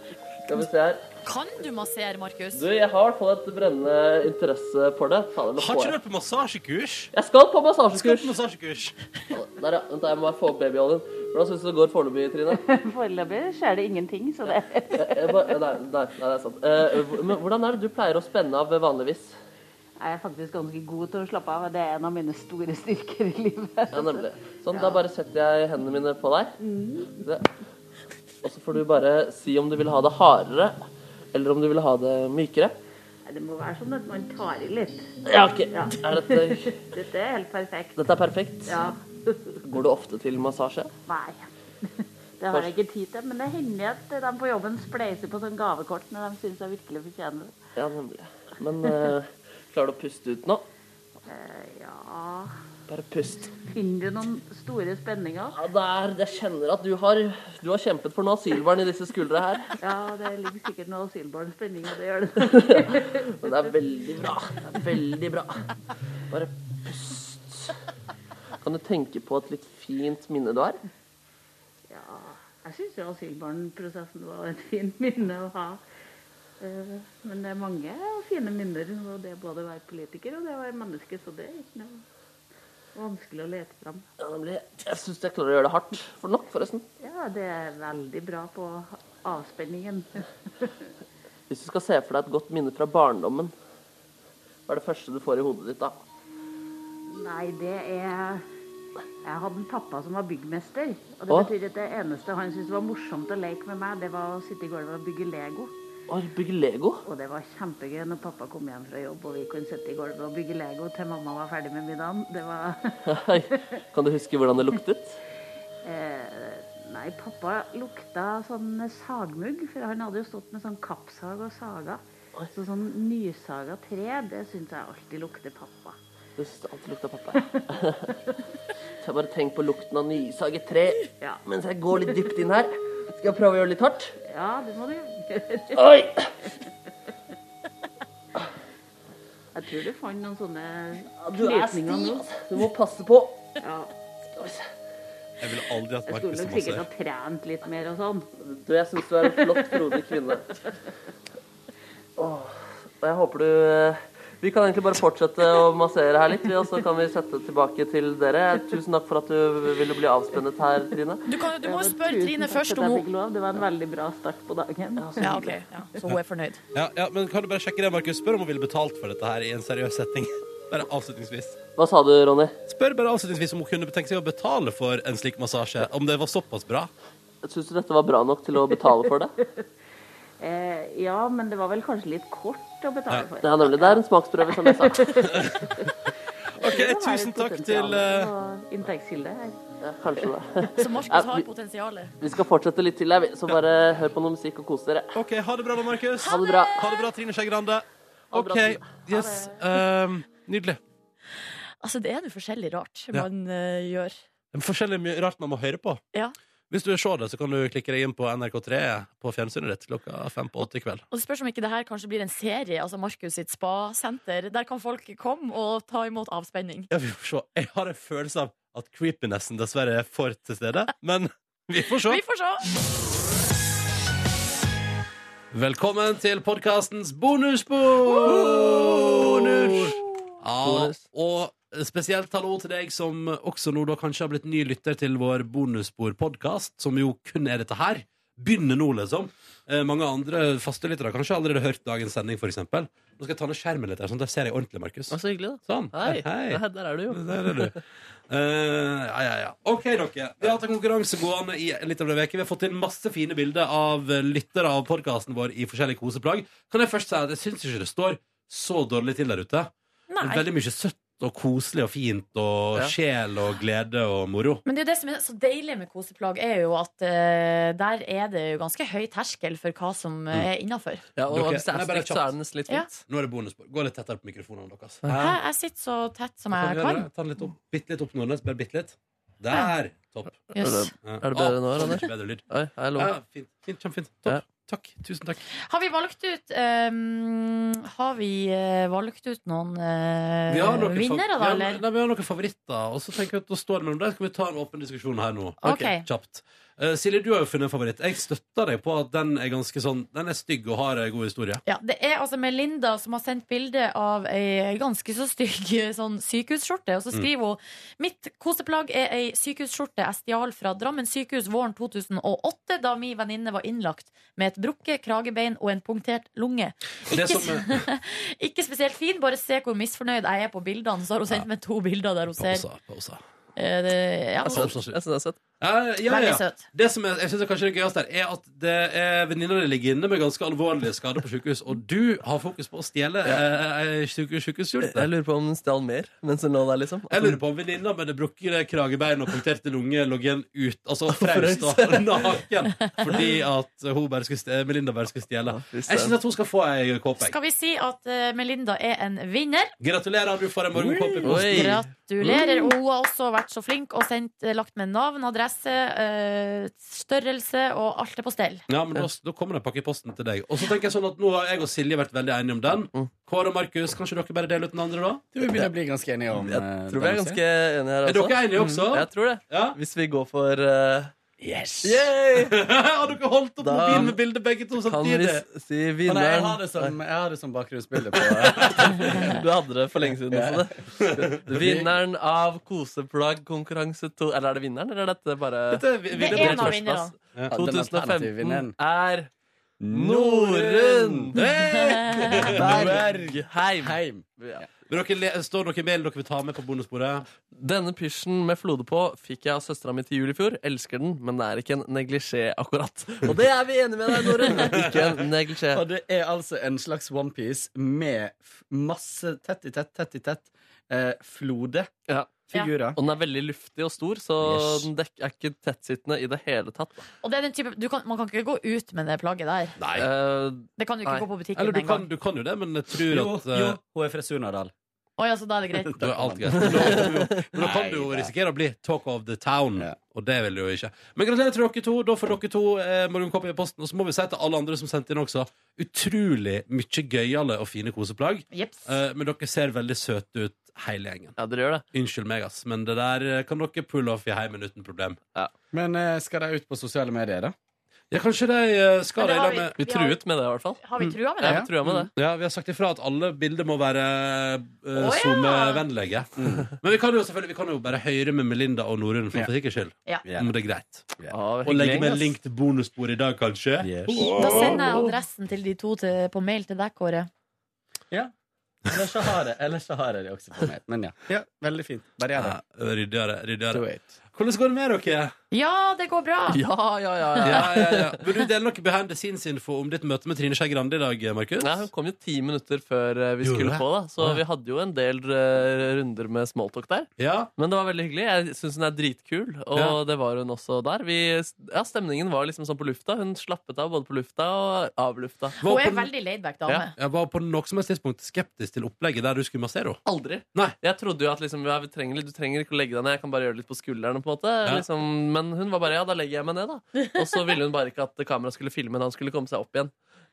Speaker 4: Skal vi se her.
Speaker 3: Kan du massere, Markus?
Speaker 4: Du, jeg har i hvert fall et brennende interesse for det. Fader, nå
Speaker 2: Har
Speaker 4: får
Speaker 2: ikke du
Speaker 4: jeg
Speaker 2: vært på massasjekurs?
Speaker 4: Jeg skal på
Speaker 2: Skal
Speaker 4: massasjekurs.
Speaker 2: på massasjekurs.
Speaker 4: Der, ja. Vent, da, jeg må bare få opp babyoljen. Hvordan syns du det går foreløpig, Trine?
Speaker 12: Foreløpig skjer det ingenting, så det
Speaker 4: Jeg bare, eh, nei, nei, nei, det er sant. Eh, hvor- men hvordan er det du pleier å spenne av vanligvis?
Speaker 12: Jeg er faktisk ganske god til å slappe av. Det er en av mine store styrker i livet.
Speaker 4: Ja, nemlig. Sånn, da bare setter jeg hendene mine på deg. Det. Og så får du bare si om du vil ha det hardere, eller om du vil ha det mykere.
Speaker 12: Nei, Det må være sånn at man tar i litt.
Speaker 4: Ja, ok. Er dette,
Speaker 12: Dette er helt perfekt.
Speaker 4: dette er perfekt.
Speaker 12: Ja.
Speaker 4: Går du ofte til massasje?
Speaker 12: Nei. Det har jeg ikke tid til, men det hender at de på jobben spleiser på sånn gavekort når de syns jeg virkelig fortjener det.
Speaker 4: Ja, nemlig. Men eh, klarer du å puste ut nå?
Speaker 12: Eh, ja
Speaker 13: Bare pust.
Speaker 12: Finner du noen store spenninger?
Speaker 13: Ja, der, jeg kjenner at du har, du har kjempet for noen asylbarn i disse skuldre her.
Speaker 12: Ja, det ligger sikkert noe asylbarnspenning i det. gjør
Speaker 13: Men det er veldig bra. Det er veldig bra. Bare pust. Kan du tenke på et litt fint minne du har?
Speaker 12: Ja, jeg syns jo asylbarnprosessen var et fint minne å ha. Eh, Men det er mange fine minner. Og det er både å være politiker og det å være menneske, så det er ikke noe vanskelig å lete fram.
Speaker 13: Ja, nemlig. Jeg syns jeg klarer å gjøre det hardt for nok, forresten.
Speaker 12: Ja, det er veldig bra på avspenningen.
Speaker 13: Hvis du skal se for deg et godt minne fra barndommen, hva er det første du får i hodet ditt da?
Speaker 12: Nei, det er Jeg hadde en pappa som var byggmester. Og det
Speaker 13: Å?
Speaker 12: betyr at det eneste han syntes var morsomt å leke med meg, det var å sitte i gulvet og bygge Lego.
Speaker 13: Å, bygge Lego?
Speaker 12: Og det var kjempegøy når pappa kom hjem fra jobb og vi kunne sitte i gulvet og bygge Lego til mamma var ferdig med middagen. Det var
Speaker 13: Hei. Kan du huske hvordan det luktet?
Speaker 12: eh, Nei, pappa lukta sånn sagmugg, for han hadde jo stått med sånn kappsag og saga. Så sånn nysaga tre, det syns jeg alltid lukter pappa.
Speaker 13: Du syns det alltid lukta pappa. Så jeg bare tenk på lukten av nysaget tre mens jeg går litt dypt inn her. Skal jeg prøve å gjøre det litt hardt?
Speaker 12: Ja, det må du gjøre.
Speaker 13: Oi!
Speaker 12: Jeg tror du fant noen sånne
Speaker 13: du er stiv,
Speaker 12: knytninger nå.
Speaker 13: altså. Du må passe på.
Speaker 12: Ja.
Speaker 2: Jeg ville aldri
Speaker 12: Jeg
Speaker 2: hatt
Speaker 12: skulle
Speaker 2: Markus som
Speaker 12: nok sikkert ha
Speaker 2: massør.
Speaker 12: trent litt mer og sånn.
Speaker 13: Du, jeg syns du er en flott, frodig kvinne. Åh, og jeg håper du eh, Vi kan egentlig bare fortsette å massere her litt, vi, og så kan vi sette tilbake til dere. Tusen takk for at du ville bli avspennet her, Trine.
Speaker 3: Du, kan, du
Speaker 12: Ja,
Speaker 3: må
Speaker 12: men
Speaker 3: spørre
Speaker 12: tusen
Speaker 3: Trine
Speaker 12: takk
Speaker 3: først
Speaker 12: for
Speaker 3: om
Speaker 12: at jeg
Speaker 3: hun
Speaker 12: fikk lov. Det var en veldig bra start på dagen.
Speaker 3: Ja, ok. Ja. Så hun er fornøyd.
Speaker 2: Ja, ja, men kan du bare sjekke det, Markus? Spør om hun ville betalt for dette her i en seriøs setting. Bare avslutningsvis.
Speaker 13: Hva sa du, Ronny?
Speaker 2: Spør bare avslutningsvis om hun kunne tenke seg å betale for en slik massasje. Om det var såpass bra.
Speaker 13: Syns du dette var bra nok til å betale for det?
Speaker 12: Eh, ja, men det var vel kanskje litt kort å betale for.
Speaker 13: Det er nemlig det er en smaksprøve, som jeg sa.
Speaker 2: OK,
Speaker 12: tusen
Speaker 2: takk til, eh,
Speaker 12: Inntektskilde her.
Speaker 13: Kanskje det.
Speaker 3: Så Markus har potensialet.
Speaker 13: Vi skal fortsette litt til, jeg, så bare hør på noe musikk og kos dere.
Speaker 2: OK, ha det bra da, Markus.
Speaker 13: Ha det bra.
Speaker 2: Ha det bra, Trine Skei Grande.
Speaker 13: Ha det bra,
Speaker 2: OK. Yes. ehm, nydelig.
Speaker 3: Altså, det er noe forskjellig rart
Speaker 2: Ja.
Speaker 3: man eh, gjør.
Speaker 2: Det er Forskjellig mye rart man må høre på.
Speaker 3: Ja.
Speaker 2: Hvis du vil se det, så kan du klikke deg inn på NRK3 på fjernsynet ditt klokka fem på åtte i kveld.
Speaker 3: Og det spørs om ikke det her kanskje blir en serie, altså Markus sitt spasenter. Der kan folk komme og ta imot avspenning.
Speaker 2: Ja, vi får se. Jeg har en følelse av at creepinessen dessverre er for til stede, men vi får se.
Speaker 3: Vi får se.
Speaker 2: Velkommen til podkastens bonusbord! Ja, og spesielt hallo til deg som også nå da kanskje har blitt ny lytter til vår bonusbordpodkast, som jo kun er dette her. Begynner nå, liksom. Eh, mange andre fastelyttere har kanskje allerede hørt dagens sending, f.eks. Nå skal jeg ta ned skjermen litt, her, sånn at jeg ser deg ordentlig, Markus.
Speaker 13: Så hyggelig, da.
Speaker 2: Sånn.
Speaker 13: Hei.
Speaker 2: Hei.
Speaker 13: Der- Der er du jo.
Speaker 2: Der er du. Eh, ja, ja, ja. OK, dere. Vi har hatt en konkurranse gående i litt over en uke. Vi har fått inn masse fine bilder av lyttere av podkasten vår i forskjellige koseplagg. Kan jeg først si at jeg syns ikke det står så dårlig til der ute. Det er
Speaker 3: Nei.
Speaker 2: Veldig mye søtt og koselig og fint og
Speaker 3: Ja.
Speaker 2: sjel og glede og moro.
Speaker 3: Men det, er jo det som er så deilig med koseplagg, er jo at eh, der er det jo ganske høy terskel for hva som eh, er innafor.
Speaker 13: Ja, og
Speaker 2: Mm. Dere-
Speaker 13: hvis det er
Speaker 2: Nei, bare
Speaker 13: stygt, så
Speaker 2: kjapt.
Speaker 13: er det nesten litt
Speaker 3: Ja.
Speaker 13: fint.
Speaker 2: Nå er det bonusbord. Gå litt tettere på mikrofonene deres.
Speaker 3: Hæ, jeg sitter så tett som
Speaker 2: Kan
Speaker 3: jeg
Speaker 2: vi gjøre
Speaker 3: kan.
Speaker 2: det? Ta den litt opp. Bitte litt opp, Nordnes. Bare bitte litt. Der! Topp.
Speaker 3: Yes. Er det-
Speaker 13: er det bedre nå,
Speaker 2: Ah,
Speaker 13: Ronny?
Speaker 2: mye Bedre lyd.
Speaker 13: Oi, hallo.
Speaker 2: Ja, fint. fint, Kjempefint. Topp. Takk. Tusen takk.
Speaker 3: Har vi valgt ut eh, Har vi eh, valgt ut noen eh,
Speaker 2: Vi har noen
Speaker 3: vinnere, da,
Speaker 2: fav-
Speaker 3: eller?
Speaker 2: Ja, nei, vi har noen favoritter, og så tenker jeg at da står det mellom dem. Så kan vi ta en åpen diskusjon her nå.
Speaker 3: Ok. Ok.
Speaker 2: Kjapt. Eh, Silje, du har jo funnet en favoritt. Jeg støtter deg på at den er ganske sånn Den er stygg og har en god historie.
Speaker 3: Ja, det er altså Melinda som har sendt bilde av ei ganske så stygg eh, sånn sykehusskjorte. Og
Speaker 2: Mm.
Speaker 3: så skriver hun Mitt koseplagg er ei sykehusskjorte jeg stjal fra Drammen sykehus våren 2008, da mi venninne var innlagt med et brukket kragebein og en punktert lunge.
Speaker 2: Det
Speaker 3: Ikke,
Speaker 2: som
Speaker 3: ikke spesielt fin, bare se hvor misfornøyd jeg er på bildene. Så har hun sendt meg to bilder der hun ser
Speaker 2: Pausa.
Speaker 3: eh, det, ja,
Speaker 13: Jeg syns det er søtt.
Speaker 2: Altså, Ja, ja,
Speaker 3: Veldig
Speaker 2: ja.
Speaker 3: søt.
Speaker 2: Det som er, jeg synes er kanskje det gøyeste her, er at det er venninna di ligger inne med ganske alvorlige skader på sykehus, og du har fokus på å stjele eh, eh, syke- sykehushjul.
Speaker 4: Jeg lurer på om hun stjal mer mens hun lå der, liksom.
Speaker 2: Jeg lurer på om venninna med det brukne kragebein og punkterte lunge lå igjen ut, altså fraust og naken, fordi at hun bare skulle, stjele- Melinda bare skulle stjele. Jeg synes at hun skal få ei kåpe.
Speaker 3: Skal vi si at eh, Melinda er en vinner?
Speaker 2: Gratulerer, du får en morgenkåpe i posten.
Speaker 3: Gratulerer.
Speaker 4: Mm.
Speaker 3: Og hun har også vært så flink og sendt, eh, lagt med navn, adresse, eh, størrelse og alt er på stell.
Speaker 2: Ja, men da, da kommer det en pakke i posten til deg. Og så tenker jeg sånn at Nå har jeg og Silje vært veldig enige om den.
Speaker 4: Mm.
Speaker 2: Kåre og Markus, kanskje dere bare deler ut den andre, da?
Speaker 5: Vi begynner å bli ganske enige om
Speaker 2: Jeg
Speaker 5: eh,
Speaker 4: Tror vi er
Speaker 5: den
Speaker 4: ganske enige her
Speaker 2: Er
Speaker 4: også.
Speaker 2: dere enige også?
Speaker 4: Mm, Jeg tror det. Hvis vi går for eh,
Speaker 5: Yes!
Speaker 4: Yay!
Speaker 2: Har dere holdt opp mobilen med bilde begge to
Speaker 4: Kan vi
Speaker 2: samtidig?
Speaker 4: s- si
Speaker 5: Å, nei, jeg har
Speaker 4: vinneren?
Speaker 5: det som, jeg har det som bakgrunnsbilde på
Speaker 4: Du hadde det for lenge siden også, det. Vinneren av koseplagg-konkurranse to Eller er det vinneren, eller er dette bare
Speaker 2: Dette er vi- Det er vinneren. en av vinnerne.
Speaker 5: Ja, den alternative
Speaker 4: 2015
Speaker 5: vinneren.
Speaker 4: er Norun
Speaker 2: Hey!
Speaker 4: Bergheim. Ja.
Speaker 2: Vil dere le står noe mer dere vil ta med på bonusbordet?
Speaker 4: Denne pysjen med flode på fikk jeg av søstera mi til jul i fjor. Elsker den, men det er ikke en neglisjé akkurat. Og det er vi enige med deg, Norun. Ikke en neglisjé.
Speaker 5: Og det er altså en slags onepiece med f- masse tett i tett, tett i tett eh, flode. Figurer.
Speaker 4: Og den er veldig luftig og stor, så
Speaker 5: Yes.
Speaker 4: den dek er ikke tettsittende i det hele tatt.
Speaker 3: Og det er den type, du kan, man kan ikke gå ut med det plagget der.
Speaker 4: Eh,
Speaker 3: Det kan du ikke
Speaker 4: nei.
Speaker 3: gå på butikken
Speaker 2: Eller du
Speaker 3: engang.
Speaker 2: kan, du kan jo det, men jeg tror
Speaker 5: Jo,
Speaker 2: at eh,
Speaker 5: jo, hun er fra Surnadal.
Speaker 3: Oi, altså, da er det greit.
Speaker 2: Da er alt greit. Men da kan du jo- men da kan du jo risikere å bli talk of the town, og det vil du jo ikke. Men gratulerer til dere to. Da får dere to eh, morgenkopp i posten. Og så må vi si til alle andre som sendte inn også, utrolig mye gøyale og fine koseplagg.
Speaker 3: Jeps.
Speaker 2: Eh, men dere ser veldig søte ut, hele gjengen.
Speaker 4: Ja, dere gjør det.
Speaker 2: Unnskyld meg, ass, men det der eh, kan dere pulle off i heimen uten problem.
Speaker 5: Men eh, skal de ut på sosiale medier, da?
Speaker 2: Ja, kanskje de eh, skal
Speaker 5: Men det
Speaker 2: det
Speaker 5: har
Speaker 2: med
Speaker 5: vi- Vi vi har- truet
Speaker 4: med det, i hvert fall.
Speaker 3: Har vi trua med det?
Speaker 2: Ja, vi truer med det. Ja, vi har sagt ifra at alle bilder må være uh,
Speaker 3: Å, ja.
Speaker 2: SoMe-vennlige. Men vi kan jo selvfølgelig Vi kan jo bare høre med Melinda og Norun for, for sikkerhets skyld.
Speaker 3: Ja.
Speaker 2: Om det er greit.
Speaker 4: Og
Speaker 2: Og legge
Speaker 4: hyggelig,
Speaker 2: med en
Speaker 4: ass.
Speaker 2: link til bonusbord i dag, kanskje.
Speaker 3: Da sender jeg adressen til de to til, på mail til deg, Kåre.
Speaker 5: Ellers så har jeg, ellers så har jeg det også på meg. Men ja. ja veldig fint. Bare gjør det.
Speaker 2: Ja, Ryddigere. ryddigere. Hvordan går det med dere?
Speaker 3: Ja, det går bra!
Speaker 4: Ja, ja, ja.
Speaker 2: Ja, ja, ja. Vil du dele noe behind the scenes-info om ditt møte med Trine Skei Grande i dag, Markus?
Speaker 4: Nei, hun kom jo ti minutter før eh, vi
Speaker 2: Gjorde
Speaker 4: skulle
Speaker 2: det?
Speaker 4: på, da. Så
Speaker 2: Å, ja.
Speaker 4: vi hadde jo en del eh, runder med smalltalk der. Men det var veldig hyggelig. Jeg syns hun er dritkul, og
Speaker 2: Ja.
Speaker 4: det var hun også der. Vi, ja, stemningen var liksom sånn på lufta. Hun slappet av både på lufta og av lufta.
Speaker 3: Hun er veldig laidback dame.
Speaker 4: Ja.
Speaker 2: Jeg var på noe som helst tidspunkt skeptisk til opplegget der du skulle massere henne.
Speaker 4: Aldri. Jeg trodde jo at liksom, ja, vi trenger, litt- du trenger ikke å legge deg ned, jeg kan bare gjøre det litt på skulderen. på en måte
Speaker 2: Ja.
Speaker 4: liksom, Men hun var bare ja, da legger jeg meg ned, da. Og så ville hun bare ikke at kameraet skulle filme, han skulle komme seg opp igjen.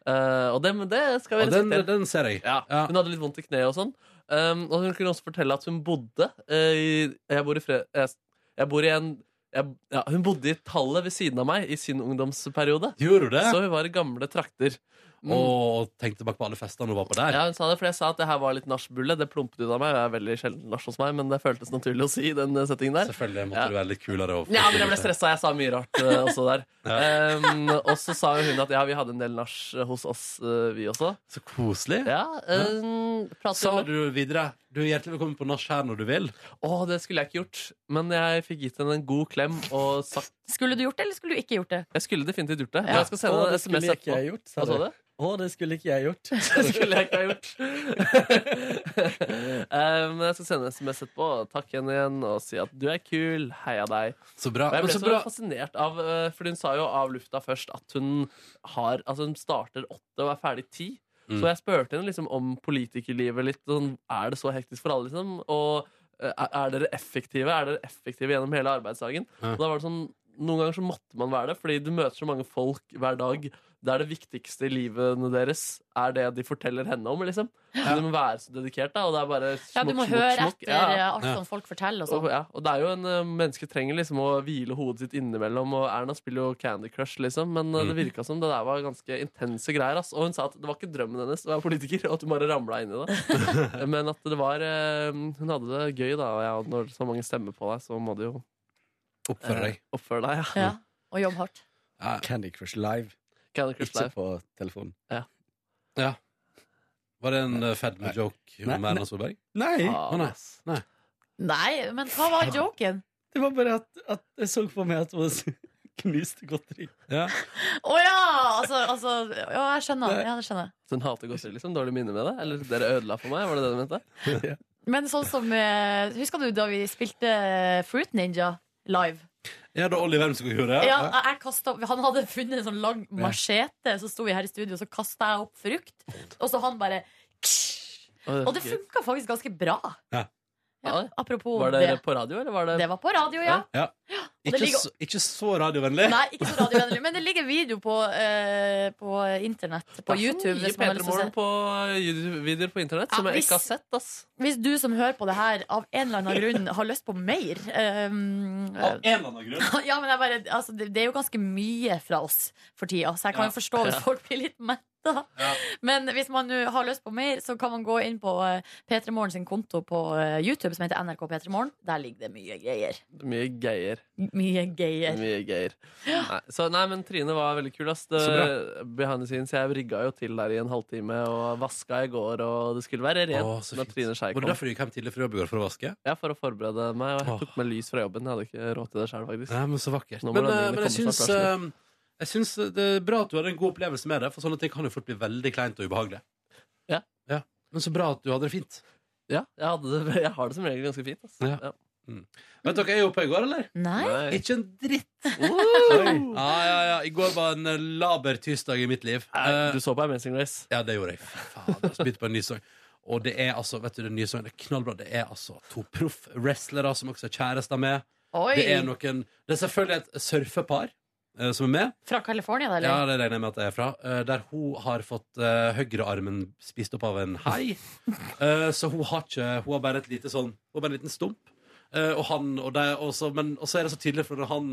Speaker 4: Eh, og det, men det skal vi
Speaker 2: Ja, den-
Speaker 4: respektere.
Speaker 2: den ser jeg.
Speaker 4: Ja. Hun hadde litt vondt i kneet og sånn. Um, og hun kunne også fortelle at hun bodde eh, i Jeg bor i Fre... Jeg, jeg bor i en jeg, ja, Hun bodde i tallet ved siden av meg i sin ungdomsperiode.
Speaker 2: Gjorde hun det?
Speaker 4: Så hun var i gamle trakter. Mm.
Speaker 2: Og tenk tilbake på alle festene hun var på der.
Speaker 4: Ja, hun sa det, for jeg sa at det her var litt nachbulle. Det plumpet ut av meg. og Jeg er veldig sjelden nach hos meg, men det føltes naturlig å si i den eh, settingen der.
Speaker 2: Selvfølgelig måtte du være litt kulere. og-
Speaker 4: Ja, men jeg ble stressa. Jeg sa mye rart eh, også der. Um, og så sa jo hun at ja, vi hadde en del nach hos oss, eh, vi også.
Speaker 2: Så koselig.
Speaker 4: Ja, um,
Speaker 2: Sa du videre Du er hjertelig velkommen på nach her når du vil.
Speaker 4: Å, det skulle jeg ikke gjort, men jeg fikk gitt henne en god klem og sagt
Speaker 3: Skulle du gjort det, eller skulle du ikke gjort det?
Speaker 4: Jeg skulle definitivt gjort det.
Speaker 3: Ja.
Speaker 4: Men jeg skal sende
Speaker 5: Å,
Speaker 4: en
Speaker 5: det skulle
Speaker 4: SMS
Speaker 5: ikke jeg gjort, sa
Speaker 4: Hva sa
Speaker 5: du.
Speaker 4: du?
Speaker 5: Å, det skulle ikke jeg gjort.
Speaker 4: Det skulle jeg ikke ha gjort. Eh, Men jeg skal sende en SMS etterpå og takke henne igjen og si at du er kul. Heia deg.
Speaker 2: Så bra.
Speaker 4: Og jeg
Speaker 2: Men
Speaker 4: ble
Speaker 2: så
Speaker 4: så,
Speaker 2: bra.
Speaker 4: fascinert av eh, For hun sa jo av lufta først at hun har Altså hun starter åtte og er ferdig ti.
Speaker 2: Mm.
Speaker 4: Så jeg spurte henne liksom om politikerlivet litt. Sånn, er det så hektisk for alle, liksom? Og eh, er er dere effektive? Er dere effektive gjennom hele arbeidsdagen?
Speaker 2: Ja.
Speaker 4: Og da var det sånn noen ganger så måtte man være det, fordi du møter så mange folk hver dag. Det er det viktigste i livene deres, er det de forteller henne om. liksom. Så du må være så dedikert, da. Og det er bare smokk,
Speaker 3: Ja, du må
Speaker 4: smokk,
Speaker 3: høre
Speaker 4: smokk.
Speaker 3: etter eh, alt som folk forteller og
Speaker 4: Og,
Speaker 3: sånn.
Speaker 4: ja, og det er jo en eh, menneske trenger liksom å hvile hodet sitt innimellom, og Erna spiller jo Candy Crush, liksom, men eh, det
Speaker 2: Mm.
Speaker 4: virka som det der var ganske intense greier. Ass. Og hun sa at det var ikke drømmen hennes å være politiker, og at hun bare ramla inn i det. men at det var eh, Hun hadde det gøy, da, og ja, når så mange stemmer på deg, så må du jo
Speaker 2: Oppføre deg.
Speaker 4: Eh, oppføre deg, ja.
Speaker 3: Ja. Og jobb hardt.
Speaker 5: Candy Crush Live.
Speaker 4: Candy Crush
Speaker 5: ikke
Speaker 4: Live.
Speaker 5: på telefonen.
Speaker 4: Ja.
Speaker 2: Ja. Var det en uh, fedme-joke om
Speaker 5: Nei.
Speaker 2: Erna Solberg?
Speaker 5: Nei.
Speaker 2: Å, nei. nei.
Speaker 3: Nei, men hva var joken?
Speaker 5: Det var bare at, at jeg så for meg at det var knuste godteri.
Speaker 2: Ja.
Speaker 3: Å ja! Altså, altså Ja, jeg skjønner. Ja, det skjønner. jeg.
Speaker 4: Så hun hater godteri, liksom? Dårlig minne med det? Eller dere ødela for meg? Var det det du mente?
Speaker 3: Men sånn som eh, Husker du da vi spilte Fruit Ninja live?
Speaker 2: Ja, da Olli Wermskog gjorde
Speaker 3: Ja,
Speaker 2: det?
Speaker 3: jeg kastet, Han hadde funnet en sånn lang machete, så sto vi her i studio, så kasta jeg opp frukt. Og så han bare
Speaker 2: eh,
Speaker 3: Og det funka faktisk ganske bra.
Speaker 2: Ja.
Speaker 3: Ja, apropos
Speaker 4: Var
Speaker 3: det.
Speaker 4: det på radio, eller var det
Speaker 3: Det var på radio, ja.
Speaker 2: Ja.
Speaker 3: Og det
Speaker 2: Ikke,
Speaker 3: ligger-
Speaker 2: så, ikke så radiovennlig.
Speaker 3: Nei, ikke så radiovennlig. Men det ligger video på, eh, på internett, på YouTube.
Speaker 4: Gi
Speaker 3: Hvis, man har lyst til å se.
Speaker 4: P3morgen på YouTube- videoer på internett som
Speaker 3: Ja,
Speaker 4: jeg
Speaker 3: hvis-
Speaker 4: ikke har sett. ass
Speaker 3: hvis du som hører på det her, av en eller annen grunn har lyst på mer Av
Speaker 2: eller annen grunn?
Speaker 3: Ja, men jeg bare, altså, det, det er jo ganske mye fra oss for tida, så jeg kan
Speaker 14: Ja.
Speaker 3: jo forstå
Speaker 14: Ja.
Speaker 3: hvis folk blir litt metta. Men hvis man nå har lyst på mer, så kan man gå inn på eh, P3 Morgen sin konto på eh, YouTube som heter NRK P3 Morgen. Der ligger det mye greier.
Speaker 4: Mye geier.
Speaker 3: Mye geier.
Speaker 4: Mye geier. Nei, så, nei, men Trine var veldig kul, ass. Det,
Speaker 2: Så
Speaker 4: behind the scenes, jeg rigga jo til der i en halvtime og vaska i går, og det skulle være rent
Speaker 2: Å, så
Speaker 4: når Trine Skei
Speaker 2: Var
Speaker 4: kom.
Speaker 2: det derfor du gikk hjem tidlig fra jobb i går for å vaske?
Speaker 4: Ja, for å forberede meg. Og jeg tok med lys fra jobben. Jeg hadde ikke råd til det sjøl, faktisk.
Speaker 2: Nei, men så vakkert.
Speaker 4: Nå må
Speaker 2: Men,
Speaker 4: Daniele
Speaker 2: eh, men jeg
Speaker 4: komme seg
Speaker 2: syns,
Speaker 4: fra
Speaker 2: eh, jeg syns det er bra at du hadde en god opplevelse med det, for sånne ting kan jo fort bli veldig kleint og ubehagelig.
Speaker 4: Ja.
Speaker 2: Men så bra at du hadde det fint.
Speaker 4: Ja, jeg, hadde det, jeg har det som regel ganske fint. ass.
Speaker 2: Ja. Mm. Vet dere hva jeg gjorde på i går, eller?
Speaker 3: altså. Nei.
Speaker 2: Ikke en dritt.
Speaker 4: Oi.
Speaker 2: Ja, ja, ja. I går var en eh, laber tirsdag i mitt liv. Eh,
Speaker 4: Du så på Amazing Race?
Speaker 2: Ja, det gjorde jeg. Fy Faen, jeg har begynt på en ny sang. Og det er altså, vet du, den nye sangen det er knallbra. Det er altså to proff wrestlere som også er kjærester med.
Speaker 3: Oi.
Speaker 2: Det er noen Det er selvfølgelig et surfepar eh, som er med.
Speaker 3: Fra California, da,
Speaker 2: Ja,
Speaker 3: eller?
Speaker 2: det regner jeg med at det er fra. Eh, der hun har fått eh, høyrearmen spist opp av en hai. Eh, så hun har ikke Hun har bare et lite sånn Hun har bare en liten stump. Eh, og han og det, og så- men, og så er det så tydelig, for når han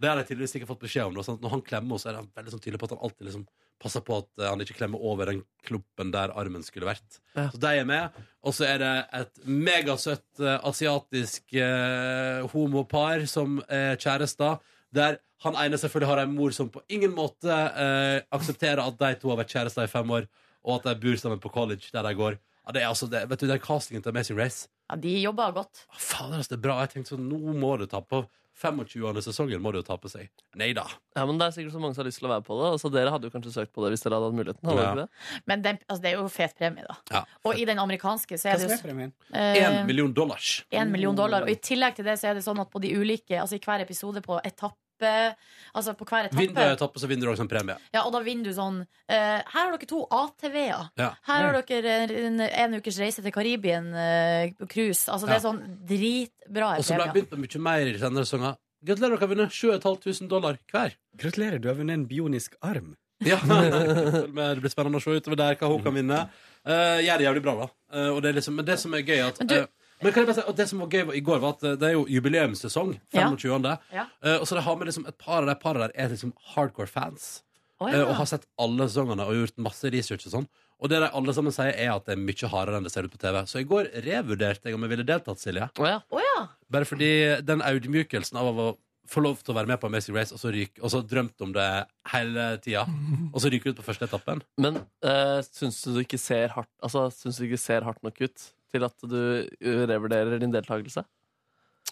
Speaker 2: Det har jeg tydeligvis ikke fått beskjed om. Da, sånn at når han klemmer, så er han veldig sånn tydelig på at han alltid liksom passer på at eh, han ikke klemmer over den klumpen der armen skulle vært. Så de er med. Og så er det et megasøtt eh, asiatisk eh, homopar som er kjærester, der han ene selvfølgelig har en mor som på ingen måte eh, aksepterer at de to har vært kjærester i fem år, og at de bor sammen på college der de går. Ja, det er altså, det, vet du, den castingen til Amazing Race
Speaker 3: Ja, de jobber godt.
Speaker 2: Fader, altså, det er bra. Jeg tenkte sånn, nå må du tappe. 25. sesongen må du jo tape seg. Nei da.
Speaker 4: Ja, men Det er sikkert så mange som har lyst til å være på det. Så dere hadde jo kanskje søkt på det hvis dere hadde hatt muligheten. Hadde
Speaker 2: Ja.
Speaker 4: dere ikke det?
Speaker 3: Men den, altså, det er jo fet premie, da.
Speaker 2: Ja.
Speaker 3: Og i den amerikanske så er det jo
Speaker 2: Én
Speaker 3: Eh,
Speaker 2: million dollars.
Speaker 3: En million dollar. Og i tillegg til det så er det sånn at på de ulike, altså i hver episode på etappe Altså på hver
Speaker 2: Vinner du
Speaker 3: etappe
Speaker 2: etappe, så vinner du også en premie.
Speaker 3: ja, og da vinner du sånn eh, Her har dere to ATV-er.
Speaker 2: Ja.
Speaker 3: Her har dere en, en ukes reise til Karibien, eh, cruise. Altså, det er
Speaker 2: Ja.
Speaker 3: sånn dritbra
Speaker 2: Og så ble jeg
Speaker 3: premie.
Speaker 2: begynt med mye mer i senere sesonger. Gratulerer, dere har vunnet 7500 dollar hver.
Speaker 5: Gratulerer, du har vunnet en bionisk arm.
Speaker 2: Ja, Følg med, Det blir spennende å se utover der hva hun kan vinne. Uh, gjør det jævlig bra, da. Eh, og det er liksom, men det som er gøy at, eh, men kan jeg bare si, og det som var gøy var- i går, var at eh, det er jo jubileumssesong. 25.
Speaker 14: Ja.
Speaker 2: Eh, og så det har med liksom et par av de parene der er liksom hardcore fans.
Speaker 14: Å, ja.
Speaker 2: Eh, og har sett alle sesongene og gjort masse research og sånn. Og det de alle sammen sier, er at det er mye hardere enn det ser ut på TV. Så i går revurderte jeg om jeg ville deltatt, Silje. Bare fordi den audmykelsen av å få lov til å være med på Amazing Race, og så, ryk, og så drømt om det hele tida, og så ryker du ut på første etappen.
Speaker 4: Men uh, syns du du ikke ser hardt Altså, syns du ikke ser hardt nok ut til at du eh, revurderer din deltakelse?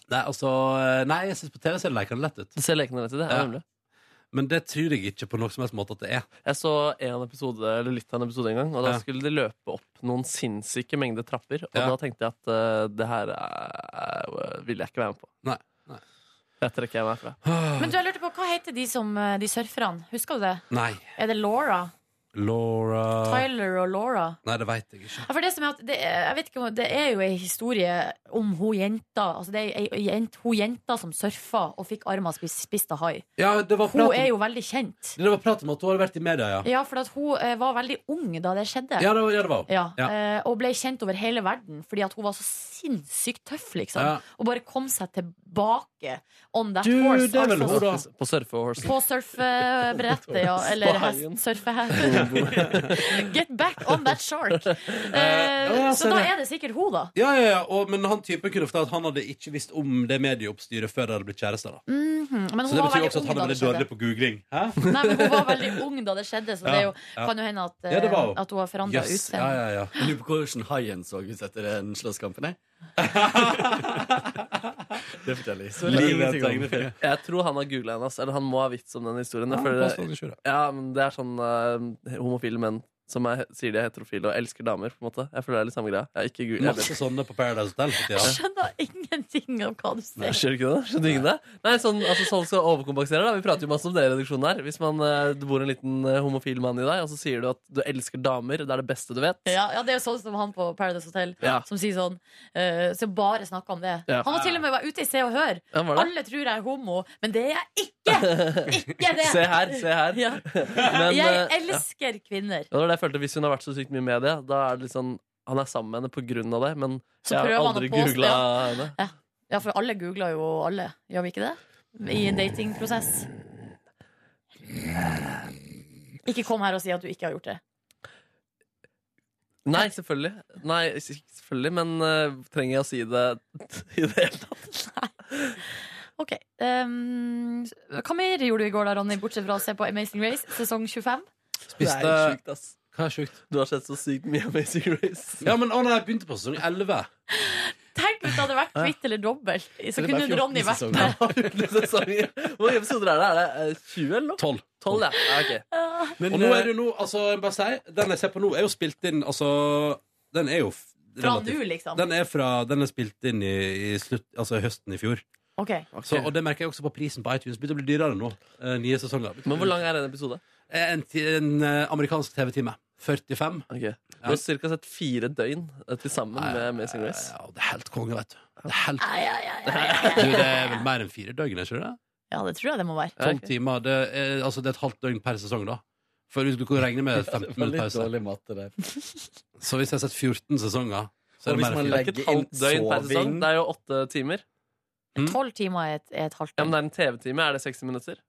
Speaker 2: Nei, altså Nei, jeg syns på TV ser lekene lett ut.
Speaker 4: Det ser lekene lett ut, det er
Speaker 2: Ja.
Speaker 4: nemlig.
Speaker 2: Men det tror jeg ikke på noen som helst måte at det er.
Speaker 4: Jeg så en episode, eller litt av en episode en gang, og da
Speaker 2: Ja.
Speaker 4: skulle de løpe opp noen sinnssyke mengder trapper. Og
Speaker 2: Ja.
Speaker 4: da tenkte jeg at eh, det her eh, vil jeg ikke være med på.
Speaker 2: Nei.
Speaker 4: Det trekker jeg meg fra.
Speaker 3: Men du, jeg lurte på, hva heter de som eh, De surferne? Husker du det?
Speaker 2: Nei.
Speaker 3: Er det Laura?
Speaker 2: Laura
Speaker 3: Tyler og Laura?
Speaker 2: Nei, det veit jeg ikke.
Speaker 3: Ja, for det som er at det, er- jeg vet ikke om, det er jo ei historie om hun jenta Altså det er ei- ei jent, hun jenta som surfa og fikk armen spist, spist av hai.
Speaker 2: Ja, det var
Speaker 3: Hun
Speaker 2: prat
Speaker 3: er
Speaker 2: om,
Speaker 3: jo veldig kjent.
Speaker 2: det var prat om at hun hadde vært i media, ja.
Speaker 3: Ja, for at hun eh, var veldig ung da det skjedde.
Speaker 2: Ja, det var- ja, det var hun.
Speaker 3: Ja,
Speaker 2: Ja.
Speaker 3: eh, Og ble kjent over hele verden fordi at hun var så sinnssykt tøff, liksom.
Speaker 4: Ja.
Speaker 3: Og bare kom seg tilbake on that
Speaker 4: Du,
Speaker 3: horse.
Speaker 4: det er vel
Speaker 3: altså.
Speaker 4: hun, da. På surfehorsen.
Speaker 3: På surfebrettet, ja. Eller hest, surfehest. Get back on that shark.
Speaker 2: ja,
Speaker 3: Eh,
Speaker 2: jeg
Speaker 3: så
Speaker 2: ser
Speaker 3: da
Speaker 2: det.
Speaker 3: er det sikkert hun, da.
Speaker 2: Ja, ja, ja. Og, men han typen kunne fortalt at han hadde ikke visst om det medieoppstyret før de hadde blitt kjærester. da.
Speaker 3: Mhm, Men
Speaker 2: Så
Speaker 3: hun
Speaker 2: det
Speaker 3: var
Speaker 2: betyr
Speaker 3: veldig
Speaker 2: jo også at
Speaker 3: ung
Speaker 2: han
Speaker 3: da
Speaker 2: er
Speaker 3: det
Speaker 2: veldig dårlig
Speaker 3: skjedde.
Speaker 2: på googling. Hæ?
Speaker 3: Nei, men hun var veldig ung da det skjedde, så det er jo,
Speaker 5: Ja, ja.
Speaker 3: kan jo hende at eh,
Speaker 5: Ja, det var hun.
Speaker 3: At hun har forandra utseende.
Speaker 5: Jeg lurer på hvordan haien så ut etter den slåsskampen. jeg. det forteller jeg. Så
Speaker 2: Livet er en tegnefilm.
Speaker 4: Jeg tror han har googla henne. ass. Eller han må ha vits om den historien.
Speaker 2: Ja,
Speaker 4: Jeg føler-
Speaker 2: påstå det selv,
Speaker 4: ja, men det er sånn eh, homofile menn som er, sier de er heterofile og elsker damer. på en måte Jeg føler det er litt samme greia. Jeg har ikke googlet- jeg
Speaker 2: Masse
Speaker 4: vet-
Speaker 2: sånne på Paradise Hotel. for tida.
Speaker 3: Jeg skjønner ingenting av hva du
Speaker 4: Nei,
Speaker 3: sier.
Speaker 4: skjønner du ikke det? Skjønner du ikke det? Nei, sånn, altså, sånn skal overkompensere da. Vi prater jo masse om det i redaksjonen her. Hvis man, eh, det bor en liten eh, homofil mann i deg, og så sier du at du elsker damer, det er det beste du vet.
Speaker 3: Ja, ja, det er jo sånn som han på Paradise Hotel
Speaker 4: Ja.
Speaker 3: som sier sånn eh, Som bare snakker om det.
Speaker 4: Ja.
Speaker 3: Han var til og med var ute i Se og Hør.
Speaker 4: Ja, var det?
Speaker 3: Alle tror jeg er homo, men det er jeg ikke! Ikke det!
Speaker 4: Se her, se her. Men,
Speaker 3: jeg
Speaker 4: eh, ja.
Speaker 3: elsker kvinner.
Speaker 4: Ja, det var det jeg følte, Hvis hun har vært så sykt mye i media, da er det litt sånn Han er sammen med henne på grunn av det, men
Speaker 3: Så
Speaker 4: jeg har
Speaker 3: prøver han
Speaker 4: aldri
Speaker 3: å påstå-
Speaker 4: googla henne.
Speaker 3: Ja. ja, for alle googler jo alle, gjør vi ikke det? I en datingprosess. Ikke kom her og si at du ikke har gjort det.
Speaker 4: Nei, selvfølgelig. Nei, s- selvfølgelig, Men eh, trenger jeg å si det i det hele tatt?
Speaker 3: Ok ehm, Hva mer gjorde du i går, da, Ronny, bortsett fra å se på Amazing Race sesong 25?
Speaker 4: Det er helt sjukt, ass.
Speaker 2: Hva er sjukt?
Speaker 4: Du har sett så sykt mye Amazing Race.
Speaker 2: Ja, men å nei, jeg begynte på sesong 11.
Speaker 3: Tenk hvis det hadde vært kvitt eller dobbelt, så kunne Ronny vært med.
Speaker 4: Hvor mange episoder er det? Er det? eh, 20 eller noe?
Speaker 2: 12.
Speaker 4: 12 ja. Ja, ok.
Speaker 3: Ah.
Speaker 4: eh,
Speaker 2: Men, og nå er det jo nå, altså, jeg bare sier, den jeg ser på nå, er jo spilt inn Altså, den er jo f-
Speaker 3: Fra
Speaker 2: relativt-
Speaker 3: nå, liksom?
Speaker 2: Den er, fra, den er spilt inn i, i slutt, altså, i høsten i fjor.
Speaker 3: Ok
Speaker 2: Så, og det merker jeg også på prisen på iTunes. Begynte å bli dyrere nå. eh, Nye sesonger.
Speaker 4: Men hvor lang er en episode?
Speaker 2: En, ti- en eh, amerikansk TV-time. 45.
Speaker 4: Du har cirka sett fire døgn eh, til sammen med Amazing Race.
Speaker 2: Ja, det er helt konge, vet du. Det er helt Du, det er vel mer enn fire døgn, er ikke det?
Speaker 3: Ja, det tror jeg det må være.
Speaker 2: Tolv timer. Det er, altså, det er et halvt døgn per sesong, da. For du kan regne med 15
Speaker 5: var
Speaker 2: minutter
Speaker 5: litt
Speaker 2: pause.
Speaker 5: dårlig matte der.
Speaker 2: Så hvis jeg har sett 14 sesonger, så
Speaker 4: Og
Speaker 2: er det
Speaker 4: hvis
Speaker 2: mer
Speaker 4: man
Speaker 2: enn
Speaker 4: legger Det er ikke et halvt inn døgn per sesong, soving. det er jo åtte timer. Mm.
Speaker 3: Tolv timer er et, er et halvt
Speaker 4: Ja, men
Speaker 3: døgn.
Speaker 4: det er en TV-time. Er det 60 minutter?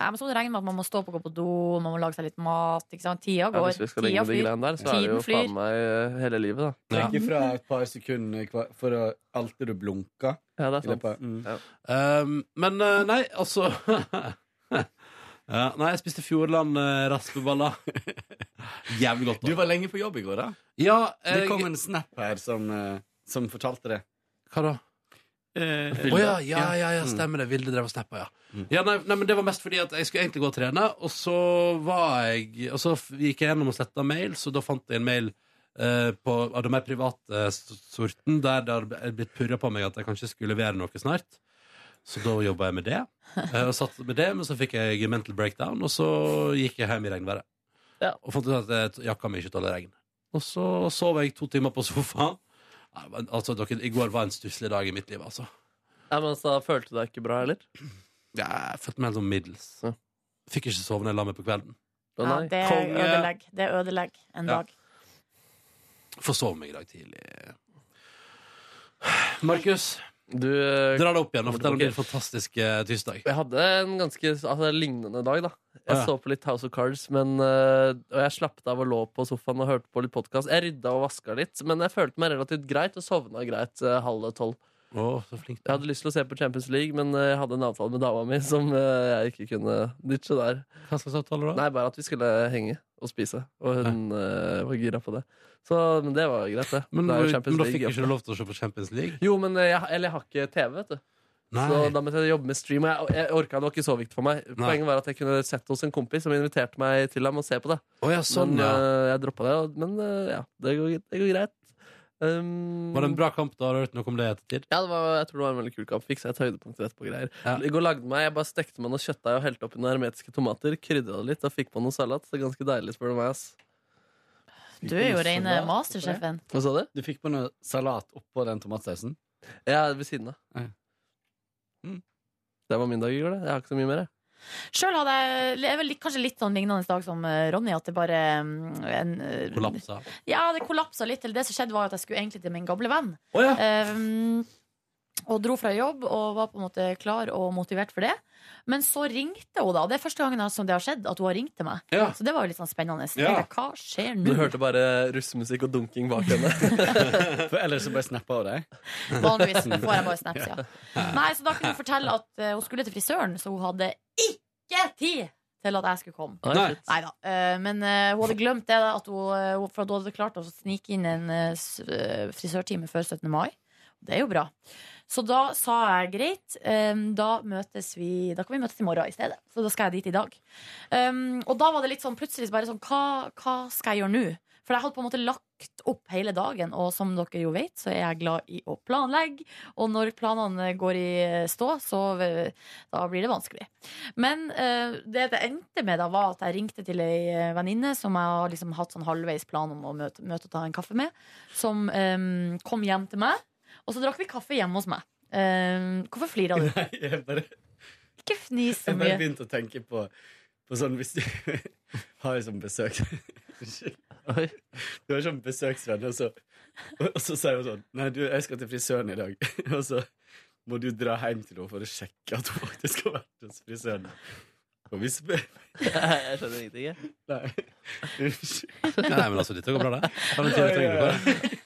Speaker 3: Ja, men så må du regne med at man må stå opp og gå på do, man må lage seg litt mat. Ikke sant? Tida
Speaker 4: Ja,
Speaker 3: går.
Speaker 4: hvis vi skal
Speaker 3: Tida
Speaker 4: legge med de
Speaker 3: flyr.
Speaker 4: greiene der, så er det jo
Speaker 3: Tiden
Speaker 4: faen
Speaker 3: flyr.
Speaker 4: meg eh, hele livet, da.
Speaker 5: Trekke fra et par sekunder hva- for å alltid du blunker.
Speaker 4: Ja, det
Speaker 5: I løpet av-
Speaker 4: Mm.
Speaker 2: Um, men eh, nei, altså ja, Nei, jeg spiste Fjordland eh, raspeballer. Jævlig godt.
Speaker 5: Du var lenge på jobb i går, da.
Speaker 2: Ja, eh,
Speaker 5: Det
Speaker 2: jeg-
Speaker 5: kom en snap her som, eh, som fortalte det.
Speaker 2: Hva da? Å ja, Eh, ja, ja, ja, stemmer det. Vilde drev og snappa, ja. ja nei, nei, men Det var mest fordi at jeg skulle egentlig gå og trene, og så var jeg Og så f- gikk jeg gjennom og sletta mail, så da fant jeg en mail eh, på, av den mer private eh, s- sorten, der det hadde blitt purra på meg at jeg kanskje skulle levere noe snart. Så da jobba jeg med det, eh, og satt med det, men så fikk jeg mental breakdown, og så gikk jeg hjem i regnværet. Og fant ut at eh, jakka mi ikke tåler regn. Og så sov jeg to timer på sofaen. Nei, men Altså, dere, I går var en stusslig dag i mitt liv, altså.
Speaker 4: Ja, men altså, Følte du deg ikke bra, eller?
Speaker 2: Ja, jeg følte meg helt sånn middels. Fikk ikke sove når jeg la meg på kvelden. eh,
Speaker 3: Ja, det ødelegger. Det ødelegger en
Speaker 2: Ja.
Speaker 3: dag.
Speaker 2: Forsov meg i dag tidlig. Markus,
Speaker 4: du eh,
Speaker 2: dra deg opp igjen og
Speaker 4: kommer
Speaker 2: fortell om
Speaker 4: tilbake.
Speaker 2: din fantastiske eh, tirsdag.
Speaker 4: Jeg hadde en ganske altså, lignende dag, da. Jeg
Speaker 2: Å, ja.
Speaker 4: så på litt House of Cards, men, eh, og jeg slappet av og lå på sofaen og hørte på litt podkast. Jeg rydda og vaska litt, men jeg følte meg relativt greit og sovna greit eh, halv tolv.
Speaker 2: Å, så flink
Speaker 4: Jeg hadde lyst til å se på Champions League, men eh, jeg hadde en avtale med dama mi som eh, jeg ikke kunne ditche der.
Speaker 2: Hva slags avtale da?
Speaker 4: Nei, Bare at vi skulle henge og spise, og hun eh, var gira på det. Så, men det var jo greit, det.
Speaker 2: Men,
Speaker 4: Det er jo
Speaker 2: men,
Speaker 4: Champions
Speaker 2: da
Speaker 4: League,
Speaker 2: fikk
Speaker 4: ja.
Speaker 2: ikke du lov til å se på Champions League?
Speaker 4: Jo, men eh, jeg, eller jeg har ikke TV, vet du.
Speaker 2: Nei.
Speaker 4: Så da måtte jeg jobbe med stream. Og jeg, jeg orka, det var ikke så viktig for meg. Poenget var at jeg kunne sett hos en kompis som inviterte meg til ham og se på det.
Speaker 2: Å ja, sånn,
Speaker 4: men
Speaker 2: ja.
Speaker 4: eh, jeg droppa det, og- men eh, ja, det går, det går greit. Um,
Speaker 2: Var det en bra kamp? da? Har du hørt noe om det i ettertid?
Speaker 4: Ja, det var, jeg tror det var en veldig kul kamp. Fikk seg et høydepunkt etterpå. og greier I går lagde meg, Jeg bare stekte meg noe kjøttdeig og helte oppi noen hermetiske tomater. Krydra det litt og fikk på noe salat. Så det er ganske deilig, spør du meg. ass
Speaker 3: Du er jo eh, rene mastersjefen.
Speaker 4: Hva sa du?
Speaker 5: Du fikk på noe salat oppå den tomatsausen.
Speaker 4: Ja, ved siden av. Mm. Det var min dag i går, det. Jeg har ikke så mye mer, jeg.
Speaker 3: Sjøl hadde jeg det er vel litt, kanskje litt sånn lignende dag som eh, Ronny, at det bare mm, en, eh,
Speaker 2: Kollapsa.
Speaker 4: altså.
Speaker 3: Ja, det kollapsa litt. Eller det som skjedde, var at jeg skulle egentlig til min gamle venn.
Speaker 2: Å ja.
Speaker 3: Ehm, og dro fra jobb og var på en måte klar og motivert for det. Men så ringte hun, da. Og det er første gangen som det har skjedd, at hun har ringt til meg.
Speaker 4: Ja.
Speaker 3: Så det var jo litt sånn spennende. Så
Speaker 4: Ja.
Speaker 3: tenkte jeg, Hva skjer
Speaker 4: Du
Speaker 3: nå?
Speaker 4: hørte bare russemusikk og dunking bak henne.
Speaker 5: For ellers så bare snappa av deg.
Speaker 3: Vanligvis får jeg bare snaps, ja. Nei, så da kunne hun fortelle at eh, hun skulle til frisøren, så hun hadde ikke tid til at jeg skulle komme.
Speaker 14: Nei.
Speaker 3: Neida. Eh, men eh, hun hadde glemt det, da, at hun, eh, hun- for at hun hadde klart å snike inn en eh, s- eh, frisørtime før 17. mai. Det er jo bra. Så da sa jeg greit, ehm, da møtes vi Da kan vi møtes i morgen i stedet. Så da skal jeg dit i dag. Ehm, og da var det litt sånn plutselig bare sånn hva, hva skal jeg gjøre nå? For jeg hadde på en måte lagt opp hele dagen, og som dere jo vet, så er jeg glad i å planlegge. Og når planene går i stå, så eh, da blir det vanskelig. Men eh, det det endte med, da var at jeg ringte til ei eh, venninne som jeg har liksom hatt sånn halvveis plan om å møte, møte og ta en kaffe med, som eh, kom hjem til meg. Og så drakk vi kaffe hjemme hos meg. Eh, hvorfor flirer du?
Speaker 5: Nei, jeg bare,
Speaker 3: Ikke fnis så
Speaker 5: jeg bare
Speaker 3: mye.
Speaker 5: begynte å tenke på, på sånn Hvis du har sånn besøk Du har sånn besøksvenn, og så, og, og så sier hun sånn Nei, du, jeg skal til frisøren i dag. Og så må du dra hjem til henne for å sjekke at hun faktisk har vært hos frisøren. Og vi spør
Speaker 4: Jeg skjønner ingenting, jeg.
Speaker 5: Nei.
Speaker 2: Nei, men altså, dette går bra, det. Valentina, trenger du bare.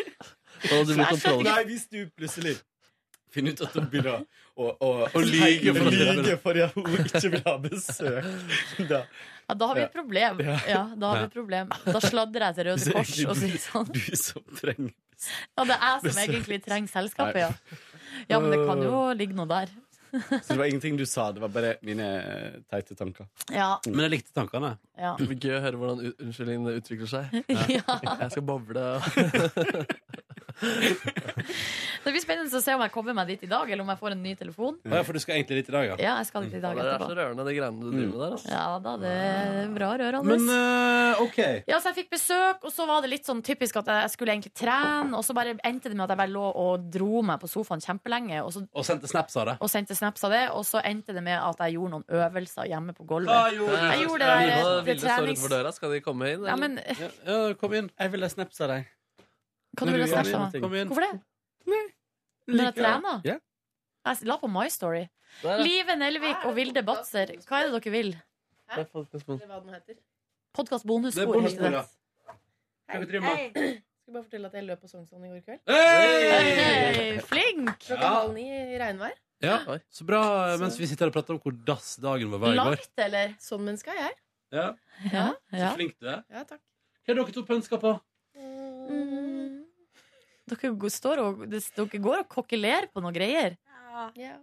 Speaker 4: Og du blir kontroll.
Speaker 5: Nei, hvis du plutselig finner ut at hun begynner å, å, å,
Speaker 4: Å lyge for at-
Speaker 5: lyge fordi hun ikke vil ha besøk, da
Speaker 3: Ja, da har vi et problem.
Speaker 5: Ja.
Speaker 3: Ja, da har vi et problem. Da sladrer jeg til Røde
Speaker 5: Så
Speaker 3: Kors
Speaker 5: egentlig
Speaker 3: og
Speaker 5: du-
Speaker 3: sier sånn.
Speaker 5: Du som trenger
Speaker 3: Ja, det er jeg som
Speaker 5: Besøk.
Speaker 3: egentlig trenger selskapet,
Speaker 5: Nei.
Speaker 3: ja. Ja, men det kan jo ligge noe der.
Speaker 5: Så det var ingenting du sa, det var bare mine eh, teite tanker.
Speaker 3: Ja.
Speaker 2: Men jeg likte tankene.
Speaker 3: Ja.
Speaker 4: Det blir gøy å høre hvordan u- unnskyldningene utvikler seg. Jeg skal bable.
Speaker 3: Det blir spennende å se om jeg kommer meg dit i dag, eller om jeg får en ny telefon.
Speaker 2: Å ja, for du skal egentlig litt i dag, ja?
Speaker 3: Ja, jeg skal dit i dag
Speaker 4: Ja, Det er
Speaker 3: etterpå.
Speaker 4: så rørende, de greiene du driver med der. Altså.
Speaker 3: Ja da, det er bra rørende.
Speaker 2: Men eh, OK.
Speaker 3: Ja, så jeg fikk besøk, og så var det litt sånn typisk at jeg skulle egentlig trene, og så bare endte det med at jeg bare lå og dro meg på sofaen kjempelenge, og, så,
Speaker 2: Og sendte snaps av det.
Speaker 3: og sendte snaps av det, og så endte det med at jeg gjorde noen øvelser hjemme på gulvet.
Speaker 2: Hva gjorde Ah, du?
Speaker 3: jeg gjorde det,
Speaker 4: Vilde
Speaker 3: der- det
Speaker 4: Vilde står
Speaker 3: trenings...
Speaker 4: utenfor døra. Skal de komme inn?
Speaker 3: Ja, men
Speaker 2: Ja, kom inn.
Speaker 5: Jeg vil ha snaps av deg.
Speaker 3: kan du
Speaker 5: Når
Speaker 3: ville
Speaker 5: du gjør
Speaker 3: snaps av
Speaker 5: sånne ting.
Speaker 3: meg?
Speaker 5: Kom inn.
Speaker 3: Hvorfor det? Når jeg
Speaker 5: Liker jeg.
Speaker 3: trener?
Speaker 5: Ja.
Speaker 3: Jeg la på My Story.
Speaker 4: Der, ja.
Speaker 3: Live Nelvik og Vilde Batzer, hva er det dere vil?
Speaker 4: Der får du spørsmål.
Speaker 14: Eller hva den heter.
Speaker 3: Podkast bonusspor. heter det.
Speaker 14: Hei.
Speaker 3: driver med?
Speaker 14: Hei. Skal bare fortelle at jeg løp på Sognsvann i går kveld.
Speaker 2: Hei!
Speaker 3: Hei, flink!
Speaker 14: Klokka
Speaker 2: Ja.
Speaker 14: halv ni i regnvær.
Speaker 2: Ja, Så bra eh, mens vi sitter her og prater om hvor dass dagen vår var i går.
Speaker 14: Langt, eller? Sånn menneske er jeg.
Speaker 2: Ja.
Speaker 3: Ja,
Speaker 2: Så flink du er.
Speaker 14: Ja, takk.
Speaker 2: Hva er dere to pønska på?
Speaker 14: Mm-hmm.
Speaker 3: Dere g- står og, det- dere går og kokkelerer på noen greier.
Speaker 14: Ja.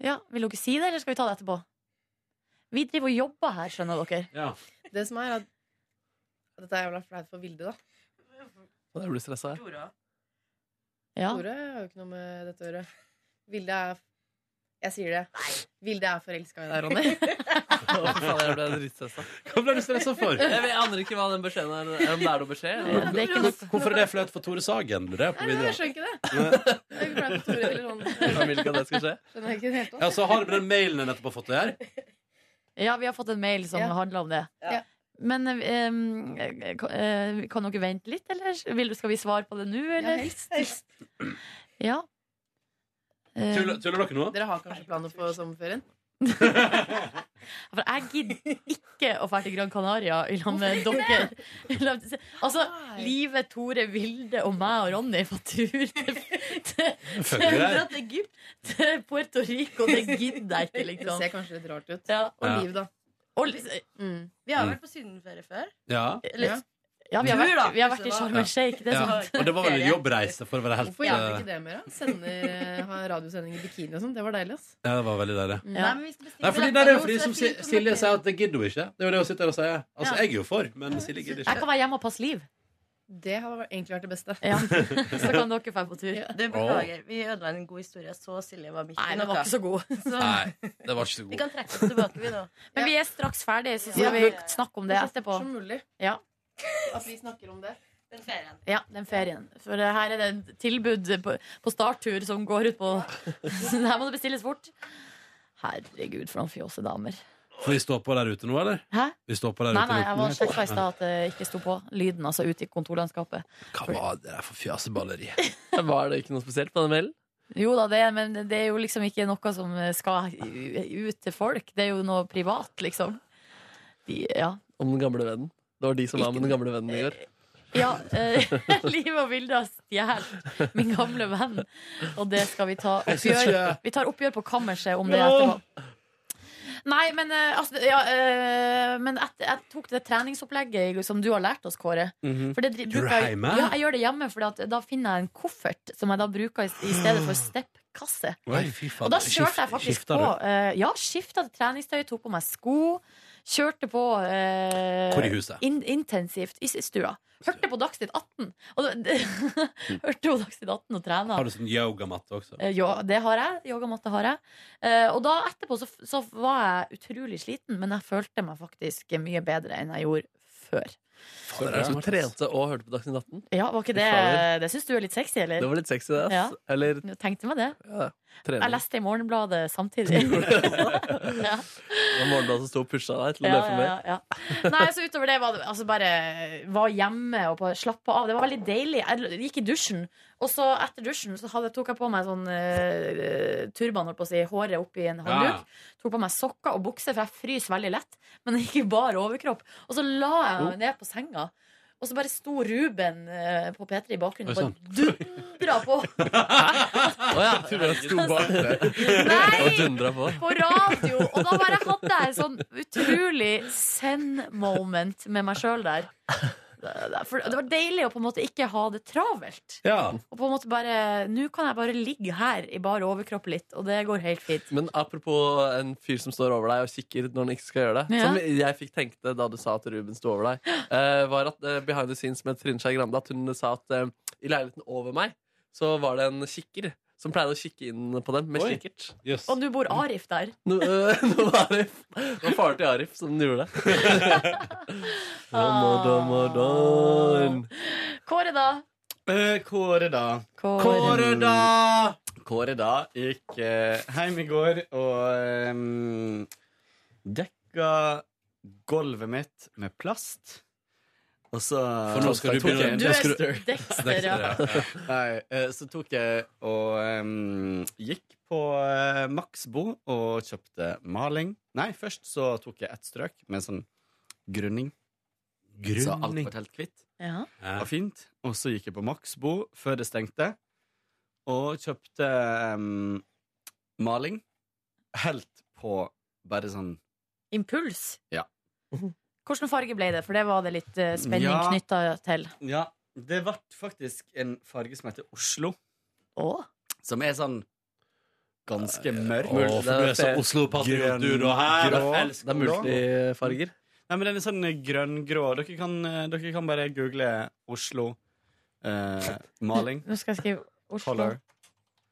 Speaker 3: Ja, Vil dere si det, eller skal vi ta det etterpå? Vi driver og jobber her, skjønner dere.
Speaker 14: Det som er at Dette er jævla flaut for Vilde, da.
Speaker 4: Å, Jeg blir stressa, jeg.
Speaker 3: Ja.
Speaker 14: Tore har jo ikke noe med dette å gjøre. Vilde er Jeg sier det. Vilde er forelska i deg,
Speaker 4: Å, fy faen, jeg
Speaker 14: Ronny.
Speaker 4: ble dritstressa.
Speaker 2: Hva ble du stressa for?
Speaker 4: Jeg vet- jeg aner ikke hva den beskjeden er. Er det om det er noe beskjed? eller?
Speaker 2: Hvorfor er det flaut for Tore Sagen? Lurer jeg på
Speaker 14: Nei,
Speaker 2: videre.
Speaker 14: jeg skjønner ikke det. Det er ikke flaut for Tore eller sånn.
Speaker 2: Jeg vil ikke at det skal skje.
Speaker 14: Skjønner jeg ikke i det hele tatt.
Speaker 2: Ja, så har du den mailen jeg nettopp har fått der?
Speaker 3: Ja, vi har fått en mail som
Speaker 14: Ja.
Speaker 3: handler om det.
Speaker 14: Ja.
Speaker 3: Men ehm, eh, kan eh, kan dere vente litt, eller vil, skal vi svare på det nå, eller?
Speaker 14: helst, helst.
Speaker 3: Ja. Eh,
Speaker 2: Tuller tuller dere nå?
Speaker 14: Dere har kanskje planer for sommerferien?
Speaker 3: For jeg gidder ikke å dra til Gran Canaria i lag med dere. I lag- Altså, Live, Tore, Vilde og meg og Ronny på tur til, til,
Speaker 14: Følger
Speaker 3: til,
Speaker 14: deg.
Speaker 3: til Egypt, til Puerto Rico. Det gidder jeg ikke,
Speaker 14: Det
Speaker 3: liksom.
Speaker 14: ser kanskje litt rart ut.
Speaker 3: Ja.
Speaker 14: Og
Speaker 2: Ja.
Speaker 14: Liv, da.
Speaker 3: Og liksom-
Speaker 14: Vi har
Speaker 2: Mm.
Speaker 14: vært på sydenferie før.
Speaker 2: Ja.
Speaker 14: Eller-
Speaker 3: Ja, vi
Speaker 14: Tur,
Speaker 3: har vært,
Speaker 14: da.
Speaker 3: vi har vært i Sharm el Sheikh. Det er
Speaker 2: Ja.
Speaker 3: sant.
Speaker 2: Og det var vel en jobbreise, for å være helt
Speaker 14: Hvorfor gjør vi
Speaker 2: eh,
Speaker 14: ikke det mer? da? Sender, ha en radiosending i bikini og sånn. Det var deilig, ass.
Speaker 2: Ja, det var veldig deilig.
Speaker 3: Mm.
Speaker 14: Nei, men vi skal bestille
Speaker 2: Nei, fordi
Speaker 14: dette
Speaker 2: det er jo
Speaker 14: nå,
Speaker 2: fordi
Speaker 14: så
Speaker 2: som
Speaker 14: det er fint om
Speaker 2: Silje
Speaker 14: dere-
Speaker 2: sier at det gidder hun ikke. Det er jo det hun sitter her og sier. Altså,
Speaker 14: Ja.
Speaker 2: jeg er jo for, men Silje gidder
Speaker 3: Jeg kan
Speaker 2: ikke.
Speaker 3: være hjemme og passe liv.
Speaker 14: Det har egentlig vært det beste.
Speaker 3: Ja. Så kan dere dra på tur.
Speaker 14: det
Speaker 2: beklager.
Speaker 14: Vi ødela en god historie. Så Silje var midt
Speaker 3: Nei, den var ikke så god.
Speaker 2: Nei, det var ikke så god.
Speaker 14: trekke oss tilbake, vi nå.
Speaker 3: Men vi er straks ferdige, så
Speaker 14: Ja.
Speaker 3: skal vi snakke om det
Speaker 14: Så fort
Speaker 3: etterpå.
Speaker 14: som mulig.
Speaker 3: Ja.
Speaker 14: At vi snakker om det. Den ferien.
Speaker 3: Ja, den ferien. For eh, her er det et tilbud på, på starttur som går ut på Så Her må det bestilles fort. Herregud, for noen fjåse damer.
Speaker 2: Får vi stå på der ute nå, eller?
Speaker 3: Hæ?
Speaker 2: Vi står på
Speaker 3: Nei,
Speaker 2: der ute
Speaker 3: nei, jeg var sjekka i
Speaker 2: nå.
Speaker 3: stad at det ikke sto på lyden, altså ute i kontorlandskapet.
Speaker 2: Hva var det der for fjaseballeri?
Speaker 4: Var det ikke noe spesielt på den mailen?
Speaker 3: Jo da, det, men det er jo liksom ikke noe som skal ut til folk. Det er jo noe privat, liksom. De, ja.
Speaker 4: Om den gamle vennen. Det var de som var med den gamle vennen i går.
Speaker 3: Ja, eh, Liv og Vilde har stjålet min gamle venn. Og det skal vi ta
Speaker 4: Jeg synes
Speaker 3: oppgjør
Speaker 4: ikke-
Speaker 3: Vi tar oppgjør på kammerset om det etterpå. Nei, men, eh, altså, ja, eh, men jeg, jeg tok det treningsopplegget i- som du har lært oss, Kåre.
Speaker 4: Mm.
Speaker 2: Mhm.
Speaker 3: For det dri-
Speaker 2: Gjør du
Speaker 3: bruker jeg-
Speaker 2: hjemme?
Speaker 3: Ja, jeg gjør det hjemme, for da finner jeg en koffert som jeg da bruker i, i stedet for
Speaker 4: Ah.
Speaker 3: steppkasse.
Speaker 2: Oi, fy faen.
Speaker 3: Og da
Speaker 2: Skift-
Speaker 3: kjørte jeg faktisk
Speaker 2: skifta du?
Speaker 3: på eh, Ja, skifta til treningstøy, tok på meg sko. Kjørte på eh,
Speaker 2: Hvor i huset?
Speaker 3: In, intensivt i s- stua. Hørte på Dagsnytt 18. Og, det- hørte på Dagsnytt 18 og trena.
Speaker 2: Mm. Har du sånn yogamatte også?
Speaker 3: Eh, Ja, det har jeg. Yogamatte har jeg. Eh, Og da etterpå så, så var jeg utrolig sliten, men jeg følte meg faktisk mye bedre enn jeg gjorde før.
Speaker 4: Så det er som trente og hørte på Dagsnytt 18.
Speaker 3: Ja, var ikke det
Speaker 4: Fader.
Speaker 3: Det syns du er litt sexy, eller?
Speaker 4: Det var litt sexy, det. ass.
Speaker 3: Ja.
Speaker 4: Eller
Speaker 3: Jeg tenkte meg det.
Speaker 4: ja,
Speaker 3: Jeg
Speaker 4: trening.
Speaker 3: leste i Morgenbladet samtidig. ja.
Speaker 4: Det var Morgenbladet som sto og pusha deg til
Speaker 3: Ja,
Speaker 4: å løpe
Speaker 3: ja,
Speaker 4: mer.
Speaker 3: ja, ja. Nei, så utover det var det altså bare Var hjemme og bare slappa av. Det var veldig deilig. Jeg gikk i dusjen, og så etter dusjen så hadde, tok jeg på meg sånn eh, turban, holdt på å si, håret oppi en håndduk. Tok på meg sokker og bukse, for jeg fryser veldig lett. Men jeg gikk i bar overkropp. Og så la jeg meg ned på senga. Og så bare sto Ruben eh, på P3 i bakgrunnen og
Speaker 4: Oi,
Speaker 3: bare dundra på.
Speaker 4: Å ja. Jeg sto bak
Speaker 3: Nei!
Speaker 4: og dundra på.
Speaker 3: på radio. Og da bare hadde jeg en sånn utrolig send-moment med meg sjøl der. For det var deilig å på en måte ikke ha det travelt.
Speaker 2: Ja.
Speaker 3: Og på en måte bare Nå kan jeg bare ligge her i bar overkropp litt, og det går helt fint.
Speaker 4: Men apropos en fyr som står over deg og kikker når han ikke skal gjøre det.
Speaker 3: Ja.
Speaker 4: Som jeg fikk tenkte da du sa at Ruben sto over deg, eh, var at eh, behind the scenes med Trine Skei Grande at hun sa at eh, i leiligheten over meg så var det en kikker som pleide å kikke inn på dem med
Speaker 3: Oi.
Speaker 4: kikkert.
Speaker 3: Og nå bor Arif der.
Speaker 4: Nå, eh, nå var Arif Det var faren til Arif som gjorde det. Ramadan.
Speaker 3: Ah. Kåre, da?
Speaker 5: Eh, Kåre, da.
Speaker 3: Kåre.
Speaker 5: da! Kåre, da gikk eh, hjem i går og um, dekka gulvet mitt med plast. Og så
Speaker 2: For nå skal du
Speaker 5: tok jeg-
Speaker 2: begynne- Du er skal du-
Speaker 3: Dexter, ja.
Speaker 5: Nei, eh, så tok jeg og em, gikk på eh, Maxbo og kjøpte maling. Nei, først så tok jeg ett strøk med sånn grunning. Så alt
Speaker 2: Grunning.
Speaker 5: var helt hvitt.
Speaker 3: Ja.
Speaker 5: Det var fint. Og så gikk jeg på Maxbo før det stengte, og kjøpte em, maling. Helt på bare sånn
Speaker 3: Impuls.
Speaker 5: Ja.
Speaker 3: Hvilken farge ble det? For det var det litt eh, spenning
Speaker 5: Ja.
Speaker 3: knytta til.
Speaker 5: Ja, det ble faktisk en farge som heter Oslo.
Speaker 3: Åh.
Speaker 5: Som er sånn ganske mørk.
Speaker 2: Åh, for du er så Oslo-patriot, du, da. Her, jeg elsker
Speaker 5: Det er
Speaker 4: multifarger.
Speaker 5: Nei, men den er sånn grønn-grå. Dere, kan- dere kan bare google Oslo eh, maling.
Speaker 3: Nå skal jeg skrive Oslo.
Speaker 5: Color.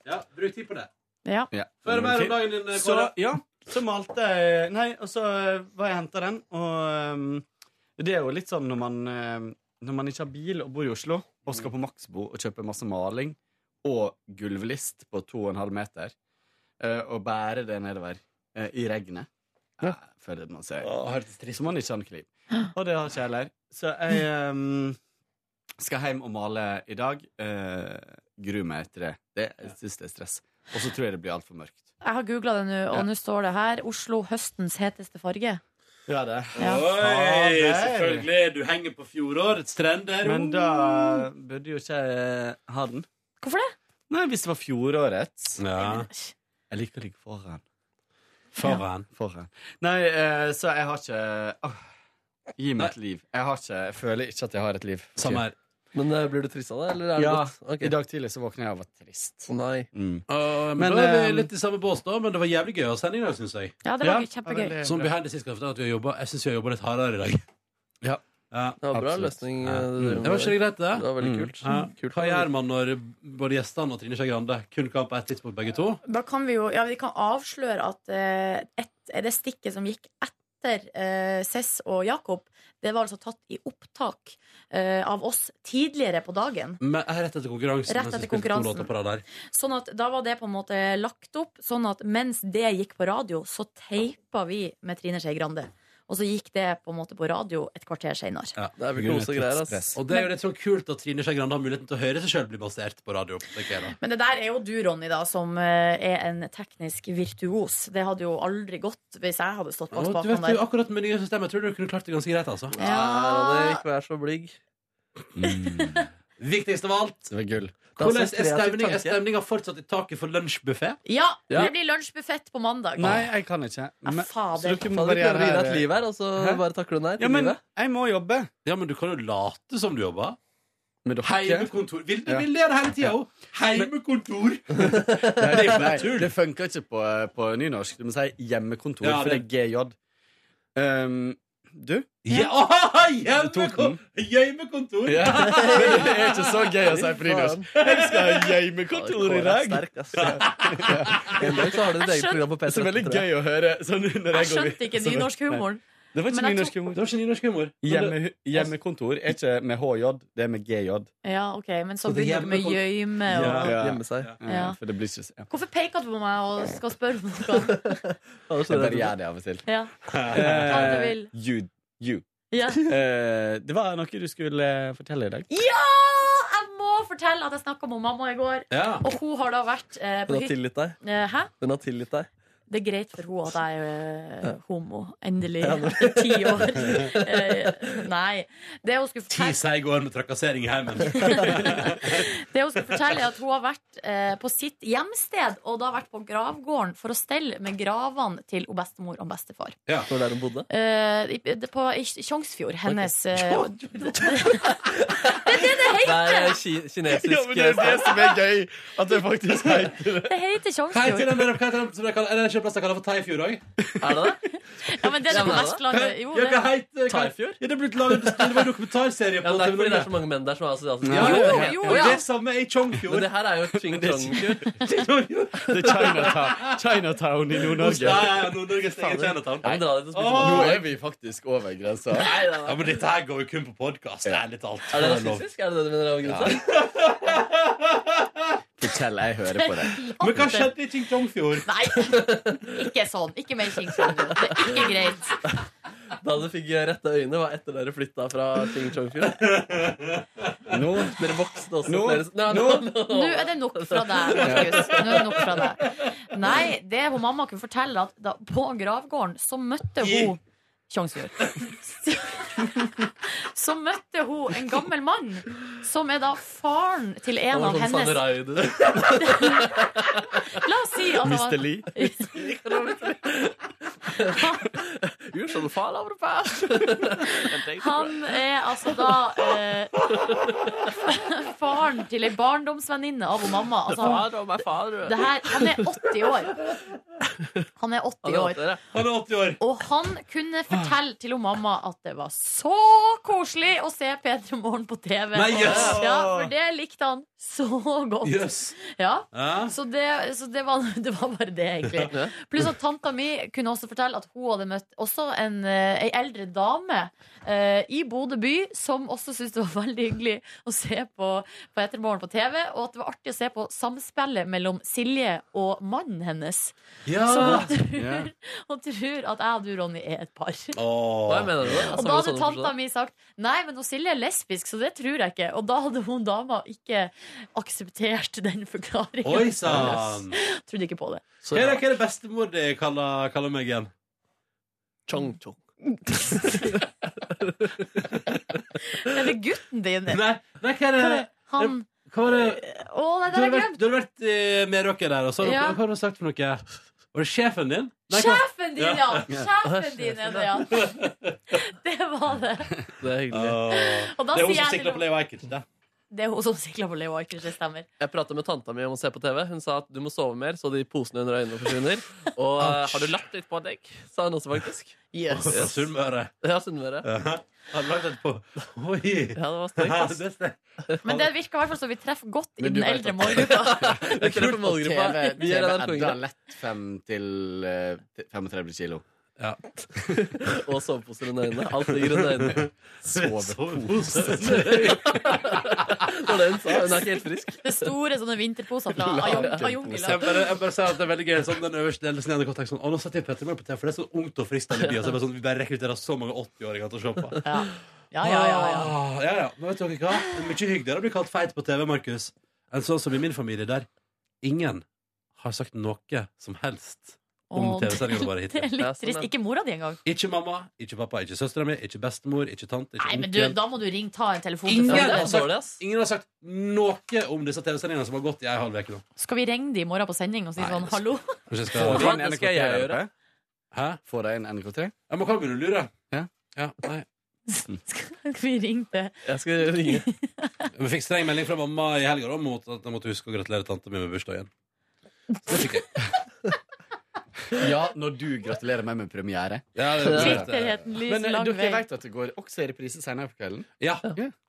Speaker 2: Ja, bruk tid på det.
Speaker 3: Ja.
Speaker 5: Ja.
Speaker 2: Før mer om dagen din, Kåre.
Speaker 5: Så, ja, så malte jeg Nei, og så eh, var jeg og henta den, og um, det er jo litt sånn når man, um, når man ikke har bil og bor i Oslo, og skal på Maxbo og kjøpe masse maling og gulvlist på 2,5 meter, eh, og bære det nedover eh, i regnet ja. Før man ser Som man ikke har noe liv. Og det har ikke jeg heller. Så jeg um, skal hjem og male i dag. Eh, Gruer meg til det. det jeg syns det er stress. Og så tror jeg det blir altfor mørkt.
Speaker 3: Jeg har googla det nå, og
Speaker 5: Ja.
Speaker 3: nå står det her Oslo høstens heteste farge.
Speaker 5: Ja, det.
Speaker 3: Ja.
Speaker 2: Oi, selvfølgelig. Du henger på fjorårets trender.
Speaker 5: Men da burde jo ikke jeg ha den.
Speaker 3: Hvorfor det?
Speaker 5: Nei, hvis det var fjorårets. Jeg liker å ligge foran.
Speaker 2: Foran.
Speaker 5: Foran. Nei, eh, så jeg har ikke Åh, Gi meg et liv. Jeg, har ikke, jeg føler ikke at jeg har et liv.
Speaker 2: Samme her.
Speaker 4: Men eh, blir du trist av det, eller er det
Speaker 5: Ja,
Speaker 4: godt? Ok.
Speaker 5: I dag tidlig så våkna jeg av å være trist.
Speaker 4: Nei.
Speaker 5: Mm.
Speaker 2: Ja, men
Speaker 5: Men,
Speaker 2: da er vi
Speaker 5: eh,
Speaker 2: litt i samme bås, da. Men det var jævlig gøy å sende i dag, syns jeg.
Speaker 3: Ja, det var Ja, kjempegøy. veldig
Speaker 2: Som
Speaker 3: bra.
Speaker 2: behind the scenes kan jeg fortelle at vi har jobbet- Jeg syns vi har jobba litt hardere i dag.
Speaker 5: Ja.
Speaker 4: Det var bra løsning, eh, du driver
Speaker 2: Mm.
Speaker 4: med
Speaker 2: Det var ikke det
Speaker 4: der.
Speaker 2: greit, det?
Speaker 4: Det var
Speaker 3: Mm.
Speaker 4: veldig kult.
Speaker 2: Ja. Hva gjør man når både gjestene og Trine Skei Grande kun kan på ett tidspunkt, begge to?
Speaker 3: Da kan vi jo ja, vi kan avsløre at eh, et, det stikket som gikk etter eh, Sess og Jakob, det var altså tatt i opptak eh, av oss tidligere på dagen.
Speaker 2: Men eh, rett etter konkurransen.
Speaker 3: Rett
Speaker 2: mens vi
Speaker 3: etter
Speaker 2: spilte to
Speaker 3: konkurransen.
Speaker 2: låter på rad her.
Speaker 3: Sånn at da var det på en måte lagt opp, sånn at mens det gikk på radio, så teipa vi med Trine Skei Grande. Og så gikk det på en måte på radio et kvarter seinere.
Speaker 2: Ja.
Speaker 4: Det er vel kose greier, ass.
Speaker 2: Og det er jo litt sånn kult at Trine Skei Grande har muligheten til å høre seg sjøl bli basert på radio. tenker jeg da.
Speaker 3: Men det der er jo du, Ronny, da, som eh, er en teknisk virtuos. Det hadde jo aldri gått hvis jeg hadde stått
Speaker 2: Ja,
Speaker 3: bak
Speaker 2: du vet
Speaker 3: spaken
Speaker 2: jo
Speaker 3: der.
Speaker 2: akkurat med nye systemet Jeg tror du kunne klart det ganske greit, altså.
Speaker 3: Ja.
Speaker 4: Nei, Ronny, ikke vær så bligg.
Speaker 2: Mm. Viktigst av alt.
Speaker 5: Det var gull.
Speaker 2: Hvordan er stemninga? Er stemninga fortsatt i taket for lunsjbuffé?
Speaker 3: Ja,
Speaker 5: Ja.
Speaker 3: det blir lunsjbuffett på mandag.
Speaker 5: Nei, jeg kan ikke. Men-
Speaker 3: fader.
Speaker 5: så dere må
Speaker 3: Fader,
Speaker 5: bare
Speaker 3: prøver å gi
Speaker 5: gjøre
Speaker 3: deg et liv her,
Speaker 4: og så
Speaker 5: Hæ?
Speaker 4: bare takler du nei til
Speaker 5: Ja, men
Speaker 4: livet.
Speaker 5: jeg må jobbe.
Speaker 2: Ja, men du kan jo late som du jobber.
Speaker 5: Med dere.
Speaker 2: Heimekontor. Vil du vil gjøre det hele tida òg? Heimekontor.
Speaker 5: Nei, det, nei, det funker ikke på, eh, på nynorsk. Du må si hjemmekontor,
Speaker 2: Ja,
Speaker 5: for det
Speaker 2: det-
Speaker 5: er GJ. Um, du?
Speaker 2: Ja, hjemmekontor! Hjemmekontor!
Speaker 5: Ja. Men det er ikke så gøy å si på nynorsk. Jeg skal ha hjemmekontor i dag.
Speaker 4: En dag så har du ditt eget program på P3.
Speaker 5: Så veldig gøy å høre sånn når
Speaker 3: Jeg
Speaker 5: jeg går
Speaker 3: skjønte ikke nynorskhumoren.
Speaker 5: sånn- Nei. Det var ikke
Speaker 3: Men jeg
Speaker 5: nynorsk humor.
Speaker 2: Det var ikke nynorsk humor.
Speaker 5: Hjemme, hjemmekontor er ikke med HJ, det er med GJ.
Speaker 3: Ja, ok, Men så
Speaker 5: Så det
Speaker 3: begynner du med
Speaker 5: hjemme-
Speaker 3: gjøyme og
Speaker 5: Ja.
Speaker 4: Gjemme seg.
Speaker 5: Ja, for det blir ikke ja.
Speaker 3: Hvorfor peker du på meg og skal spørre om noe?
Speaker 5: Jeg bare gjør det av og til.
Speaker 3: Ja.
Speaker 5: Eh,
Speaker 3: Ja, du vil.
Speaker 5: you. you.
Speaker 3: Ja.
Speaker 5: Eh, det var noe du skulle eh, fortelle i dag.
Speaker 3: ja! Jeg må fortelle at jeg snakka med mamma i går,
Speaker 5: Ja.
Speaker 3: og hun har da vært eh, på
Speaker 4: Den har tilgitt deg.
Speaker 3: Eh, Hæ?
Speaker 4: Den har tilgitt deg.
Speaker 3: Det er greit for henne at jeg er eh,
Speaker 4: Ja.
Speaker 3: homo. Endelig.
Speaker 4: Ja, men-
Speaker 3: Etter ti år. Eh, Nei. Det hun skulle
Speaker 2: Ti
Speaker 3: fortelle,
Speaker 2: seige år med trakassering i heimen.
Speaker 3: det hun skulle fortelle er at hun har vært eh, på sitt hjemsted, og da vært på gravgården for å stelle med gravene til hun bestemor og bestefar.
Speaker 2: Ja.
Speaker 4: Hvor der hun bodde?
Speaker 3: Eh, i- det- på i Tjongsfjord. Hennes eh,
Speaker 4: Det er eh, ki kinesisk
Speaker 5: Ja, men det er det som er gøy. At det faktisk heter
Speaker 3: Det
Speaker 5: det.
Speaker 3: heter
Speaker 2: Hva heter
Speaker 3: Tjongsfjord.
Speaker 2: den der- hva heter den som de kaller- er det ikke en plass de kaller for Teifjord òg?
Speaker 4: Er det det?
Speaker 3: Ja, men det er
Speaker 4: Ja,
Speaker 3: på
Speaker 4: men er det?
Speaker 3: Vestlandet. Jo,
Speaker 2: Ja,
Speaker 3: det
Speaker 2: hva heter
Speaker 4: Thaifjord?
Speaker 2: Ja, det er blitt laget Det var en dokumentarserie
Speaker 4: Ja,
Speaker 2: på
Speaker 4: men det er ikke fordi det
Speaker 2: TV
Speaker 4: er så mange menn der som er
Speaker 2: Ja,
Speaker 4: asiatiske. Det er
Speaker 2: jo,
Speaker 4: helt-
Speaker 2: jo,
Speaker 4: helt-
Speaker 2: ja. Det samme er i Tjongfjord.
Speaker 4: Men det her er jo Ching Chong-fjord.
Speaker 5: Det er Chinatown, Chinatown i Nord-Norge.
Speaker 2: Ja, ja, ja, Nord-Norges egen Chinatown.
Speaker 5: Nei.
Speaker 2: Åh!
Speaker 5: Nå er vi faktisk over grensa.
Speaker 2: Ja, men dette her går jo kun på podkast. Ærlig talt.
Speaker 4: Er det rasistisk? Er det det du mener? av grunnen til?
Speaker 5: Fortell, jeg hører på deg.
Speaker 2: Men hva skjedde i Ching Chong-fjord?
Speaker 3: Nei, ikke sånn. Ikke mer Tjongsfjord. nå. Det er ikke greit.
Speaker 4: Da du fikk eh, rette øyne, var etter dere flytta fra Ching Chong-fjord. Dere vokste også.
Speaker 5: Nå.
Speaker 4: Dere, Nei,
Speaker 5: Nå.
Speaker 4: nå, nå.
Speaker 3: Nå er det nok fra deg, Markus. Nå er det nok fra deg. Nei, det hun mamma kunne fortelle, at da, på gravgården så møtte hun Tjongsfjord. Så møtte hun en gammel mann, som er da faren til en av
Speaker 4: Det var sånn
Speaker 3: hennes
Speaker 4: samurai, du.
Speaker 3: La oss si at han var-
Speaker 5: Mr. Lee.
Speaker 4: You're so far over the past.
Speaker 3: Han er altså da eh, faren til ei barndomsvenninne av hun mamma. Altså, han,
Speaker 4: Far og meg far. du.
Speaker 3: det her, han er 80 år. Han er 80 år.
Speaker 2: Han er 80 år.
Speaker 3: Og han kunne fortelle til hun mamma at det var så koselig å se P3 Morgen på TV.
Speaker 2: Nei, jøss!
Speaker 3: Ja, For det likte han så godt.
Speaker 2: Jøss.
Speaker 3: Ja.
Speaker 2: Ja.
Speaker 3: Så, det, så det, var, det var bare det, egentlig. Pluss at tanta mi kunne også fortelle at hun hadde møtt også en, eh, ei eldre dame eh, i Bodø by som også syntes det var veldig hyggelig å se på P3 Morgen på TV, og at det var artig å se på samspillet mellom Silje og mannen hennes.
Speaker 2: Ja.
Speaker 3: Så hun tror,
Speaker 2: Ja.
Speaker 3: hun tror at jeg og du, Ronny, er et par.
Speaker 2: Hva
Speaker 4: mener du?
Speaker 3: Og da hadde tanta mi sagt Nei, men hun Silje er lesbisk, så det tror jeg ikke. Og da hadde hun dama ikke akseptert den forklaringen.
Speaker 2: Oi sann.
Speaker 3: Trodde ikke på det.
Speaker 2: Hva er det- hva er det bestemor di kaller, kaller meg igjen?
Speaker 4: Chong-chong.
Speaker 3: Er det gutten din?
Speaker 2: Nei, nei, hva er det
Speaker 3: Han
Speaker 2: Hva var det
Speaker 3: Å, nei,
Speaker 2: Eh, Du
Speaker 3: det har
Speaker 2: har vært,
Speaker 3: jeg glemt!
Speaker 2: du har vært i Meråker der, og så har du-
Speaker 3: Ja.
Speaker 2: hva har du sagt for noe? Var det sjefen din? Nei, hva-
Speaker 3: Sjefen din, ja! Sjefen din er det, ja. Det var det.
Speaker 4: Det er
Speaker 3: Og
Speaker 4: hyggelig.
Speaker 3: da
Speaker 2: det er hun som
Speaker 3: sier jeg
Speaker 2: sikter
Speaker 3: til
Speaker 2: på Leo Ajkic. det.
Speaker 3: Det er hun som sikla på Leo Ajkic, det stemmer.
Speaker 4: Jeg prata med tanta mi om å se på TV. Hun sa at du må sove mer, så de posene under øynene forsvinner. Og
Speaker 2: Ah,
Speaker 4: eh, har du lagt litt på deg? sa hun også, faktisk.
Speaker 3: Yes.
Speaker 2: Fra Sunnmøre.
Speaker 4: Ja, Sunnmøre.
Speaker 2: Ja. Har du lagt den på? Oi!
Speaker 4: Ja, det var strengt. ass.
Speaker 2: Det er sterkt.
Speaker 3: Men det virker i hvert fall som vi treffer godt i
Speaker 5: Men du
Speaker 3: den
Speaker 5: vet
Speaker 3: eldre
Speaker 5: at-
Speaker 3: målgruppa.
Speaker 4: Jeg tror på målgruppa. Vi er
Speaker 5: TV
Speaker 4: NRK
Speaker 5: edda
Speaker 4: Yngre.
Speaker 5: lett 5 til eh, 35 kilo.
Speaker 2: Ja.
Speaker 4: Og soveposer under øynene. Alt ligger under øynene. Det var det hun sa. Hun er ikke helt frisk.
Speaker 3: Det store sånne vinterposer fra Ayong- Ayongila.
Speaker 2: Jeg bare, jeg bare sier at det er veldig gøy sånn, Den øverste ledelsen i NRK tenker sånn Å, nå setter jeg Petter Morgen på TV For det er så ungt og friskt i byen Så det er bare sånn, vi bare rekrutterer så mange 80-åringer til å se på
Speaker 3: Ja. Ja, ja, ja, ja.
Speaker 2: Ah, ja, ja. Men vet dere hva? Det er mye hyggeligere å bli kalt feit på TV, Markus Enn sånn som i min familie der Ingen har sagt noe som helst om
Speaker 3: Å,
Speaker 2: TV-sendinga vår
Speaker 3: Det er
Speaker 2: hittil.
Speaker 3: litt trist. Ikke mora di engang.
Speaker 2: Ikke mamma, ikke pappa, ikke søstera mi, ikke bestemor, ikke tante, ikke
Speaker 3: Nei, men du,
Speaker 2: onkel.
Speaker 3: da må du ringe, ta en telefon til
Speaker 2: Ingen har,
Speaker 3: foreldrene.
Speaker 2: sagt, ingen har sagt noe om disse TV-sendingene som har gått i ei halv uke nå.
Speaker 3: Skal vi ringe de i morgen på sending og si sånn hallo?
Speaker 2: Kanskje jeg
Speaker 5: Få
Speaker 2: skal,
Speaker 5: deg en NKT-hjelpe?
Speaker 2: Hæ?
Speaker 5: Få deg en NKT?
Speaker 2: Ja, man kan begynne å lure.
Speaker 5: Ja.
Speaker 2: nei.
Speaker 3: Skal vi ringe det?
Speaker 2: Jeg skal ringe. Vi fikk streng melding fra mamma i helga da, mot at jeg måtte huske å gratulere tante mi med bursdagen.
Speaker 5: Ja, når du gratulerer meg med premiere.
Speaker 2: Ja,
Speaker 3: det er- Bitterheten lyser
Speaker 5: Men eh,
Speaker 3: lang
Speaker 5: dere
Speaker 3: vei.
Speaker 5: vet at det går også i reprise senere på kvelden?
Speaker 2: Ja.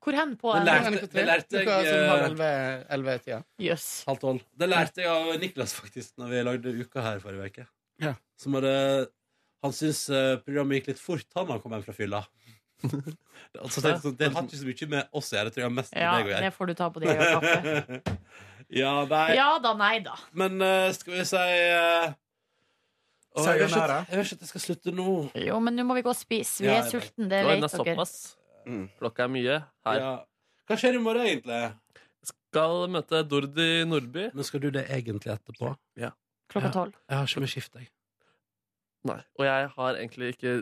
Speaker 3: Hvor hen på?
Speaker 5: Det lærte, det lærte jeg
Speaker 2: jeg
Speaker 5: elleve-tida.
Speaker 2: Halv tolv. Det lærte jeg av Niklas, faktisk, når vi lagde Uka her forrige uke.
Speaker 5: Ja.
Speaker 2: Som hadde, han syntes eh, programmet gikk litt fort, han, da han kom hjem fra fylla. altså, det, er sånn, det har ikke så mye med oss å gjøre, det tror jeg mest med
Speaker 3: Ja,
Speaker 2: deg å gjøre.
Speaker 3: det får du ta på deg og kaffe.
Speaker 2: ja, nei.
Speaker 3: Ja da, nei da.
Speaker 2: Men eh, skal vi si eh, å, jeg, vet ikke,
Speaker 4: Sayonara.
Speaker 2: jeg vet ikke at jeg skal slutte nå.
Speaker 3: Jo, men nå må vi gå og spise. Vi
Speaker 2: Ja,
Speaker 3: er
Speaker 2: jeg vet.
Speaker 3: sultne, det
Speaker 2: Oi,
Speaker 3: vet
Speaker 2: den er
Speaker 3: dere.
Speaker 4: Såpass. Klokka er mye her.
Speaker 2: Ja. Hva skjer i morgen, egentlig?
Speaker 4: Skal møte Dordi Nordby.
Speaker 2: Men skal du det egentlig etterpå?
Speaker 4: Ja.
Speaker 3: Klokka tolv.
Speaker 2: Jeg har ikke med skift, jeg.
Speaker 4: Nei. Og jeg har egentlig ikke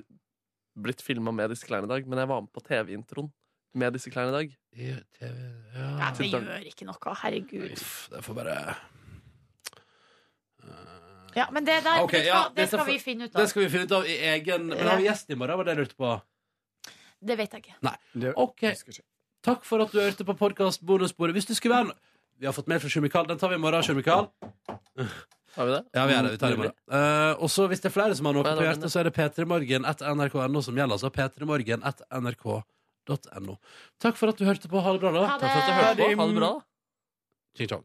Speaker 4: blitt filma med disse klærne i dag, men jeg var med på TV-introen med disse klærne i dag.
Speaker 3: Nei, det gjør ikke noe. Herregud.
Speaker 2: Det får bare
Speaker 3: Ja, men det der
Speaker 2: Ok,
Speaker 3: vet du
Speaker 2: ja,
Speaker 3: hva, det
Speaker 2: dette
Speaker 3: skal
Speaker 2: får-
Speaker 3: vi finne ut
Speaker 2: Det
Speaker 3: av.
Speaker 2: skal vi finne ut av i egen Men har vi gjest i morgen, var det jeg lurte på?
Speaker 3: Det vet jeg ikke.
Speaker 2: Nei. OK. Takk for at du hørte på podkast bonusbordet. Hvis du skulle være no- Vi har fått mail fra Sjur-Mikael. Den tar vi i morgen, Sjur-Mikael.
Speaker 4: Har vi det?
Speaker 2: Ja, vi gjør det. Vi tar det i morgen. Eh, og så hvis det er flere som har noe
Speaker 4: Hva er
Speaker 2: på
Speaker 4: dagen,
Speaker 2: hjertet, så er det p3morgen.nrk.no som gjelder. Altså p3morgen.nrk.no. Takk for at du hørte på. Ha det bra, da.
Speaker 4: Takk for at du hørte på. Ha det bra.
Speaker 2: Ching-chong.